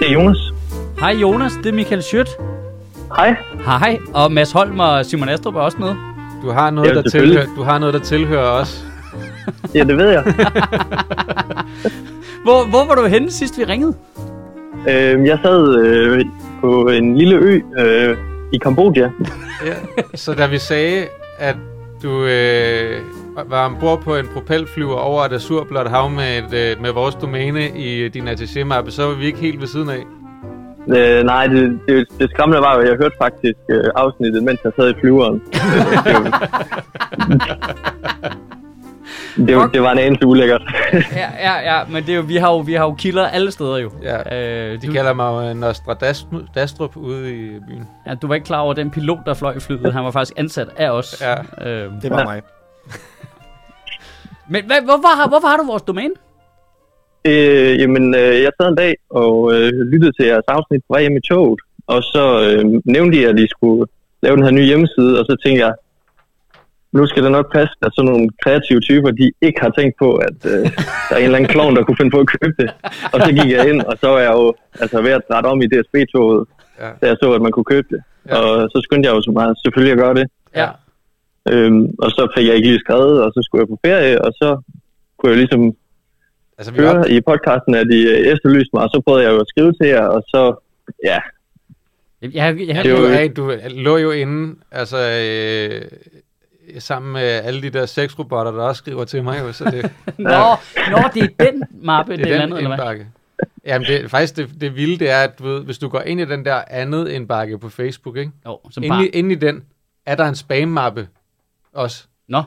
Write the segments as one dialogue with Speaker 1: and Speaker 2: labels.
Speaker 1: Det er Jonas.
Speaker 2: Hej Jonas, det er Michael Schødt.
Speaker 1: Hej.
Speaker 2: Hej, og Mads Holm og Simon Astrup er også med.
Speaker 3: Du har noget,
Speaker 1: Ja,
Speaker 3: der
Speaker 1: selvfølgelig.
Speaker 3: tilhører, du har noget, der tilhører os.
Speaker 1: Ja, det ved jeg.
Speaker 2: Hvor, hvor var du henne sidst vi ringede?
Speaker 1: øhm, jeg sad øh, på en lille ø øh, i Kambodja.
Speaker 3: Ja. Så da vi sagde, at du øh, var ombord på en propelflyver over et azurblåt hav med, et, øh, med vores domæne i din attaché-mappe, så var vi ikke helt ved siden af.
Speaker 1: Øh, nej, det, det, det skræmmende var jo, at jeg hørte faktisk øh, afsnittet, mens jeg sad i flyveren. Øh, det, var, det, var, det var en anelse ulækkert.
Speaker 2: Ja, ja, ja, men det er jo, vi, har jo, vi har jo kilder alle steder jo.
Speaker 3: Ja,
Speaker 2: øh,
Speaker 3: De
Speaker 2: du,
Speaker 3: kalder mig jo Nostradastrup ude i byen.
Speaker 2: ja, du var ikke klar over, at den pilot, der fløj i flyet, han var faktisk ansat af os.
Speaker 3: Ja.
Speaker 2: Øh,
Speaker 4: Det var mig.
Speaker 2: men hvad, hvorfor, har, hvorfor har du vores domæne?
Speaker 1: Øh, jamen, øh, jeg sad en dag og øh, lyttede til jeres afsnit på vej hjem i toget, og så øh, nævnte I, at I skulle lave den her nye hjemmeside, og så tænkte jeg, nu skal det nok passe, at sådan nogle kreative typer, de ikke har tænkt på, at øh, der er en eller anden klovn, der kunne finde på at købe det. Og så gik jeg ind, og så var jeg jo altså, ved at rette om i DSB-toget,
Speaker 3: Ja.
Speaker 1: ja. da jeg så, at man kunne købe det.
Speaker 3: Ja.
Speaker 1: Ja. Og så skyndte jeg jo så meget, selvfølgelig at gøre det.
Speaker 2: Ja.
Speaker 1: Øhm, og så fik jeg ikke lige skrevet, og så skulle jeg på ferie, og så kunne jeg ligesom
Speaker 3: Altså, vi op,
Speaker 1: høre i podcasten, at I øh, efterlyste mig, og så prøvede jeg jo at skrive til jer, og så, ja,
Speaker 2: Jeg, jeg, jeg,
Speaker 1: Det er
Speaker 3: du,
Speaker 1: jo-
Speaker 3: er, du lå jo inde, altså, øh, sammen med alle de der sexrobotter, der også skriver til mig jo, så det...
Speaker 2: nå, nå, det er den mappe, det,
Speaker 3: Det er den
Speaker 2: andet, eller hvad?
Speaker 3: indbakke. Jamen, det, faktisk det, det vilde, det er, at du ved, hvis du går ind i den der andet indbakke på Facebook, ikke?
Speaker 2: Jo, som
Speaker 3: Inde, i,
Speaker 2: bare.
Speaker 3: inde i den er der en spammappe også.
Speaker 2: Nå,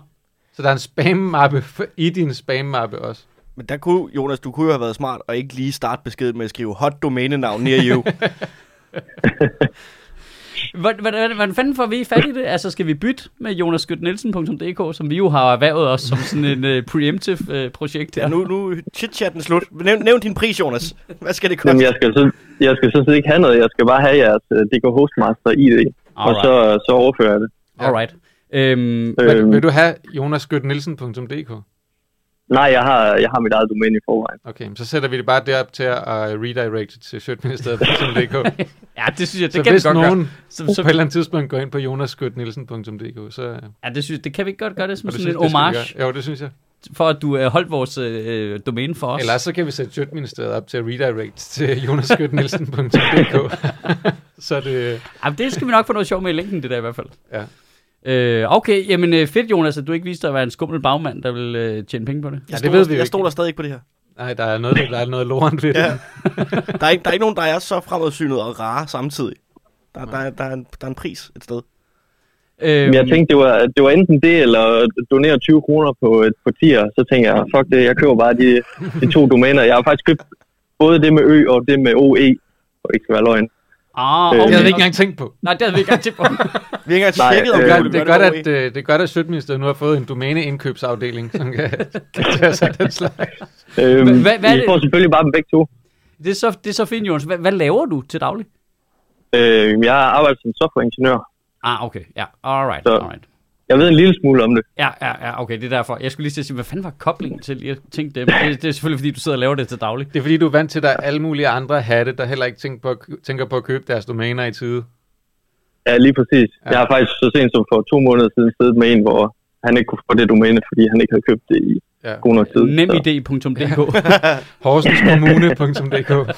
Speaker 3: Så der er en spammappe for- i din spammappe også.
Speaker 4: Men der kunne, Jonas, du kunne jo have været smart og ikke lige starte beskeden med at skrive hot domænenavn near you.
Speaker 2: Hvordan- hvordan hvordan fanden får vi fat i det? Altså, skal vi bytte med jonasskøtnielsen.dk, som vi jo har erhvervet os som sådan en uh, preemptive uh, projekt her?
Speaker 4: ja, nu, nu er chit-chatten slut. Nævn, nævn din pris, Jonas. Hvad skal det koste?
Speaker 1: jamen, jeg skal, så, jeg skal sådan set ikke have noget, jeg skal bare have jeres øh, DK Hostmaster ID, og
Speaker 2: Alright.
Speaker 1: så, så overfører jeg det.
Speaker 2: Alright. Øhm,
Speaker 3: Vil,
Speaker 1: Øhm,
Speaker 3: vil du have jonasgøtnielsen.dk?
Speaker 1: nej, jeg har, jeg har mit eget domæne i forvejen.
Speaker 3: Okay, men så sætter vi det bare derop til at øh, redirecte til sjøtministeriet.dk.
Speaker 2: ja, det synes jeg,
Speaker 3: Så
Speaker 2: det kan vi
Speaker 3: hvis
Speaker 2: godt
Speaker 3: nogen
Speaker 2: gøre. Som,
Speaker 3: på et
Speaker 2: som,
Speaker 3: eller andet tidspunkt går ind på jonasgøtnielsen.dk, så... øh,
Speaker 2: ja, det, synes, det kan vi ikke godt gøre det som
Speaker 3: og det
Speaker 2: sådan
Speaker 3: synes-
Speaker 2: en
Speaker 3: det skal vi
Speaker 2: homage,
Speaker 3: gøre. Jo, det synes jeg.
Speaker 2: for at du uh, holdt vores uh, domæne for os.
Speaker 3: Ellers så kan vi sætte Sjøtministeriet op til at redirect til jonasgøtnielsen.dk. så er det...
Speaker 2: Ja, men det skal vi nok få noget sjov med i linken, det der i hvert fald.
Speaker 3: Ja.
Speaker 2: Øh, okay, jamen øh, fedt Jonas, at du ikke viste dig at være en skummel bagmand, der vil øh, tjene penge på det.
Speaker 4: Jeg
Speaker 3: det ved vi jo
Speaker 4: jeg
Speaker 3: ikke.
Speaker 4: stoler stadig ikke på det her.
Speaker 3: Nej, der er noget, der er noget lorent ved det.
Speaker 4: Ja. Der er, ikke, der er ikke nogen, der er så fremadsynet og rare samtidig. Der, der, er- der, er, en, der er en pris et sted.
Speaker 2: Øhm,
Speaker 1: Men jeg tænkte, det var, det var enten det, eller donere 20 kroner på et partier, så tænkte jeg, fuck det, jeg køber bare de, de to domæner. Jeg har faktisk købt både det med Ø og det med OE, og ikke skal være løgn.
Speaker 2: ah,
Speaker 1: Øh,
Speaker 2: okay.
Speaker 3: Det havde vi ikke engang tænkt på.
Speaker 2: Nej, det havde vi ikke engang tænkt på.
Speaker 4: Vi har ikke engang
Speaker 1: Nej,
Speaker 4: tjekket, om
Speaker 1: øh,
Speaker 4: vi
Speaker 3: Det er,
Speaker 4: kunne
Speaker 3: det er
Speaker 4: gøre
Speaker 3: godt,
Speaker 4: det
Speaker 3: at, øh, det er godt, at Sjøtministeriet nu har fået en domæneindkøbsafdeling, som kan, kan tage sig af den slags.
Speaker 1: Øhm,
Speaker 2: Hva- hva- hvad er
Speaker 1: I
Speaker 2: det?
Speaker 1: får selvfølgelig bare dem begge to.
Speaker 2: det, er så, det er så fint, Jonas. Hvad, hvad laver du til daglig?
Speaker 1: Øh, jeg arbejder som softwareingeniør.
Speaker 2: Ah, okay. Ja, alright,
Speaker 1: Så-
Speaker 2: alright.
Speaker 1: Jeg ved en lille smule om det.
Speaker 2: Ja, ja, ja, okay, det er derfor. Jeg skulle lige til at sige, hvad fanden var koblingen til? Jeg tænkte det, men det, det er selvfølgelig, fordi du sidder og laver det til daglig.
Speaker 3: Det er fordi, du er vant til, at der er alle mulige andre hatte, der heller ikke tænker på, at kø- tænker på at købe deres domæner i tide.
Speaker 1: Ja, lige præcis.
Speaker 3: Ja.
Speaker 1: Ja. Jeg har faktisk så sent som for to måneder siden siddet med en, hvor han ikke kunne få det domæne, fordi han ikke havde købt det i
Speaker 3: Ja.
Speaker 1: god nok tid. Så
Speaker 2: Nemid.dk
Speaker 3: Horsenskommune.dk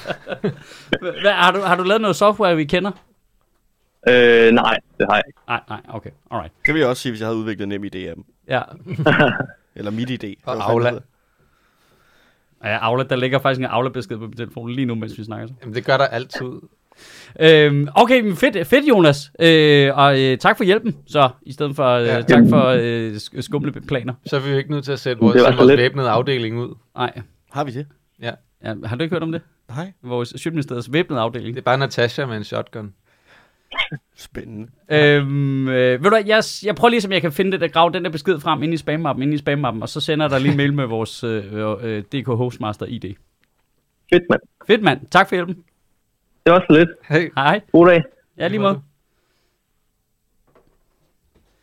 Speaker 2: Hvad, har, du, har du lavet noget software, vi kender?
Speaker 1: Øh, nej, det har jeg ikke.
Speaker 2: Nej, nej, okay, alright.
Speaker 4: Det vil jeg også sige, hvis jeg havde udviklet nem idé af dem.
Speaker 2: Ja,
Speaker 4: Eller mit idé.
Speaker 3: Og
Speaker 4: Hvad fanden
Speaker 3: Aula.
Speaker 4: det hedder.
Speaker 2: Og ja Aula, der ligger faktisk en Aula-besked på min telefon lige nu, mens vi snakker så.
Speaker 3: Jamen, det gør der altid.
Speaker 2: Øhm, okay, men fedt, fedt Jonas. Øh, og øh, tak for hjælpen, så, i stedet for, øh,
Speaker 3: Ja.
Speaker 2: tak for øh, sk- skumle planer.
Speaker 3: Så er vi jo ikke nødt til at sætte
Speaker 1: Det
Speaker 3: vores,
Speaker 1: var
Speaker 3: sende
Speaker 1: så
Speaker 3: vores
Speaker 1: lidt.
Speaker 3: væbnede afdeling ud.
Speaker 2: Nej,
Speaker 4: Har vi det?
Speaker 3: Ja.
Speaker 2: ja, har du ikke hørt om det?
Speaker 4: Nej.
Speaker 2: Vores Sjøtministeriets væbnede afdeling.
Speaker 3: Det er bare Natasha med en shotgun.
Speaker 4: Spændende.
Speaker 2: Øhm, øh, ved du hvad, jeg, jeg prøver lige, som jeg kan finde det, der grave den der besked frem ind i spammappen, ind i spammappen, og så sender jeg dig lige en mail med vores øh, øh, DK Hostmaster ID.
Speaker 1: Fedt, mand.
Speaker 2: Fedt mand, tak for hjælpen.
Speaker 1: Det var så lidt.
Speaker 3: Hey,
Speaker 2: Hej.
Speaker 1: God dag.
Speaker 2: Ja, lige måde.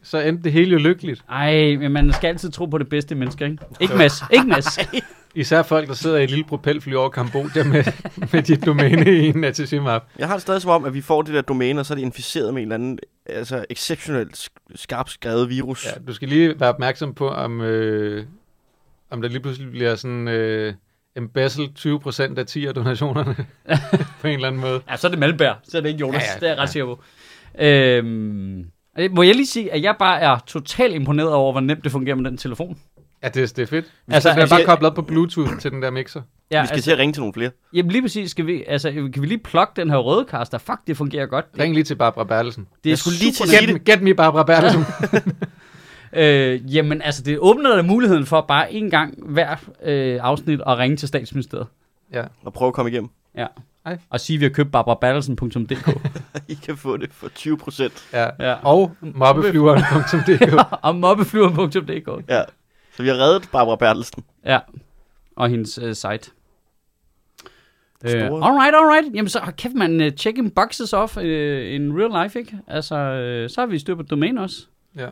Speaker 3: så endte det hele jo lykkeligt.
Speaker 2: Ej, men man skal altid tro på det bedste i mennesker, ikke? Ikke Mads, ikke Mads.
Speaker 3: Især folk, der sidder i et lille propelfly over Kambodja med, med dit domæne i en Natsushima-app.
Speaker 4: Jeg har det stadig som om, at vi får det der domæne, og så er det inficeret med en eller anden altså, exceptionelt sk- skarpt skrevet virus. Ja.
Speaker 3: Ja, du skal lige være opmærksom på, om, øh, om der lige pludselig bliver sådan øh, embezzled 20% af 10 af donationerne på en eller anden måde.
Speaker 2: Ja, så er det Malberg, så er det ikke Jonas. Ja,
Speaker 3: Ja,
Speaker 2: ja, det
Speaker 3: ja,
Speaker 2: er jeg ret sikker på. Øhm, øh, må jeg lige sige, at jeg bare er totalt imponeret over, hvor nemt det fungerer med den telefon.
Speaker 3: Ja, det, det er fedt.
Speaker 2: Altså,
Speaker 3: Altså, så bliver
Speaker 2: altså,
Speaker 3: bare
Speaker 2: jeg-
Speaker 3: koblet op på Bluetooth til den der mixer.
Speaker 2: Ja,
Speaker 4: Vi skal
Speaker 2: altså,
Speaker 4: til at ringe til nogle flere.
Speaker 2: jamen lige præcis, skal vi, altså, kan vi lige plukke den her røde kaster? Fuck, det fungerer godt. Det,
Speaker 3: Ring lige til Barbara Bertelsen.
Speaker 2: det er
Speaker 4: Jeg skulle lige
Speaker 2: super
Speaker 4: til at
Speaker 2: nemt.
Speaker 4: sige
Speaker 3: Get, get me Barbara Bertelsen.
Speaker 2: Øh, jamen, altså, det åbner der muligheden for bare en gang hver øh, afsnit at ringe til statsministeriet.
Speaker 3: ja.
Speaker 4: Og prøve at komme igennem.
Speaker 2: Ja.
Speaker 3: Ej.
Speaker 2: Og sige, at vi har købt barbarabattelsen.dk.
Speaker 4: I kan få det for 20 procent.
Speaker 3: Ja.
Speaker 2: Ja.
Speaker 3: Og mobbeflyveren.dk.
Speaker 2: og mobbeflyver.dk.
Speaker 4: Ja. Så vi har reddet Barbara Bertelsen.
Speaker 2: Ja. Og hendes øh, site. Uh,
Speaker 4: Store.
Speaker 2: alright, alright. Jamen så hold kæft man, uh, checking boxes off uh, in real life, ikke? Altså, uh, så har vi styr på domæn også.
Speaker 3: Ja.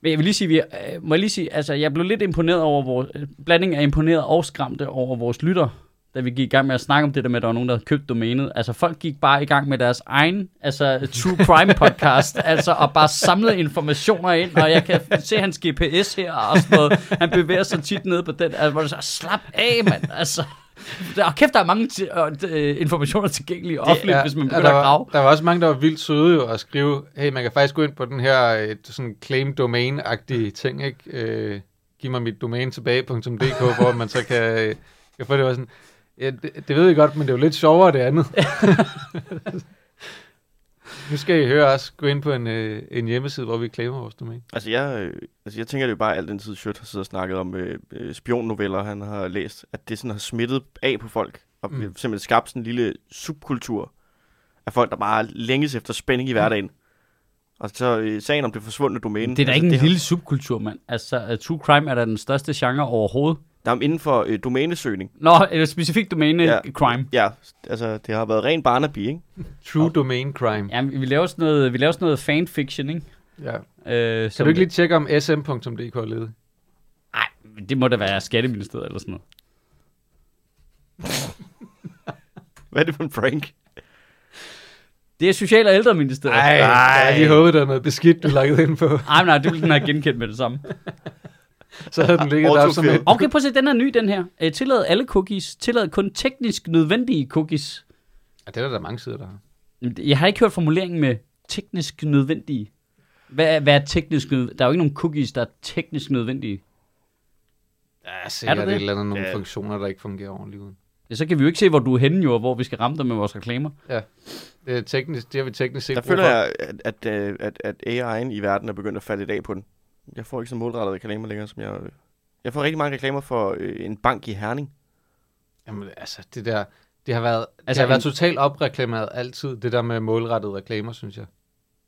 Speaker 2: Men jeg vil lige sige, vi, uh, må jeg lige sige, altså jeg blev lidt imponeret over vores, øh, blanding af imponeret og skræmte over vores lytter, da vi gik i gang med at snakke om det der med, at der var nogen, der havde købt domænet. Altså folk gik bare i gang med deres egen, altså True Crime podcast, altså og bare samlede informationer ind, og jeg kan se hans GPS her og sådan noget. Han bevæger sig tit ned på den, altså hvor det så, slap af mand, altså. Der, og kæft, der er mange ti- og, øh, informationer tilgængelige offentligt,
Speaker 3: Ja,
Speaker 2: hvis man
Speaker 3: og
Speaker 2: begynder
Speaker 3: der,
Speaker 2: at grave.
Speaker 3: var, der var også mange, der var vildt søde jo at skrive, hey, man kan faktisk gå ind på den her øh, sådan claim domain-agtige ting, ikke? Øh, giv mig mit domæne tilbage.dk, hvor man så kan, øh, kan få det var sådan, ja, det, det ved jeg godt, men det er jo lidt sjovere det andet. nu skal I høre os gå ind på en, øh, en hjemmeside, hvor vi claimer vores domæne.
Speaker 4: Altså jeg, øh, altså jeg tænker det er jo bare alt den tid, Sjøt har siddet og snakket om øh, øh, spionnoveller, han har læst, at det sådan har smittet af på folk, og mm.
Speaker 3: Mm.
Speaker 4: simpelthen skabt sådan en lille subkultur af folk, der bare længes efter spænding
Speaker 2: Mm.
Speaker 4: i hverdagen. Og så øh, sagen om det forsvundne domæne.
Speaker 2: Det er da
Speaker 4: altså,
Speaker 2: ikke en
Speaker 4: det har-
Speaker 2: lille subkultur, mand. Altså, uh, true crime er da den største genre overhovedet.
Speaker 4: Der er inden for øh, domænesøgning.
Speaker 2: Nå, eller specifikt domæne ja.
Speaker 4: Ja.
Speaker 2: crime.
Speaker 4: Ja, altså det har været ren Barnaby, ikke?
Speaker 3: True domain crime.
Speaker 2: Ja, vi laver sådan noget, vi laver sådan noget fanfiction, ikke?
Speaker 3: Ja.
Speaker 2: Øh,
Speaker 3: Kan du ikke lige tjekke, om sm.dk er ledet?
Speaker 2: Nej, det må da være Skatteministeriet eller sådan noget.
Speaker 4: Hvad er det for en prank?
Speaker 2: Det er Social- og Ældreministeriet.
Speaker 3: Ej, jeg lige håbet, der er noget beskidt, du lagde ind på.
Speaker 2: Ej, men nej, det ville den have genkendt med det samme.
Speaker 3: Så havde den ligget der som
Speaker 4: Autofill.
Speaker 3: et
Speaker 2: Okay, prøv at se, den er ny, den her. Øh, tillad alle cookies. Tillad kun teknisk nødvendige cookies.
Speaker 3: Ja, det er der, der mange sider, der har.
Speaker 2: Jamen, det- Jeg har ikke hørt formuleringen med teknisk nødvendige. Hvad, er- hvad er teknisk nødvendige? Der er jo ikke nogen cookies, der er teknisk nødvendige.
Speaker 3: Ja,
Speaker 2: Er
Speaker 3: sikkert
Speaker 2: der
Speaker 3: er
Speaker 2: det?
Speaker 3: det? et eller andet nogle
Speaker 4: Ja.
Speaker 3: funktioner, der ikke fungerer ordentligt uden.
Speaker 2: Ja, så kan vi jo ikke se, hvor du er henne, jo, og hvor vi skal ramme dig med vores reklamer.
Speaker 3: Det, er teknisk, det har vi teknisk set
Speaker 4: Der
Speaker 3: brug for.
Speaker 4: føler jeg, at, at, øh, at, at AI'en i verden er begyndt at falde i dag på den. Jeg får ikke så målrettede reklamer længere, som jeg... øh, Jeg får rigtig mange reklamer for øh, en bank i Herning.
Speaker 3: Jamen, altså, det der... Det har været, altså, det
Speaker 2: Altså,
Speaker 3: har været
Speaker 2: en-
Speaker 3: totalt opreklameret altid, det der med målrettede reklamer, synes jeg.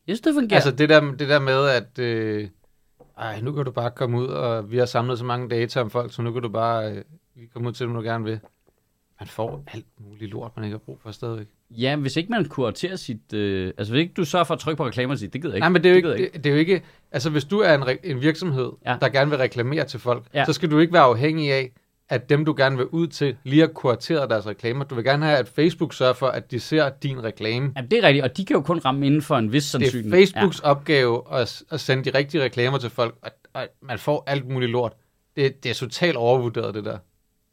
Speaker 2: Jeg synes, det
Speaker 3: Ja.
Speaker 2: fungerer.
Speaker 3: Altså, det der, det der med, at... Øh, ej, nu kan du bare komme ud, og vi har samlet så mange data om folk, så nu kan du bare øh, lige komme ud til dem, du gerne vil. Man får alt muligt lort, man ikke har brug for stadigvæk.
Speaker 2: Ja, hvis ikke man kuraterer sit... Øh, altså, hvis ikke du sørger for at trykke på reklamer og sige, det gider jeg ikke.
Speaker 3: Nej, men det er jo ikke,
Speaker 2: gider jeg
Speaker 3: det, det er jo ikke altså hvis du er en, re- en virksomhed,
Speaker 2: Ja.
Speaker 3: ja. der gerne vil reklamere til folk,
Speaker 2: Ja.
Speaker 3: ja. så skal du ikke være afhængig af, at dem du gerne vil ud til, lige har kurateret deres reklamer. Du vil gerne have, at Facebook sørger for, at de ser din reklame.
Speaker 2: Jamen, det er rigtigt, og de kan jo kun ramme inden for en vis
Speaker 3: Det er
Speaker 2: sandsynlighed.
Speaker 3: Facebooks ja. opgave at, s- at sende de rigtige reklamer til folk, og, og man får alt muligt lort. Det, det er totalt overvurderet, det der.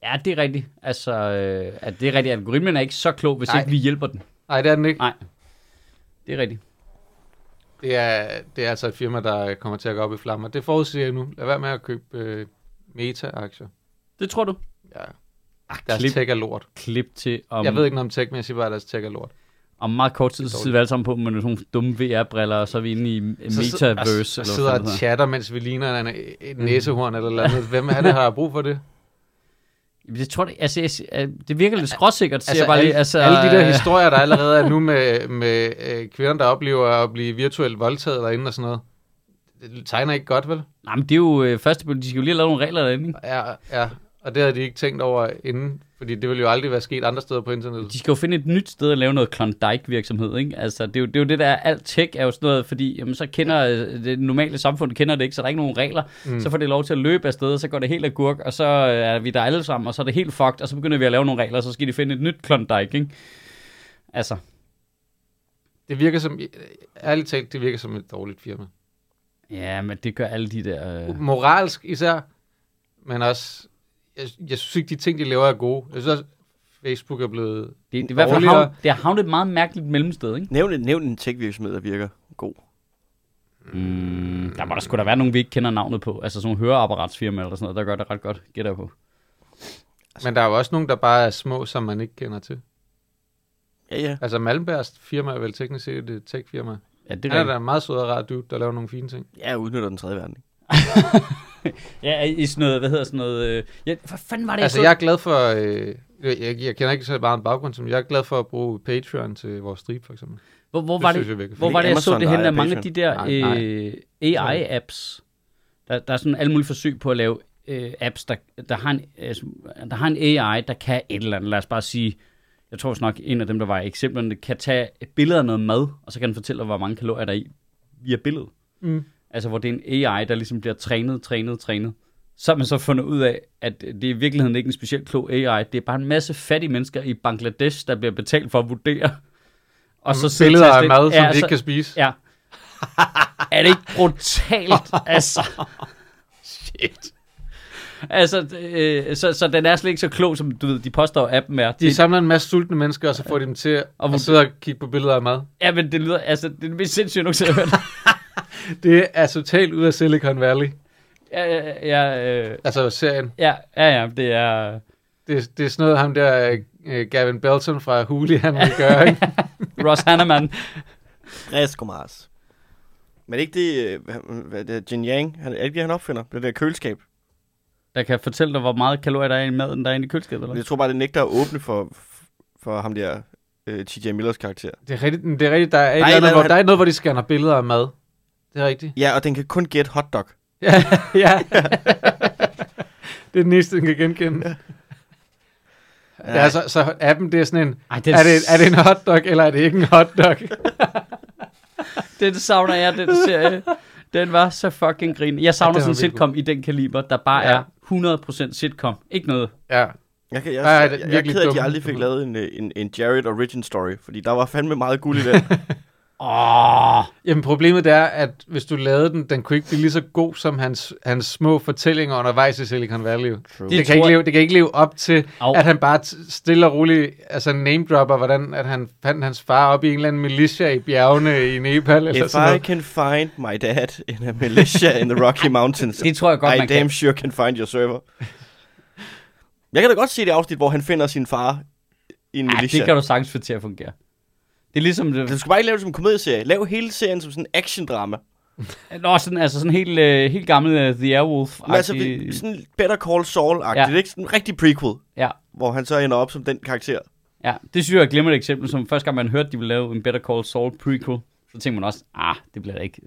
Speaker 2: Ja, ja det er rigtigt. Altså, øh, at det er rigtigt. Algoritmen er ikke så klog, hvis
Speaker 3: Nej.
Speaker 2: ikke vi hjælper den.
Speaker 3: Nej, det er den ikke.
Speaker 2: Nej, det er rigtigt.
Speaker 3: Det er, det er altså et firma, der kommer til at gå op i flammer. Det forudsiger jeg nu. Lad være med at købe øh, meta-aktier.
Speaker 2: Det tror du?
Speaker 3: Ja.
Speaker 2: Ach, klip,
Speaker 3: Deres tech er lort.
Speaker 2: klip til om,
Speaker 3: Jeg ved ikke noget om tech, men jeg siger bare, at deres tech er lort.
Speaker 2: om meget kort tid, så sidder vi alle sammen på med nogle sådan nogle dumme VR-briller, og så er vi inde i
Speaker 3: Så
Speaker 2: metaverse.
Speaker 3: sidder-
Speaker 2: eller hvad
Speaker 3: og, og
Speaker 2: fanden
Speaker 3: sidder
Speaker 2: det
Speaker 3: og
Speaker 2: hedder. Mm.
Speaker 3: chatter, mens vi ligner en, et næsehorn eller noget. Hvem er det, der har brug for det?
Speaker 2: Jamen, Det, tror jeg, altså, jeg, jeg- det virker lidt skråsikkert, siger altså, jeg bare
Speaker 3: alle,
Speaker 2: lige. Altså,
Speaker 3: alle de der
Speaker 2: øh,
Speaker 3: historier, der allerede er nu med, med øh, kvinder, der oplever at blive virtuelt voldtaget derinde og sådan noget. Det tegner ikke godt, vel?
Speaker 2: Nej, men det er jo øh, første, de skal jo lige have lavet nogle regler derinde, ikke?
Speaker 3: Ja, ja. Og det havde de ikke tænkt over inden, fordi det ville jo aldrig være sket andre steder på internettet.
Speaker 2: De skal jo finde et nyt sted at lave noget Klondike-virksomhed, ikke? Altså, det er, jo, det er jo det der, alt tech er jo sådan noget, fordi jamen, så kender øh, det normale samfund kender det ikke, så der er ikke nogen regler. Mm. Så får det lov til at løbe afsted, og så går det helt agurk, og så øh, er vi der alle sammen, og så er det helt fucked, og så begynder vi at lave nogle regler, og så skal de finde et nyt Klondike, ikke? Altså,
Speaker 3: Det virker som, øh, ærligt talt, det virker som et dårligt firma.
Speaker 2: ja, men det gør alle de der... Øh...
Speaker 3: moralsk især, men også, jeg, jeg synes ikke, de ting, de laver, er gode. Jeg synes også, Facebook er blevet...
Speaker 2: Det, det, er i hvert fald
Speaker 3: Dårligere.
Speaker 2: havn, det har havnet et meget mærkeligt mellemsted, ikke?
Speaker 4: Nævn, en- nævn en tech-virksomhed, der virker god.
Speaker 2: Mm, der må der sgu da være nogen, vi ikke kender navnet på. Altså sådan nogle høreapparatsfirmaer eller sådan noget, der gør det ret godt, gætter jeg på.
Speaker 3: Men der er jo også nogen, der bare er små, som man ikke kender til.
Speaker 4: Ja, ja.
Speaker 3: Altså Malmbergs firma er vel teknisk set et tech-firma.
Speaker 2: Ja, det
Speaker 3: Det
Speaker 2: er
Speaker 3: er Han
Speaker 2: rigtigt.
Speaker 3: er da en meget sød og rar dude, der laver nogle fine ting.
Speaker 4: Jeg udnytter den tredje verden. ikke?
Speaker 2: Ja, i sådan noget, hvad hedder sådan noget... Øh, ja, hvad fanden var det,
Speaker 3: Altså
Speaker 2: så-
Speaker 3: jeg er glad for... Øh, jeg, jeg kender ikke så meget en baggrund, som jeg er glad for at bruge Patreon til vores strip, for eksempel.
Speaker 2: Hvor, hvor,
Speaker 3: det
Speaker 2: var
Speaker 3: synes jeg
Speaker 2: det,
Speaker 3: virkelig.
Speaker 2: hvor
Speaker 4: Fordi
Speaker 2: var det, jeg så
Speaker 4: Amazon,
Speaker 2: det
Speaker 4: der
Speaker 2: henne
Speaker 4: ejer
Speaker 2: af mange af de der
Speaker 3: Nej,
Speaker 2: øh, AI-apps? Der, der er sådan alle mulige forsøg på at lave øh, apps, der, der, har en, altså, der har en AI, der kan et eller andet. Lad os bare sige, jeg tror også nok, en af dem, der var i eksemplerne, kan tage et billede af noget mad, og så kan den fortælle dig, hvor mange kalorier der er i via billedet.
Speaker 3: Mm.
Speaker 2: Altså, hvor det er en AI, der ligesom bliver trænet, trænet, trænet. Så har man så fundet ud af, at det er i virkeligheden ikke en specielt klog AI. Det er bare en masse fattige mennesker i Bangladesh, der bliver betalt for at vurdere. Og sidde og
Speaker 3: Mm, billeder af
Speaker 2: taste ind.
Speaker 3: mad, som de
Speaker 2: så-
Speaker 3: ikke kan spise.
Speaker 2: Ja. Er det ikke brutalt, altså? Shit. Altså, øh, så, så den er slet ikke så klog, som du ved, de påstår appen er.
Speaker 3: De
Speaker 2: Det,
Speaker 3: samler en masse sultne mennesker, og så får de dem til
Speaker 2: Og-
Speaker 3: at sidde og kigge på billeder af mad.
Speaker 2: ja, men det lyder, altså, det er det mest sindssygt, jeg nogensinde har hørt.
Speaker 3: Det er totalt ud af Silicon Valley.
Speaker 2: Ja, ja, ja, øh,
Speaker 3: Altså serien.
Speaker 2: ja, ja, ja, det er...
Speaker 3: Det, det er sådan noget, ham der øh, Gavin Belton fra Huli, han vil gøre, ikke?
Speaker 2: Ross Hanneman.
Speaker 4: Fresco Mars. Men ikke det, øh, hvad, hvad det er, Jin Yang, han, er det ikke det, han opfinder? Det der køleskab.
Speaker 2: Der kan fortælle dig, hvor meget kalorier der er i maden, der er inde i køleskabet, eller?
Speaker 4: Jeg tror bare, det nægter at åbne for, for ham der øh, TJ Millers karakter.
Speaker 3: Det er rigtigt, det er rigtigt der, er
Speaker 4: et
Speaker 3: der,
Speaker 4: eller
Speaker 3: noget, hvor,
Speaker 4: andet-
Speaker 3: der er noget, hvor de scanner billeder af mad. Det er rigtigt.
Speaker 4: Ja, og den kan kun gætte hotdog.
Speaker 3: Ja, ja. det er den næste, den kan genkende. Ja, ja så, så appen, det er sådan en...
Speaker 2: Ej,
Speaker 3: Er det, er det en hotdog, eller er det ikke en hotdog?
Speaker 2: Den savner jeg, den serie. Den var så fucking grin. Jeg savner
Speaker 3: Ja,
Speaker 2: ja,
Speaker 3: den
Speaker 2: sådan
Speaker 3: var
Speaker 2: en sitcom
Speaker 3: virkelig
Speaker 2: i den kaliber, der bare
Speaker 3: Ja.
Speaker 2: ja. er 100% sitcom. Ikke noget.
Speaker 3: Ja.
Speaker 4: Jeg, kan, jeg,
Speaker 3: Ej,
Speaker 4: jeg,
Speaker 3: det er
Speaker 4: jeg, jeg er
Speaker 3: virkelig
Speaker 4: ked af, at
Speaker 3: dumt.
Speaker 4: de aldrig fik lavet en, øh, en, en Jared origin story, fordi der var fandme meget guld i den.
Speaker 2: Åh,
Speaker 3: Jamen problemet det er, at hvis du lavede den, den kunne ikke blive lige så god som hans, hans små fortællinger undervejs i Silicon Valley. Det, det,
Speaker 2: tror
Speaker 3: kan ikke
Speaker 2: jeg-
Speaker 3: leve, det kan ikke leve op til,
Speaker 2: Au.
Speaker 3: Au. at han bare t- stille og roligt altså name-dropper, hvordan at han fandt hans far op i en eller anden militia i bjergene i Nepal.
Speaker 2: Altså,
Speaker 3: Eller
Speaker 4: If
Speaker 3: sådan
Speaker 4: I
Speaker 3: noget.
Speaker 4: can find my dad in a militia in the Rocky Mountains,
Speaker 2: det tror jeg godt,
Speaker 4: I
Speaker 2: man
Speaker 4: damn
Speaker 2: kan.
Speaker 4: sure can find your server. Jeg kan da godt se det afsnit, hvor han finder sin far i en
Speaker 2: Ej,
Speaker 4: militia.
Speaker 2: det kan du sagtens få til at fungere. Det er ligesom...
Speaker 4: Du skal bare ikke lave det som en komedieserie. Lav hele serien som sådan en action-drama.
Speaker 2: Nå, sådan, altså sådan helt, øh, helt gammel uh, The Airwolf.
Speaker 4: Men altså, vi- sådan Better Call Saul-agtigt.
Speaker 2: Ja.
Speaker 4: Det er ikke sådan en rigtig prequel,
Speaker 2: Ja,
Speaker 4: hvor han så ender op som den karakter.
Speaker 2: ja, det synes jeg er et glimrende eksempel, som første gang man hørte, de ville lave en Better Call Saul prequel, så tænkte man også, ah, det bliver da ikke...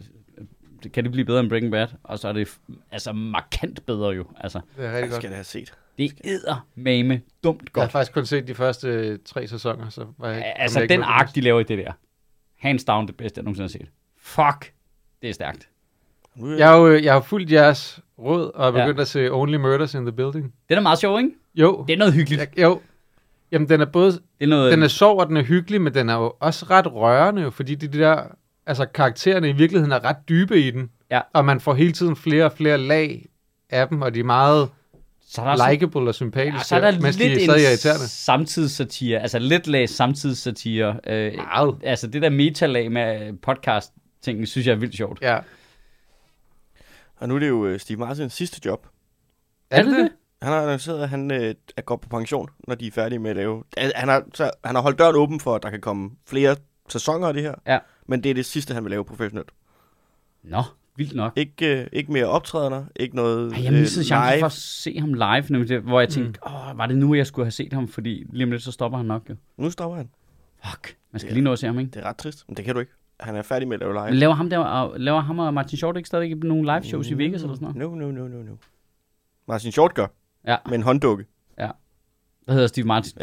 Speaker 2: det- Kan det blive bedre end Breaking Bad? Og så er det f- altså markant bedre jo. Altså,
Speaker 3: Det er
Speaker 4: Jeg
Speaker 3: rigtig godt.
Speaker 4: skal da have set.
Speaker 2: det æder mame dumt
Speaker 3: Jeg har
Speaker 2: godt.
Speaker 3: faktisk kun set de første øh, tre sæsoner, så var jeg ikke... kom
Speaker 2: Altså,
Speaker 3: jeg ikke
Speaker 2: den
Speaker 3: med på
Speaker 2: ark, de laver i det der. Hands down det bedste, jeg nogensinde har set. Fuck, det er stærkt.
Speaker 4: Nu,
Speaker 3: det. Jeg har jo øh, jeg har fulgt jeres råd og er
Speaker 2: Ja.
Speaker 3: begyndt at se Only Murders in the Building.
Speaker 2: Den er meget sjov, ikke?
Speaker 3: Jo,
Speaker 2: Det er noget hyggeligt.
Speaker 3: jeg, jo. Jamen, den er både
Speaker 2: Det er noget...
Speaker 3: den er sjov, og den er hyggelig, men den er jo også ret rørende, jo, fordi de, de der, altså karaktererne i virkeligheden er ret dybe i den.
Speaker 2: Ja.
Speaker 3: Og man får hele tiden flere og flere lag af dem, og de er meget
Speaker 2: så er der også-
Speaker 3: likable og
Speaker 2: ja,
Speaker 3: sympatiske,
Speaker 2: så er der
Speaker 3: mens
Speaker 2: lidt
Speaker 3: de er stadig
Speaker 2: en
Speaker 3: irriterende.
Speaker 2: samtidssatire, altså lidt lag samtidssatire. Øh,
Speaker 3: Meget.
Speaker 2: altså det der metalag med øh, podcast-tingen, synes jeg er vildt sjovt.
Speaker 3: Ja.
Speaker 4: og nu er det jo øh, Steve Martins sidste job.
Speaker 2: Er det det?
Speaker 4: Han har annonceret, at han øh, er- går på pension, når de er færdige med at lave... Al- Han har, så, han har holdt døren åben for, at der kan komme flere sæsoner af det her.
Speaker 2: Ja.
Speaker 4: Men det er det sidste, han vil lave professionelt.
Speaker 2: Nå, Vildt nok.
Speaker 4: Ikke, øh, ikke mere optrædener, ikke noget
Speaker 2: Ej, jeg missede chancen
Speaker 4: Øh, live.
Speaker 2: for at se ham live, nemlig det, hvor jeg tænkte, åh, var det nu, jeg skulle have set ham, fordi lige om lidt, så stopper han nok jo.
Speaker 4: Nu stopper han.
Speaker 2: Fuck, man skal lige nå at se ham, ikke?
Speaker 4: Det er ret trist, men det kan du ikke. Han er færdig med at lave
Speaker 2: Men
Speaker 4: live.
Speaker 2: laver ham, der, og, laver ham og Martin Short ikke stadigvæk nogle live shows i Vegas eller sådan noget?
Speaker 4: No, no, no, no, no. Martin Short gør,
Speaker 2: Ja,
Speaker 4: med en hånddukke,
Speaker 2: der hedder Steve Martin.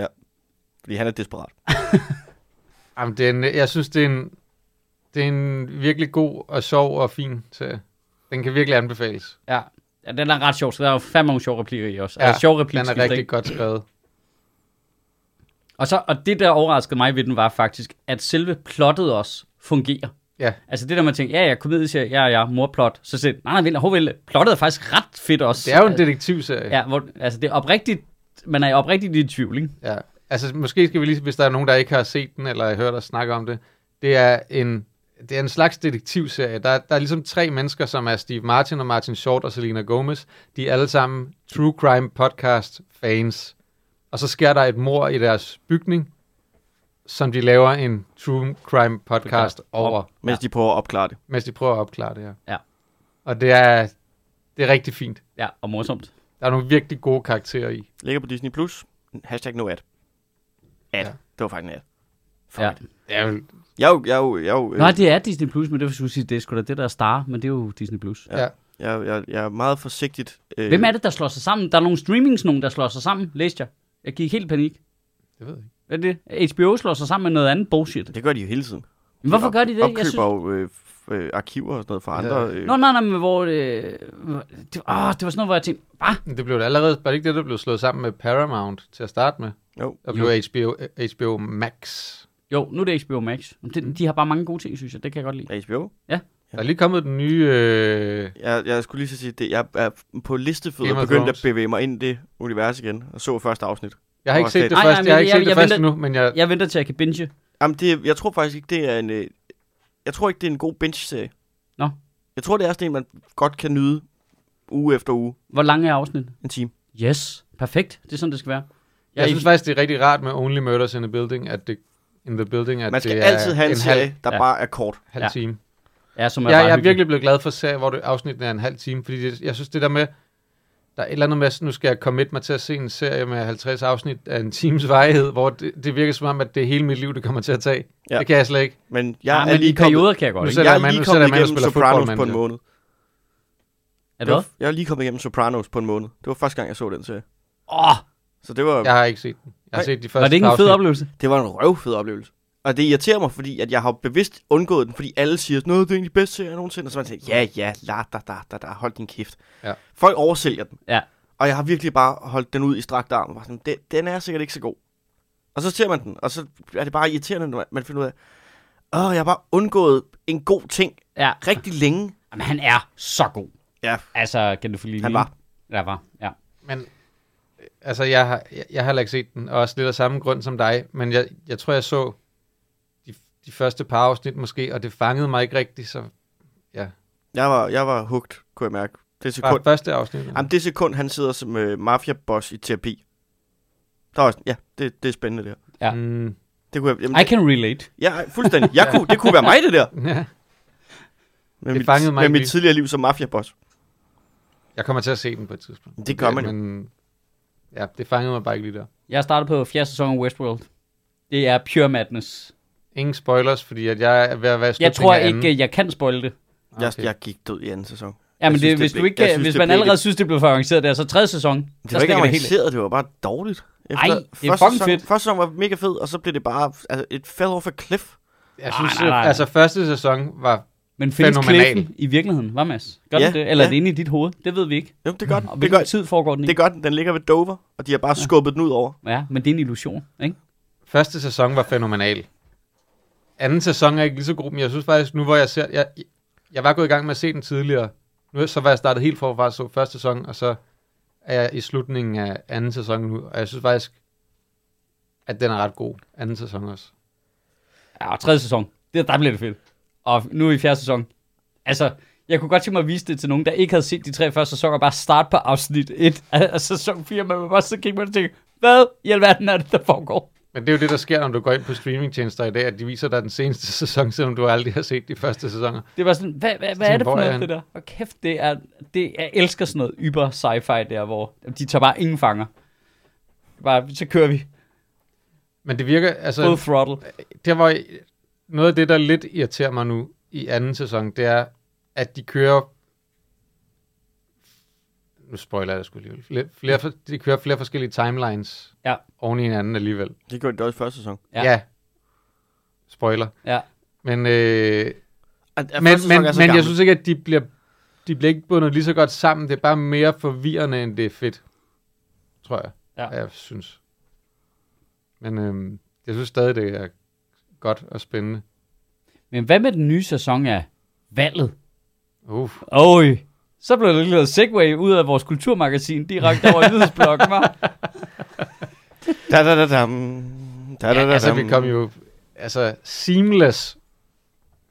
Speaker 4: fordi han er desperat.
Speaker 3: Jamen, det er en, jeg synes, det er, en, det er en virkelig god og sjov og fin serie. Den kan virkelig anbefales.
Speaker 2: Ja. ja den er ret sjov, så der er jo fandme nogle sjove replikker i også. Ja, altså, sjove
Speaker 3: den
Speaker 2: replikker,
Speaker 3: er rigtig godt skrevet.
Speaker 2: Og, så, og det, der overraskede mig ved den, var faktisk, at selve plottet også fungerer.
Speaker 3: Ja.
Speaker 2: Altså det der, man tænker, ja, ja, komedieserie, ja, ja, morplot. Så siger jeg, nej, nej, vent, hov, vel, plottet er faktisk ret fedt også. Altså,
Speaker 3: Det er jo en detektivserie.
Speaker 2: Ja, hvor, altså det er oprigtigt, man er oprigtigt i tvivl, ikke?
Speaker 3: Ja, altså måske skal vi lige, hvis der er nogen, der ikke har set den, eller har hørt os snakke om det, det er en, det er en slags detektivserie. Der, der er ligesom tre mennesker, som er Steve Martin og Martin Short og Selena Gomez. De er alle sammen True Crime Podcast fans. Og så sker der et mor i deres bygning, som de laver en True Crime Podcast
Speaker 2: Podcast.
Speaker 3: over,
Speaker 4: Mens de prøver at opklare det.
Speaker 3: mens de prøver at opklare det her.
Speaker 2: Ja.
Speaker 3: Og det er, det er rigtig fint.
Speaker 2: Ja, og morsomt.
Speaker 3: Der er nogle virkelig gode karakterer i.
Speaker 4: Ligger på Disney+. Plus. Hashtag no ad. Ad.
Speaker 3: Ja.
Speaker 4: Det var faktisk en ad. Fuck
Speaker 2: Ja.
Speaker 4: it.
Speaker 3: Det er jo
Speaker 4: Jeg er jo, jeg er jo, jeg er jo, øh,
Speaker 2: Nej, det er Disney+, Plus, men det vil jeg sige, det er sgu da det, der er Star, men det er jo Disney+. Plus.
Speaker 3: Ja.
Speaker 4: jeg, er- jeg, er- jeg er meget forsigtigt. Øh,
Speaker 2: Hvem er det, der slår sig sammen? Der er nogle streamings, nogen, der slår sig sammen, læste jeg. Jeg gik helt i panik.
Speaker 3: Det ved jeg ikke.
Speaker 2: Hvad er det? HBO slår sig sammen med noget andet bullshit.
Speaker 4: Det gør de jo hele tiden.
Speaker 2: Men hvorfor gør de det?
Speaker 4: Opkøber jo øh, f- øh, arkiver og sådan noget fra andre. Øh,
Speaker 2: Nå, nej, nej, men hvor... Øh, det, åh, det var sådan noget, hvor jeg tænkte, hvad?
Speaker 3: Men Det blev det allerede, var det ikke det, der blev slået sammen med Paramount til at starte med?
Speaker 4: jo.
Speaker 3: Der blev HBO, eh, HBO Max.
Speaker 2: Jo, nu er det HBO Max. Men
Speaker 3: Mm.
Speaker 2: Det, de har bare mange gode ting, synes jeg. Det kan jeg godt lide.
Speaker 4: HBO.
Speaker 3: Der er lige kommet den nye... Øh...
Speaker 4: Jeg, jeg skulle lige så sige, det. jeg er på listefødder
Speaker 3: Game of
Speaker 4: begyndt
Speaker 3: Thrones.
Speaker 4: at bevæge mig ind i det univers igen, og så første afsnit.
Speaker 3: Jeg har ikke
Speaker 4: Åh,
Speaker 3: set
Speaker 4: fedt.
Speaker 3: det
Speaker 2: Nej, nej,
Speaker 3: første,
Speaker 2: men
Speaker 3: jeg har ikke
Speaker 2: jeg-
Speaker 3: set det
Speaker 2: jeg
Speaker 3: første
Speaker 2: venter-
Speaker 3: nu, men jeg...
Speaker 2: Jeg venter til, at jeg kan binge.
Speaker 4: Jamen, det, jeg tror faktisk ikke, det er en... Øh, jeg tror ikke, det er en god binge-serie.
Speaker 2: Nå.
Speaker 4: Jeg tror, det er sådan en, man godt kan nyde uge efter uge.
Speaker 2: Hvor lang er afsnit?
Speaker 4: En time.
Speaker 2: Yes, perfekt. Det er sådan, det skal være.
Speaker 3: Jeg synes faktisk, det er rigtig rart med Only Murders in the Building, at det, in the building, at
Speaker 4: Man skal
Speaker 3: det
Speaker 4: altid
Speaker 3: er
Speaker 4: have en serie, der
Speaker 2: Ja.
Speaker 4: bare er kort.
Speaker 3: halv
Speaker 2: Ja.
Speaker 3: time.
Speaker 2: ja, som er
Speaker 3: Ja, jeg,
Speaker 2: bare
Speaker 3: jeg er
Speaker 2: hyggelig.
Speaker 3: virkelig blevet glad for serier, hvor det, afsnitten er en halv time, fordi det, jeg synes, det der med... Der er et eller andet med, at nu skal jeg commit mig til at se en serie med 50 afsnit af en times varighed, hvor det, det virker som om, at det er hele mit liv, det kommer til at tage.
Speaker 4: Ja.
Speaker 3: Ja. Det kan jeg slet ikke.
Speaker 4: Men jeg
Speaker 2: Ja,
Speaker 4: er
Speaker 2: men
Speaker 4: lige
Speaker 2: i
Speaker 4: kommet,
Speaker 2: perioder kan jeg godt,
Speaker 3: Nu
Speaker 2: ikke?
Speaker 3: sætter
Speaker 4: jeg
Speaker 3: jeg
Speaker 4: er
Speaker 3: mand,
Speaker 4: lige
Speaker 3: nu sætter
Speaker 4: kommet
Speaker 3: jeg mand og
Speaker 4: igennem
Speaker 3: spiller
Speaker 4: Sopranos
Speaker 3: football
Speaker 4: på en
Speaker 3: manager.
Speaker 4: måned.
Speaker 2: Er det
Speaker 4: Det
Speaker 2: hvad?
Speaker 4: var, jeg er lige kommet igennem Sopranos på en måned. Det var første gang, jeg så den serie.
Speaker 2: Åh,
Speaker 4: Så det var,
Speaker 3: Jeg har ikke set den. Jeg har
Speaker 4: Nej.
Speaker 3: set de første
Speaker 2: var det ikke en fed
Speaker 3: afsnit.
Speaker 2: oplevelse?
Speaker 4: det var en røvfed oplevelse. Og det irriterer mig, fordi at jeg har bevidst undgået den, fordi alle siger, at det er egentlig den bedste serie nogensinde. Og så man siger, ja, ja, la, da, da, da, da, hold din kæft.
Speaker 3: Ja.
Speaker 4: Folk oversælger den.
Speaker 2: Ja.
Speaker 4: Og jeg har virkelig bare holdt den ud i strakt arm. Og bare sådan, den, den er sikkert ikke så god. Og så ser man den, og så er det bare irriterende, når man finder ud af, åh, jeg har bare undgået en god ting
Speaker 2: Ja.
Speaker 4: rigtig længe.
Speaker 2: Jamen, han er så god.
Speaker 4: Ja,
Speaker 2: Altså, kan du få lige...
Speaker 4: han var.
Speaker 2: Der var, ja.
Speaker 3: Men øh, altså, jeg har, jeg, jeg har heller ikke set den, og også lidt af samme grund som dig, men jeg, jeg tror, jeg så de, de første par afsnit måske, og det fangede mig ikke rigtigt, så ja.
Speaker 4: Jeg var, jeg var hugt, kunne jeg mærke. Det sekund,
Speaker 3: Bare første afsnit.
Speaker 4: Jamen, det sekund, han sidder som øh, mafia-boss i terapi. Der var jeg sådan, ja, det, det er spændende der.
Speaker 2: ja.
Speaker 3: Mm,
Speaker 4: Det kunne jeg, jamen,
Speaker 2: I can relate.
Speaker 4: ja, fuldstændig. Jeg kunne, det kunne være mig, det der.
Speaker 3: ja.
Speaker 4: Med
Speaker 3: Det
Speaker 4: mit,
Speaker 3: fangede mig
Speaker 4: med
Speaker 3: ikke
Speaker 4: mit
Speaker 3: lige.
Speaker 4: tidligere liv som mafia-boss.
Speaker 3: Jeg kommer til at se den på et tidspunkt.
Speaker 4: Det gør man jo.
Speaker 3: Men ja, det fangede mig bare ikke lige der.
Speaker 2: Jeg startede på fjerde sæson af Westworld. Det er pure madness.
Speaker 3: Ingen spoilers, fordi at jeg er ved at være i
Speaker 2: Jeg
Speaker 3: slutningen
Speaker 2: tror
Speaker 3: af anden.
Speaker 2: ikke, jeg kan spoil det.
Speaker 4: Okay. Jeg,
Speaker 3: Okay.
Speaker 4: jeg gik død i anden sæson.
Speaker 2: Ja, men
Speaker 4: Jeg synes,
Speaker 2: det,
Speaker 4: det
Speaker 2: hvis,
Speaker 4: blev-
Speaker 2: du ikke,
Speaker 4: jeg synes,
Speaker 2: hvis
Speaker 4: det
Speaker 2: man
Speaker 4: blev
Speaker 2: allerede
Speaker 4: lidt-
Speaker 2: synes, det blev for avanceret, det er så tredje sæson.
Speaker 4: Det
Speaker 2: så
Speaker 4: var ikke
Speaker 2: stikker det helt af.
Speaker 4: avanceret, det var bare dårligt.
Speaker 2: Ej, det er fucking
Speaker 4: sæson,
Speaker 2: fedt.
Speaker 4: Første sæson var mega fed, og så blev det bare altså, et fell off a cliff.
Speaker 3: Jeg
Speaker 2: Nej,
Speaker 3: synes,
Speaker 2: øh, nej, nej.
Speaker 3: altså første sæson var...
Speaker 2: Men findes
Speaker 3: Fænomenal.
Speaker 2: kliffen i virkeligheden, hvad Mads? Gør ja,
Speaker 4: Ja,
Speaker 2: den det? Eller ja. er
Speaker 4: ja.
Speaker 2: det inde i dit hoved? Det ved vi ikke.
Speaker 4: Jo, det er godt.
Speaker 2: Mm. Og
Speaker 4: Det
Speaker 2: hvilken
Speaker 4: gør,
Speaker 2: tid foregår den i?
Speaker 4: det er godt. Den ligger ved Dover, og de har bare skubbet den ud over.
Speaker 2: Ja, men det er en illusion, ikke?
Speaker 3: Første sæson var fænomenal. Anden sæson er ikke lige så god, men jeg synes faktisk, nu hvor jeg ser... Jeg, jeg var gået i gang med at se den tidligere. Nu så var jeg startet helt forfra, så første sæson, og så er jeg i slutningen af anden sæson nu. Og jeg synes faktisk, at den er ret god. Anden sæson også.
Speaker 2: Ja, og tredje sæson. Det, der bliver det fedt. Og nu er vi i fjerde sæson. Altså, jeg kunne godt tænke mig at vise det til nogen, der ikke havde set de tre første sæsoner, og bare starte på afsnit 1 af af sæson 4, men man bare så kigge på det og tænke, hvad i alverden er det, der foregår?
Speaker 3: Men det er jo det, der sker, når du går ind på streamingtjenester i dag, at de viser dig den seneste sæson, selvom du aldrig har set de første sæsoner.
Speaker 2: Det var sådan, hvad, hvad, hvad
Speaker 3: tænkte,
Speaker 2: er det for
Speaker 3: hvor er
Speaker 2: noget,
Speaker 3: han?
Speaker 2: det der? Og kæft, det er, det, jeg elsker sådan noget yber sci-fi der, hvor de tager bare ingen fanger. Bare, så kører vi.
Speaker 3: Men det virker, altså...
Speaker 2: Full throttle.
Speaker 3: det var noget af det, der lidt irriterer mig nu i anden sæson, det er, at de kører nu spoiler jeg det sgu alligevel. Flere, flere, for- de kører flere forskellige timelines
Speaker 2: Ja.
Speaker 3: oven i hinanden alligevel.
Speaker 4: Det gjorde de også i første sæson.
Speaker 2: Ja.
Speaker 3: Ja. ja. Spoiler.
Speaker 2: Ja.
Speaker 3: Men, øh,
Speaker 4: At, at
Speaker 3: men,
Speaker 4: første sæson
Speaker 3: men,
Speaker 4: er så
Speaker 3: men jeg
Speaker 4: gammel.
Speaker 3: synes ikke, at de bliver, de bliver ikke bundet lige så godt sammen. Det er bare mere forvirrende, end det er fedt. Tror jeg.
Speaker 2: Ja.
Speaker 3: Jeg synes. Men øh, jeg synes stadig, det er godt og spændende.
Speaker 2: Men hvad med den nye sæson af valget?
Speaker 3: Uff.
Speaker 2: Oj, så blev det lidt segway ud af vores kulturmagasin direkte over i nyhedsblokken, var.
Speaker 4: Da, da, da, dam. Da, da, da,
Speaker 3: Ja, altså, vi
Speaker 4: dam.
Speaker 3: kom jo altså, seamless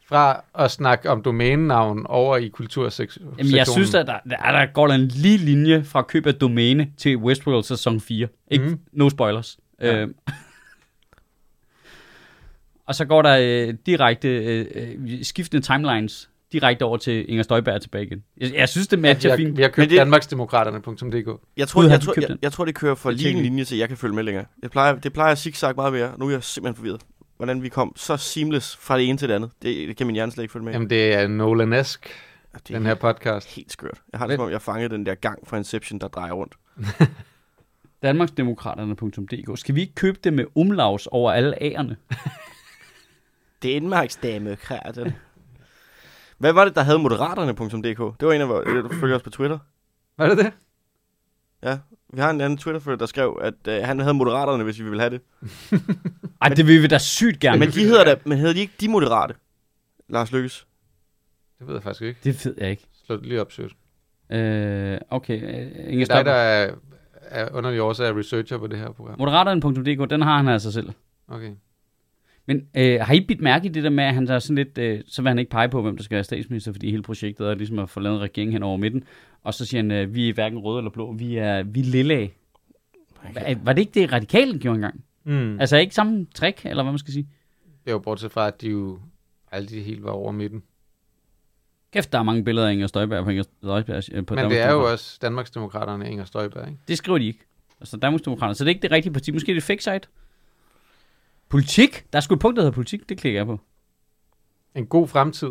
Speaker 3: fra at snakke om domænenavn over i kultursektionen.
Speaker 2: Jamen, jeg synes, at der, der, der går der en lige linje fra køb af domæne til Westworld sæson 4. Ikke? Mm.
Speaker 3: Mhm.
Speaker 2: No spoilers.
Speaker 3: Ja.
Speaker 2: Ja. og så går der øh, direkte øh, øh, skiftende timelines direkte over til Inger Støjberg er tilbage igen. Jeg, jeg synes, det matcher
Speaker 3: jeg,
Speaker 2: fint.
Speaker 3: vi har
Speaker 4: Men
Speaker 3: købt
Speaker 4: det-
Speaker 3: det... danmarksdemokraterne.dk.
Speaker 4: Jeg tror,
Speaker 2: Gud, har
Speaker 4: jeg,
Speaker 2: de
Speaker 4: tror,
Speaker 2: købt
Speaker 4: jeg,
Speaker 2: den?
Speaker 4: jeg tror, det kører for
Speaker 3: Jeg
Speaker 4: lige en
Speaker 3: tjekker
Speaker 4: linje, så jeg kan følge med længere. Det plejer, det plejer at zigzag meget mere. Nu er jeg simpelthen forvirret, hvordan vi kom så seamless fra det ene til det andet. Det, det kan min hjerne slet ikke følge med. i.
Speaker 3: Jamen, det er Nolanesk,
Speaker 4: Ja, det er
Speaker 3: den her podcast.
Speaker 4: helt skørt. Jeg har det som om, jeg fangede den der gang fra Inception, der drejer rundt.
Speaker 2: Danmarksdemokraterne.dk Skal vi ikke købe det med umlaus over alle A'erne?
Speaker 4: Det er Danmarksdemokraterne. Hvad var det, der havde moderaterne.dk? Det var en af vores, øh, der følger os på Twitter.
Speaker 3: Var det det?
Speaker 4: Vi har en anden Twitter-følger, der skrev, at øh, han havde moderaterne, hvis vi ville have det.
Speaker 2: Ej, det vil vi da sygt gerne.
Speaker 4: men de hedder da, men hedder de ikke de moderate? Lars Lykkes.
Speaker 3: Det ved jeg faktisk ikke.
Speaker 2: Det ved jeg ikke.
Speaker 3: Slå det lige op, sødt.
Speaker 2: Øh, okay, øh, Inger
Speaker 3: Det er dig, der
Speaker 2: Støjberg.
Speaker 3: er, er underlig årsag er researcher på det her program.
Speaker 2: Moderaterne.dk, den har han altså selv.
Speaker 3: Okay.
Speaker 2: Men øh, har I bidt mærke i det der med, at han der er sådan lidt, øh, så vil han ikke pege på, hvem der skal være statsminister, fordi hele projektet er ligesom at få lavet en regering hen over midten. Og så siger han, øh, vi er hverken røde eller blå, vi er, vi er lille af. Var det ikke det, radikale gjorde engang?
Speaker 3: Mm.
Speaker 2: Altså ikke samme trick, eller hvad man skal sige?
Speaker 3: Det er jo bortset fra, at de jo aldrig helt var over midten.
Speaker 2: Kæft, der er mange billeder af Inger Støjberg på Inger Støjberg øh, på
Speaker 3: Men det er jo
Speaker 2: Danmarksdemokraterne.
Speaker 3: også Danmarksdemokraterne, Inger Støjberg, ikke?
Speaker 2: Det skriver de ikke. Altså Danmarksdemokraterne. Så det er ikke det rigtige parti. Måske er det fake site. Politik? Der er sgu et punkt, der hedder politik. Det klikker jeg på.
Speaker 3: En god fremtid.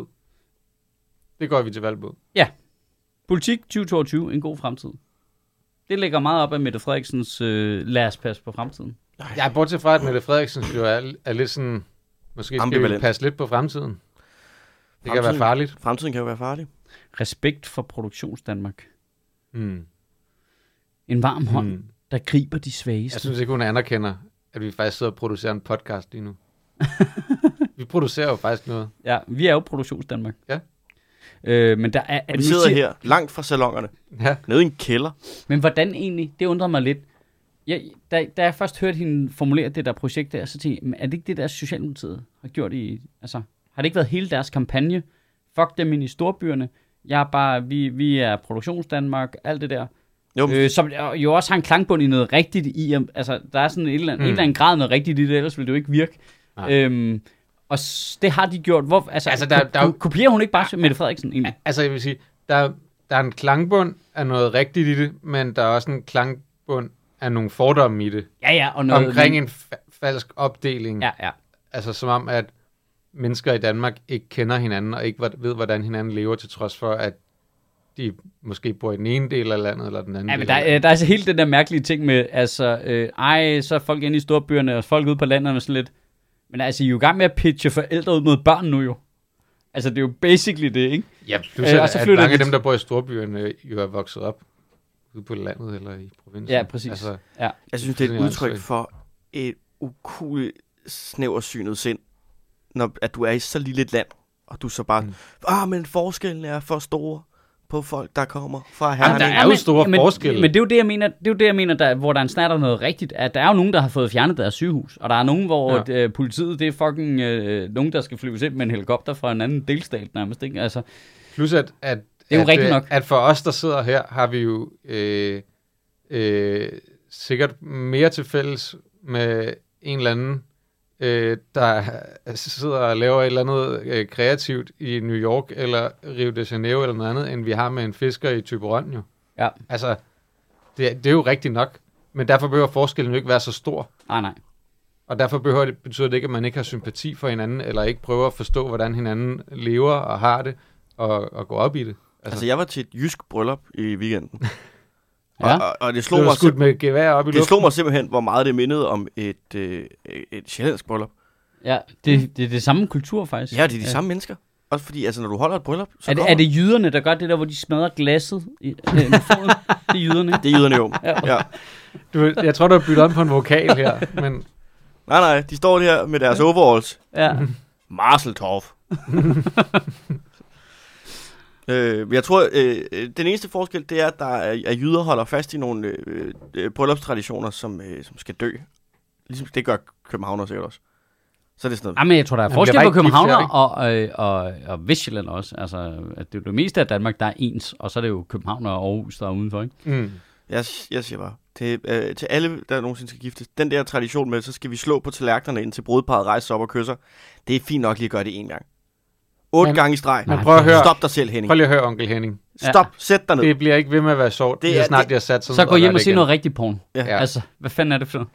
Speaker 3: Det går vi til valg på.
Speaker 2: Politik 2022. En god fremtid. Det ligger meget op af Mette Frederiksens øh, lad os passe på fremtiden.
Speaker 3: Ja, bortset fra, at Mette Frederiksen jo er, er lidt sådan... Måske skal vi
Speaker 4: Ambivalent.
Speaker 3: passe lidt på fremtiden. Det kan være
Speaker 4: Fremtiden.
Speaker 3: farligt.
Speaker 4: Fremtiden kan jo være farlig.
Speaker 2: Respekt for produktionsdanmark.
Speaker 3: Mm.
Speaker 2: En varm hånd,
Speaker 3: Mm.
Speaker 2: der griber de svageste.
Speaker 3: Jeg synes ikke, hun anerkender, at vi faktisk sidder og producerer en podcast lige nu. vi producerer jo faktisk noget.
Speaker 2: Ja, vi er jo produktionsdanmark.
Speaker 3: Ja.
Speaker 2: Øh, men der er...
Speaker 4: Og vi sidder her, langt fra salongerne,
Speaker 3: Ja.
Speaker 4: nede i en kælder.
Speaker 2: Men hvordan egentlig, det undrede mig lidt. Jeg, da, da jeg først hørte hende formulere det der projekt der, så tænkte jeg, "Men er det ikke det, der Socialdemokratiet har gjort i, altså, har det ikke været hele deres kampagne? Fuck dem ind i storbyerne, jeg er bare, vi, vi er produktionsdanmark, alt det der.
Speaker 4: Jo, men-
Speaker 2: Øh, som jo også har en klangbund i noget rigtigt i, om- altså der er sådan en eller anden, mm.
Speaker 3: Mm.
Speaker 2: en eller anden grad noget rigtigt i det, ellers ville det jo ikke virke.
Speaker 3: Nej.
Speaker 2: Øhm, og s- det har de gjort. Hvor, altså, altså der, der,
Speaker 3: jo-
Speaker 2: kopierer hun ikke bare Mette Frederiksen egentlig?
Speaker 3: Altså, jeg vil sige, der, der er en klangbund af noget rigtigt i det, men der er også en klangbund af nogle fordomme i det.
Speaker 2: Ja, ja, og noget...
Speaker 3: Noget omkring en fa- falsk opdeling.
Speaker 2: Ja, ja.
Speaker 3: Altså, som om, at mennesker i Danmark ikke kender hinanden, og ikke hvor- ved, hvordan hinanden lever, til trods for, at de måske bor i den ene del af landet, eller den anden
Speaker 2: Ja,
Speaker 3: del
Speaker 2: men
Speaker 3: af
Speaker 2: der, er- der er altså hele den der mærkelige ting med, altså, øh, ej, så er folk inde i storbyerne, og folk ude på landet og sådan lidt. Men altså, I er jo i gang med at pitche forældre ud mod børn nu jo. Altså, det er jo basically det, ikke?
Speaker 3: Ja, plus
Speaker 2: Øh,
Speaker 3: øh,
Speaker 2: og så
Speaker 3: at, at
Speaker 2: flytter
Speaker 3: mange af
Speaker 2: de-
Speaker 3: dem, der bor i storbyerne, jo er vokset op ude på landet eller i provinsen.
Speaker 2: Ja, præcis.
Speaker 3: Altså,
Speaker 2: Ja.
Speaker 4: Jeg synes, det er
Speaker 3: Fuldstændig
Speaker 4: et udtryk
Speaker 3: åndssvagt.
Speaker 4: for et ukuligt snæversynet sind, når, at du er i så lille et land, og du så bare, mm.
Speaker 3: Mm.
Speaker 4: ah, men forskellen er for stor på folk, der kommer fra
Speaker 3: Jamen,
Speaker 4: Herning.
Speaker 3: der er jo store
Speaker 2: men,
Speaker 3: forskelle.
Speaker 2: Men det er jo det, jeg mener, det er jo det, jeg mener der, hvor der er en snart noget rigtigt, at der er jo nogen, der har fået fjernet deres sygehus, og der er nogen, hvor
Speaker 3: Ja.
Speaker 2: ja. øh, politiet, det er fucking øh, nogen, der skal flyves ind med en helikopter fra en anden delstat nærmest, ikke? Altså,
Speaker 3: plus at, at,
Speaker 2: er jo
Speaker 3: at,
Speaker 2: rigtigt
Speaker 3: øh,
Speaker 2: nok.
Speaker 3: at for os, der sidder her, har vi jo øh, øh, sikkert mere til fælles med en eller anden, øh, der sidder og laver et eller andet øh, kreativt i New York eller Rio de Janeiro eller noget andet, end vi har med en fisker i Typerøn jo.
Speaker 2: Ja,
Speaker 3: Altså, det, det er jo rigtigt nok, men derfor behøver forskellen jo ikke være så stor.
Speaker 2: ah, nej, nej.
Speaker 3: Og derfor behøver det, betyder det ikke, at man ikke har sympati for hinanden, eller ikke prøver at forstå, hvordan hinanden lever og har det, og, og går op i det.
Speaker 4: Altså, jeg var til et jysk bryllup i weekenden.
Speaker 2: Ja.
Speaker 4: og, og, og det,
Speaker 3: Slå
Speaker 4: slog
Speaker 3: det
Speaker 4: mig
Speaker 3: var skudt
Speaker 4: sim-
Speaker 3: med gevær op i
Speaker 4: det
Speaker 3: luften.
Speaker 4: slog mig simpelthen, hvor meget det mindede om et, øh, et sjællandsk bryllup.
Speaker 2: Ja, det, det er det samme kultur faktisk.
Speaker 4: Ja, det er de samme mennesker. Også fordi, altså, når du holder et bryllup, så
Speaker 2: Er det,
Speaker 4: kommer
Speaker 2: er det jyderne, der gør det der, hvor de smadrer glasset i, øh, med foden? det er jyderne.
Speaker 4: det er jyderne jo. ja.
Speaker 3: Du, jeg tror, du har byttet om på en vokal her, men
Speaker 4: Nej, nej, de står der med deres overalls.
Speaker 2: Ja.
Speaker 4: Marseltorf. øh, jeg tror, øh, øh, den eneste forskel, det er, at der er, at jyder holder fast i nogle øh, øh, bryllupstraditioner, som, øh, som skal dø. Ligesom det gør københavner sikkert også. Så er det sådan noget.
Speaker 2: Jamen, jeg tror, der er
Speaker 3: Jamen,
Speaker 2: forskel
Speaker 3: det er
Speaker 2: på
Speaker 3: bare ikke
Speaker 2: københavner
Speaker 3: gift,
Speaker 2: og, øh, og, og Vestjylland også. Altså, at det, er jo det meste af Danmark, der er ens, og så er det jo København og Aarhus, der er udenfor, ikke?
Speaker 3: mm,
Speaker 4: Jeg, jeg siger bare, til, øh, til alle, der nogensinde skal giftes, den der tradition med, så skal vi slå på tallerkenerne, indtil brudeparret rejser sig op og kysser. Det er fint nok lige at gøre det én gang. Otte
Speaker 3: Men-
Speaker 4: gange i streg.
Speaker 3: men prøv at høre,
Speaker 4: Stop dig selv, Henning.
Speaker 3: prøv lige at høre, onkel Henning.
Speaker 4: Stop. Sæt dig ned.
Speaker 3: Det bliver ikke ved med at være sjovt,
Speaker 4: Det
Speaker 3: det er,
Speaker 4: er-
Speaker 3: snart
Speaker 4: det-
Speaker 3: de har sat sig
Speaker 2: Så
Speaker 3: ned
Speaker 2: gå hjem
Speaker 3: gør
Speaker 2: og
Speaker 3: det
Speaker 2: se
Speaker 3: igen.
Speaker 2: noget rigtig porn.
Speaker 4: Ja.
Speaker 3: Ja.
Speaker 2: Altså, hvad fanden er det for noget?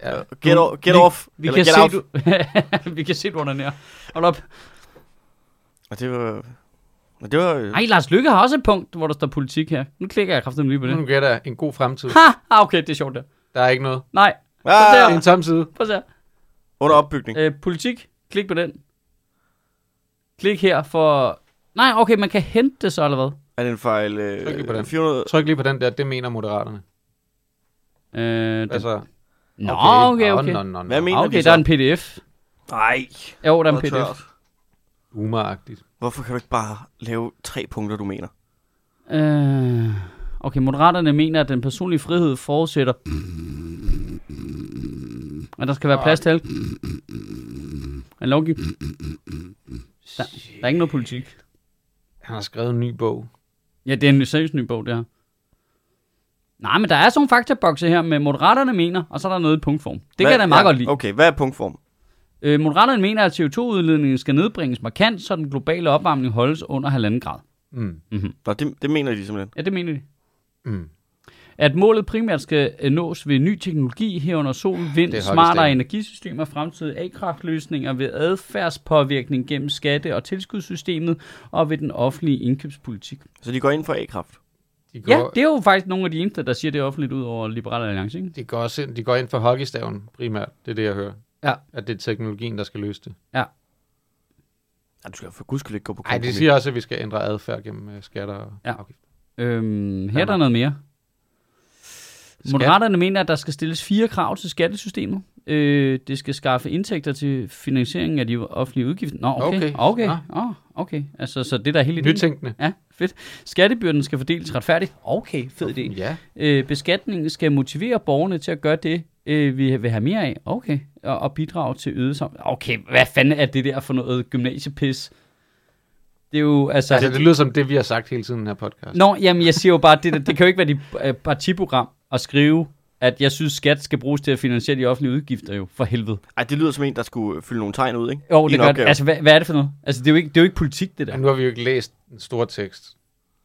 Speaker 4: Ja.
Speaker 3: Ja.
Speaker 4: Get, o- get off.
Speaker 2: Vi
Speaker 4: Eller
Speaker 2: kan,
Speaker 4: get
Speaker 2: se,
Speaker 4: out.
Speaker 2: du, vi kan se, du er nær. Hold op.
Speaker 4: Og det var... Og det var...
Speaker 2: Ej, Lars Lykke har også et punkt, hvor der står politik her. Nu klikker jeg kraftigt lige på det.
Speaker 3: Nu gætter jeg en god fremtid.
Speaker 2: Ha! Ah, okay, det er sjovt der.
Speaker 3: Der er ikke noget.
Speaker 2: Nej,
Speaker 3: Det er
Speaker 4: Ah,
Speaker 3: en tom side.
Speaker 2: prøv at se her.
Speaker 4: under opbygning.
Speaker 2: Øh, politik, klik på den. Klik her for... Nej, okay, man kan hente det så, eller hvad?
Speaker 4: Er det en fejl? Øh,
Speaker 3: Tryk lige på den.
Speaker 4: 400...
Speaker 3: Tryk lige på den der, det mener moderaterne.
Speaker 2: Øh, den...
Speaker 3: Altså,
Speaker 2: Nå, okay,
Speaker 3: Nå,
Speaker 2: okay. Ah,
Speaker 3: Nå, nå, nå.
Speaker 4: Hvad mener
Speaker 2: Okay,
Speaker 4: de
Speaker 2: der er
Speaker 4: så?
Speaker 2: en pdf.
Speaker 4: Nej.
Speaker 2: Jo, der er en
Speaker 4: hvor
Speaker 2: pdf.
Speaker 4: tørt.
Speaker 3: Umagtigt.
Speaker 4: Hvorfor kan du ikke bare lave tre punkter, du mener?
Speaker 2: Øh, okay, moderaterne mener, at den personlige frihed forudsætter... At der skal være plads til alle. En lovgivning. Der, der er ikke noget politik.
Speaker 3: Han har skrevet en ny bog.
Speaker 2: Ja, det er en seriøs ny bog, det her. Nej, men der er sådan nogle faktabokse her med moderaterne mener, og så er der noget i punktform. Det kan jeg da meget
Speaker 4: ja,
Speaker 2: godt lide.
Speaker 4: Okay, hvad er punktform?
Speaker 2: Øh, Moderaterne mener, at CO2-udledningen skal nedbringes markant, så den globale opvarmning holdes under 1,5 grad.
Speaker 3: Mm.
Speaker 4: Nå, det, det mener de simpelthen.
Speaker 2: Ja, det mener de.
Speaker 3: Mm.
Speaker 2: At målet primært skal øh, nås ved ny teknologi herunder sol, vind,
Speaker 3: Det er
Speaker 2: smartere
Speaker 3: hockeystaven.
Speaker 2: energisystemer, fremtidige A-kraftløsninger ved adfærdspåvirkning gennem skatte- og tilskudssystemet og ved den offentlige indkøbspolitik.
Speaker 4: Så de går ind for A-kraft.
Speaker 3: De går,
Speaker 2: Ja, det er jo faktisk nogle af de eneste, der siger det offentligt ud over Liberal Alliance, ikke?
Speaker 3: de, går også ind, de går ind for hockeystaven primært. Det er det, jeg hører.
Speaker 2: Ja.
Speaker 3: At det er teknologien, der skal løse det.
Speaker 4: Ja, du skal for guds skyld ikke gå på
Speaker 3: Nej, de
Speaker 4: kompromis.
Speaker 3: siger også, at vi skal ændre adfærd gennem øh, skatter og
Speaker 2: Ja.
Speaker 3: afgifter.
Speaker 2: Øhm, her er
Speaker 3: Hvad
Speaker 2: der
Speaker 3: med-
Speaker 2: noget mere.
Speaker 3: Skat?
Speaker 2: Moderaterne mener, at der skal stilles fire krav til skattesystemet. Øh, det skal skaffe indtægter til finansieringen af de offentlige udgifter. Nå, okay. Okay.
Speaker 3: Okay. Ah.
Speaker 2: Okay.
Speaker 3: Nå.
Speaker 2: Nå, okay. Altså, så det der hele ideen.
Speaker 3: Nytænkende.
Speaker 2: Ja, fedt. Skattebyrden skal fordeles retfærdigt. Okay, fed idé.
Speaker 3: Ja.
Speaker 2: Øh, beskatningen skal motivere borgerne til at gøre det, øh, vi vil have mere af. Okay. Og, og bidrage til øget sam... Okay, hvad fanden er det der for noget gymnasiepis? Det er jo, altså...
Speaker 3: Altså, det lyder som det, vi har sagt hele tiden i den her podcast.
Speaker 2: Nå, jamen jeg siger jo bare, det, der- det kan jo ikke være dit øh, partiprogram at skrive, at jeg synes, skat skal bruges til at finansiere de offentlige udgifter jo, for helvede.
Speaker 4: Ej, det lyder som en, der skulle øh, fylde nogle tegn ud, ikke?
Speaker 2: Jo,
Speaker 4: I
Speaker 2: det
Speaker 4: en
Speaker 2: gør det.
Speaker 4: opgave.
Speaker 2: Altså, hvad, hvad, er det for noget? Altså, det er jo ikke, det er jo ikke politik, det
Speaker 3: Ja,
Speaker 2: der.
Speaker 3: nu har vi jo ikke læst den store tekst.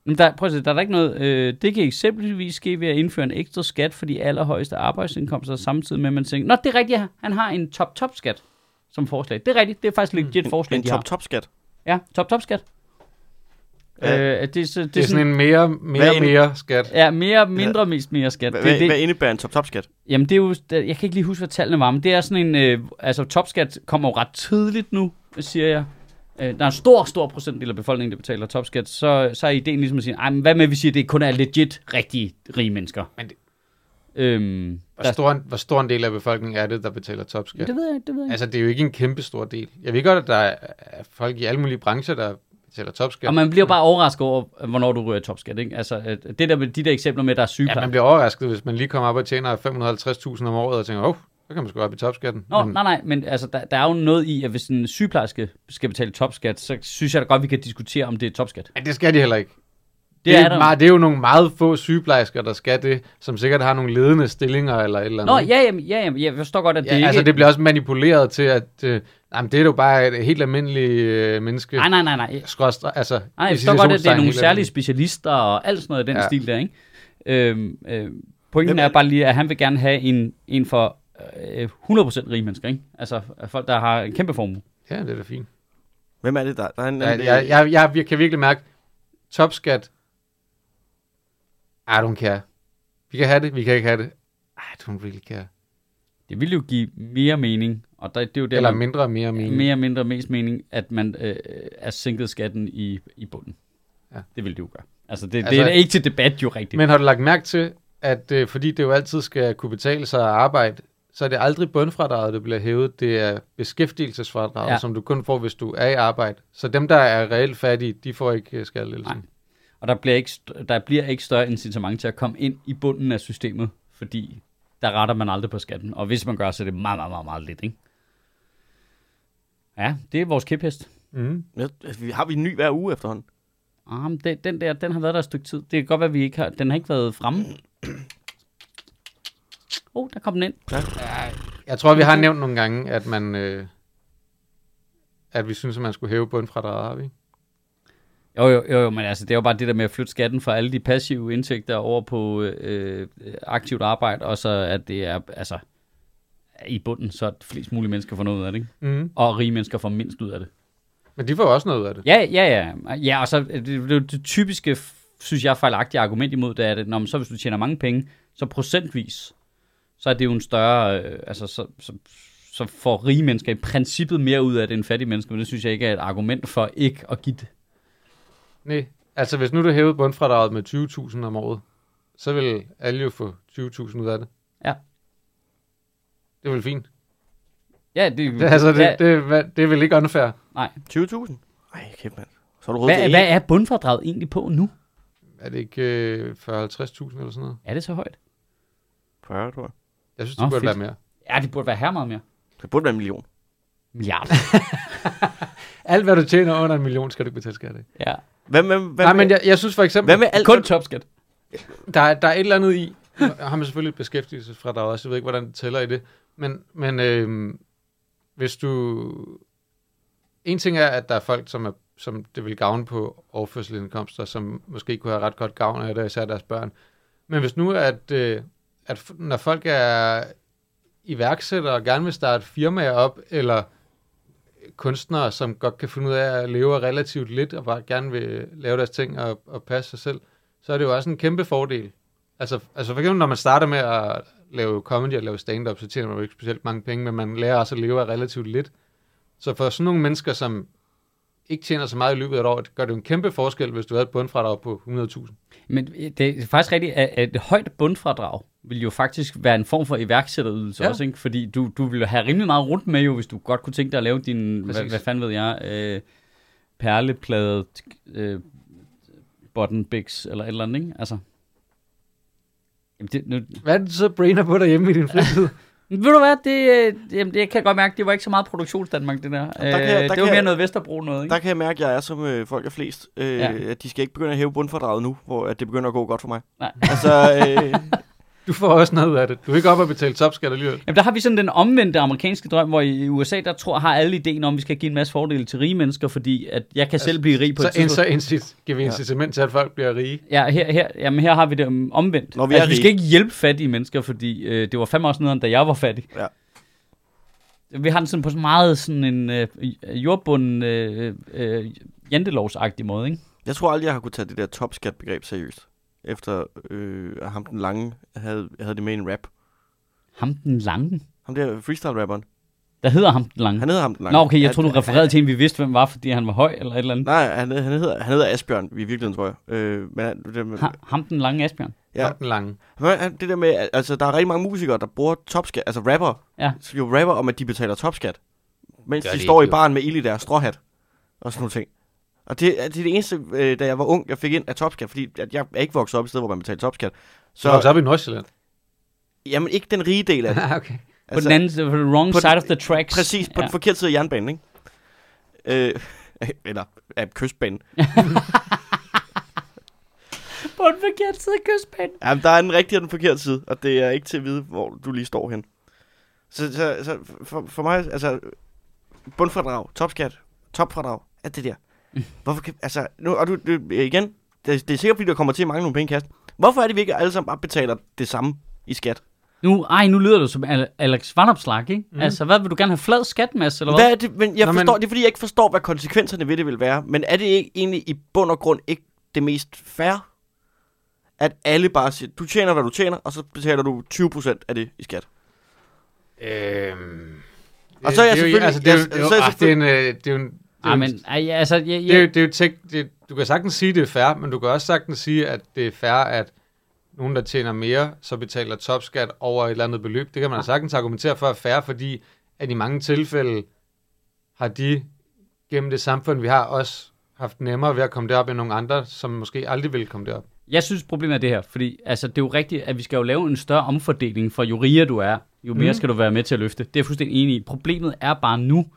Speaker 2: Men der, prøv at se, der er der ikke noget. Øh, det kan eksempelvis ske ved at indføre en ekstra skat for de allerhøjeste arbejdsindkomster, samtidig med, at man tænker, nå, det er rigtigt, han har en top-top-skat som forslag. Det er rigtigt, det er faktisk legit
Speaker 4: En-
Speaker 2: forslag,
Speaker 4: En
Speaker 2: de har.
Speaker 4: top-top-skat.
Speaker 2: Ja, top-top-skat.
Speaker 4: Ja.
Speaker 2: Øh, det, er så- det,
Speaker 3: Det er sådan en mere, mere,
Speaker 4: Hvad en-
Speaker 3: mere skat.
Speaker 2: Ja, mere, mindre, mest mere skat.
Speaker 4: Hvad,
Speaker 2: Det er
Speaker 4: hvad,
Speaker 2: det-
Speaker 4: hvad indebærer en top-top-skat?
Speaker 2: Jamen det er jo, der- jeg kan ikke lige huske, hvad tallene var, men det er sådan en, øh, altså topskat kommer jo ret tidligt nu, siger jeg. Øh, der er en stor, stor procentdel af befolkningen, der betaler topskat, så, så er ideen ligesom at sige, "Ej, men hvad med, at vi siger, at det kun er legit rigtige rige mennesker.
Speaker 3: Men det-
Speaker 2: øhm,
Speaker 3: Hvor
Speaker 2: der,
Speaker 3: stor, en, hvor stor en del af befolkningen er det, der betaler topskat?
Speaker 2: det ved jeg ikke, det ved jeg ikke.
Speaker 3: Altså, det er jo ikke en kæmpe stor del. Jeg ved godt, at der er er folk i alle mulige brancher, der betaler topskat.
Speaker 2: Og man bliver bare overrasket over, hvornår du ryger i topskat, ikke? Altså, at det der med de der eksempler med, at der er
Speaker 3: ja,
Speaker 2: sygeplejersker.
Speaker 3: man bliver overrasket, hvis man lige kommer op og tjener 550.000 om året og tænker, åh, oh, så kan man sgu op i topskatten.
Speaker 2: Nå,
Speaker 3: Men
Speaker 2: nej, nej, men altså, der, der er jo noget i, at hvis en sygeplejerske skal betale topskat, så synes jeg da godt, vi kan diskutere, om det er topskat.
Speaker 3: men det skal de heller ikke.
Speaker 2: Det er der jo.
Speaker 3: meget, det er jo nogle meget få sygeplejersker, der skal det, som sikkert har nogle ledende stillinger eller et eller andet.
Speaker 2: Nå, ja, jamen, ja, jamen, jeg forstår godt, at det
Speaker 3: ja,
Speaker 2: ikke...
Speaker 3: altså, det bliver også manipuleret til, at øh, jamen, det er jo bare et helt almindeligt øh, menneske.
Speaker 2: Nej, nej, nej, nej.
Speaker 3: Skråstre, altså,
Speaker 2: Nej,
Speaker 3: i
Speaker 2: jeg forstår godt, at det er
Speaker 3: citationstegn,
Speaker 2: nogle
Speaker 3: helt
Speaker 2: særlige
Speaker 3: almindeligt.
Speaker 2: specialister og alt sådan noget i den ja.
Speaker 3: Ja.
Speaker 2: stil der, ikke? Øhm, øh, pointen
Speaker 4: Jamen,
Speaker 2: er bare lige, at han vil gerne have en, en for øh, 100% rige mennesker, ikke? Altså folk, der har en kæmpe formue.
Speaker 3: Ja, det er da fint.
Speaker 4: Hvem er det, der? der er en, øh,
Speaker 3: Ja,
Speaker 4: en-
Speaker 3: jeg, jeg, jeg, jeg kan virkelig mærke, topskat, I don't care. Vi kan have det, vi kan ikke have det. I don't really care.
Speaker 2: Det ville jo give mere mening, og der, det er jo der,
Speaker 3: Eller
Speaker 2: man-
Speaker 3: mindre og mere mening.
Speaker 2: mere mindre mest mening, at man øh, er sænket skatten i, i bunden. Ja.
Speaker 3: Ja.
Speaker 2: Det vil det jo gøre. Altså det, altså,
Speaker 3: Altså-
Speaker 2: det er ikke til debat jo rigtigt. Men,
Speaker 3: Men har du lagt mærke til, at øh, fordi det jo altid skal kunne betale sig at arbejde, så er det aldrig bundfradraget, der bliver hævet. Det er beskæftigelsesfradraget,
Speaker 2: Ja.
Speaker 3: ja. som du kun får, hvis du er i arbejde. Så dem, der er reelt fattige, de får ikke øh, skattelettelsen.
Speaker 2: og der bliver, ikke, st- der bliver ikke større incitament til at komme ind i bunden af systemet, fordi der retter man aldrig på skatten. Og hvis man gør, så er det meget, meget, meget, meget lidt, ikke? Ja, det er vores kæphest.
Speaker 3: Mm.
Speaker 4: Jeg- altså, vi- Har vi en ny hver uge efterhånden?
Speaker 2: Ah, men det, den der, den har været der et stykke tid. Det kan godt være, vi ikke har, den har ikke været fremme. Oh, der kom den ind.
Speaker 3: Jeg tror, vi har nævnt nogle gange, at man... Øh, at vi synes, at man skulle hæve bundfradraget, har vi? ikke?
Speaker 2: Jo, jo, jo, jo, men altså, det er jo bare det der med at flytte skatten fra alle de passive indtægter over på øh, øh, aktivt arbejde, og så at det er, altså, i bunden, så at flest mulige mennesker får noget ud af det, ikke?
Speaker 3: Mm.
Speaker 2: Og rige mennesker får mindst ud af det.
Speaker 3: Men de får jo også noget ud af det.
Speaker 2: Ja, ja, ja. Ja, og så øh, det, det, er jo det typiske, synes jeg, fejlagtige argument imod det er, at når, så hvis du tjener mange penge, så procentvis, så er det jo en større, øh, altså, så, så, så får rige mennesker i princippet mere ud af det end fattige mennesker, men det synes jeg ikke er et argument for ikke at give det.
Speaker 3: Nej. Altså, hvis nu du hævede bundfradraget med 20.000 om året, så vil alle jo få 20.000 ud af det.
Speaker 2: Ja.
Speaker 3: Det er vel fint.
Speaker 2: Ja, det,
Speaker 3: Det, altså, det,
Speaker 2: ja,
Speaker 3: ja. det, det, det er vel ikke unfair.
Speaker 2: Nej.
Speaker 4: 20.000? Ej, kæft mand. Så har du råd
Speaker 2: Hvad,
Speaker 4: til
Speaker 2: hvad
Speaker 4: én.
Speaker 2: er bundfradraget egentlig på nu?
Speaker 3: Er det ikke øh, 40-50.000 eller sådan noget?
Speaker 2: Er det så højt?
Speaker 4: 40, tror jeg.
Speaker 3: Jeg synes,
Speaker 2: Nå,
Speaker 3: det burde
Speaker 2: fedt.
Speaker 3: være mere.
Speaker 2: Ja, det burde være her meget mere.
Speaker 4: Det burde være en million.
Speaker 2: Milliard.
Speaker 3: Alt, hvad du tjener under en million, skal du ikke betale skat af.
Speaker 2: ja.
Speaker 4: Hvem, hvem, hvem,
Speaker 3: Nej, men jeg, jeg synes for eksempel,
Speaker 4: hvad med alt?
Speaker 2: Kun topskat.
Speaker 3: der, er- der er et eller andet i, nu har man selvfølgelig et beskæftigelsesfradrag også, jeg ved ikke, hvordan det tæller i det, men, men øh, hvis du... En ting er, at der er folk, som, er, som det vil gavne på overførselindkomster, som måske kunne have ret godt gavn af det, især deres børn. Men hvis nu, at, øh, at f- når folk er iværksættere og gerne vil starte firmaer op, eller kunstnere, som godt kan finde ud af at leve af relativt lidt, og bare gerne vil lave deres ting og, og passe sig selv, så er det jo også en kæmpe fordel. Altså, altså for eksempel, når man starter med at lave comedy og lave stand-up, så tjener man jo ikke specielt mange penge, men man lærer også at leve af relativt lidt. Så for sådan nogle mennesker, som ikke tjener så meget i løbet af et år, gør det jo en kæmpe forskel, hvis du havde et bundfradrag på 100.000.
Speaker 2: Men det er faktisk rigtigt, at at et højt bundfradrag vil jo faktisk være en form for iværksætterydelse ja.
Speaker 3: Ja.
Speaker 2: også, ikke? Fordi du, du vil jo have rimelig meget rundt med jo, hvis du godt kunne tænke dig at lave din, hvad,
Speaker 3: Præcis.
Speaker 2: hvad fanden ved jeg, øh, perleplade, øh, bottenbiks eller et eller andet, ikke? Altså. Jamen, det, nu,
Speaker 3: Hvad er det, du så brainer på derhjemme i din fritid?
Speaker 2: Men Ved du hvad, det, øh, jamen, det kan jeg godt mærke, det var ikke så meget produktionsdanmark, det der. der,
Speaker 4: kan jeg- der
Speaker 2: det
Speaker 4: kan
Speaker 2: var mere
Speaker 4: jeg-
Speaker 2: noget Vesterbro noget, ikke?
Speaker 4: Der kan jeg mærke, at jeg er som øh, folk er flest. Øh,
Speaker 2: Ja.
Speaker 4: ja. At de skal ikke begynde at hæve bundfordraget nu, hvor at det begynder at gå godt for mig.
Speaker 2: Nej.
Speaker 4: Altså, øh,
Speaker 3: Du får også noget ud af det. Du er ikke op at betale topskat alligevel.
Speaker 2: Jamen, der har vi sådan den omvendte amerikanske drøm, hvor i USA, der tror, har alle ideen om, at vi skal give en masse fordele til rige mennesker, fordi at jeg kan
Speaker 4: Altså,
Speaker 2: selv blive rig på et
Speaker 3: Så, ind,
Speaker 2: tidspunkt.
Speaker 3: så incit, giver vi incitament til, at folk bliver rige.
Speaker 2: Ja, her, her, jamen her har vi det om- omvendt.
Speaker 4: Når vi
Speaker 2: altså,
Speaker 4: er
Speaker 2: vi skal
Speaker 4: rige.
Speaker 2: ikke hjælpe fattige mennesker, fordi øh, det var fem år siden, da jeg var fattig.
Speaker 4: Ja.
Speaker 2: Vi har den sådan på sådan meget sådan en øh, jordbund øh, øh, jantelovsagtig måde, ikke?
Speaker 4: jeg tror aldrig, jeg har kunne tage det der topskat-begreb seriøst. Efter øh, at ham den lange havde, havde det med i en rap.
Speaker 2: Ham den lange.
Speaker 4: Ham der freestyle-rapperen.
Speaker 2: Der hedder ham den lange.
Speaker 4: Han hedder ham den lange.
Speaker 2: Nå, okay, jeg
Speaker 4: Han-
Speaker 2: troede, du refererede til en, vi vidste, hvem var, fordi han var høj eller et eller andet.
Speaker 4: Nej, han, han, hedder, han hedder Asbjørn i virkeligheden, tror jeg. Øh, men han- det, der med,
Speaker 2: Ha, ham den lange Asbjørn.
Speaker 4: Ja.
Speaker 3: Ja. Den lange.
Speaker 4: Hvad er det der med, at- altså der er rigtig mange musikere, der bruger topskat, altså rapper,
Speaker 2: Ja.
Speaker 4: så jo rapper om, at de betaler topskat, mens
Speaker 3: Gør
Speaker 4: de
Speaker 3: de
Speaker 4: står
Speaker 3: ikke,
Speaker 4: i
Speaker 3: jo.
Speaker 4: baren med ild i deres stråhat, og sådan nogle ting. Og det, er- det er det eneste, øh, da jeg var ung, jeg fik ind af topskat, fordi at jeg er ikke vokset op et sted, hvor man betaler topskat.
Speaker 3: Så du
Speaker 4: Så,
Speaker 3: op i Nordsjælland.
Speaker 4: jamen ikke den rige del af det.
Speaker 3: Ah, okay.
Speaker 2: På altså, den anden side, på the wrong
Speaker 4: på den-
Speaker 2: side of the tracks.
Speaker 4: Præcis, på ja. den forkerte side af jernbanen, ikke? Øh, eller af kystbanen.
Speaker 2: på en forkert side af kystbanen.
Speaker 4: Jamen, der er den rigtige og den forkerte side, og det er ikke til at vide, hvor du lige står hen. Så, så, så for, for mig, altså, bundfradrag, topskat, topfradrag, alt det der. Hvorfor kan, altså, nu, og du, du igen, det, det er sikkert, fordi der kommer til at mangle nogle penge i kassen. Hvorfor er det, vi ikke alle sammen bare betaler det samme i skat?
Speaker 2: Nu, ej, nu lyder du som Al- Alex Vanopslag, ikke? Mm. Altså, hvad vil du gerne have flad skat, Mads, eller hvad?
Speaker 4: Hvad er det, men jeg
Speaker 3: Nå,
Speaker 4: Nå,
Speaker 3: men-
Speaker 4: forstår, det er fordi, jeg ikke forstår, hvad konsekvenserne ved det vil være. Men er det ikke egentlig i bund og grund ikke det mest fair, at alle bare siger, du tjener, hvad du tjener, og så betaler du 20% af det i skat?
Speaker 3: Øhm,
Speaker 4: Og så er jeg
Speaker 3: det jo-
Speaker 4: selvfølgelig-
Speaker 3: Altså, det er jo-
Speaker 4: jeg-
Speaker 3: det er jo-
Speaker 4: så er jeg
Speaker 3: ah, det er en, øh, det er jo en- det er
Speaker 2: Ej,
Speaker 3: jo
Speaker 2: men,
Speaker 3: en-
Speaker 2: ej, ja, altså, jeg,
Speaker 3: det er jo-
Speaker 2: jeg,
Speaker 3: det er jo tek- det- Du kan sagtens sige, det er fair, men du kan også sagtens sige, at det er fair, at nogen, der tjener mere, så betaler topskat over et eller andet beløb. Det kan man sagtens argumentere for er fair, fordi at i mange tilfælde har de gennem det samfund, vi har, også haft nemmere ved at komme derop end nogle andre, som måske aldrig ville komme derop.
Speaker 2: jeg synes, problemet er det her, fordi altså, det er jo rigtigt, at vi skal jo lave en større omfordeling for jo rigere du er, jo mere mm. skal du være med til at løfte. Det er jeg fuldstændig enig i. Problemet er bare nu,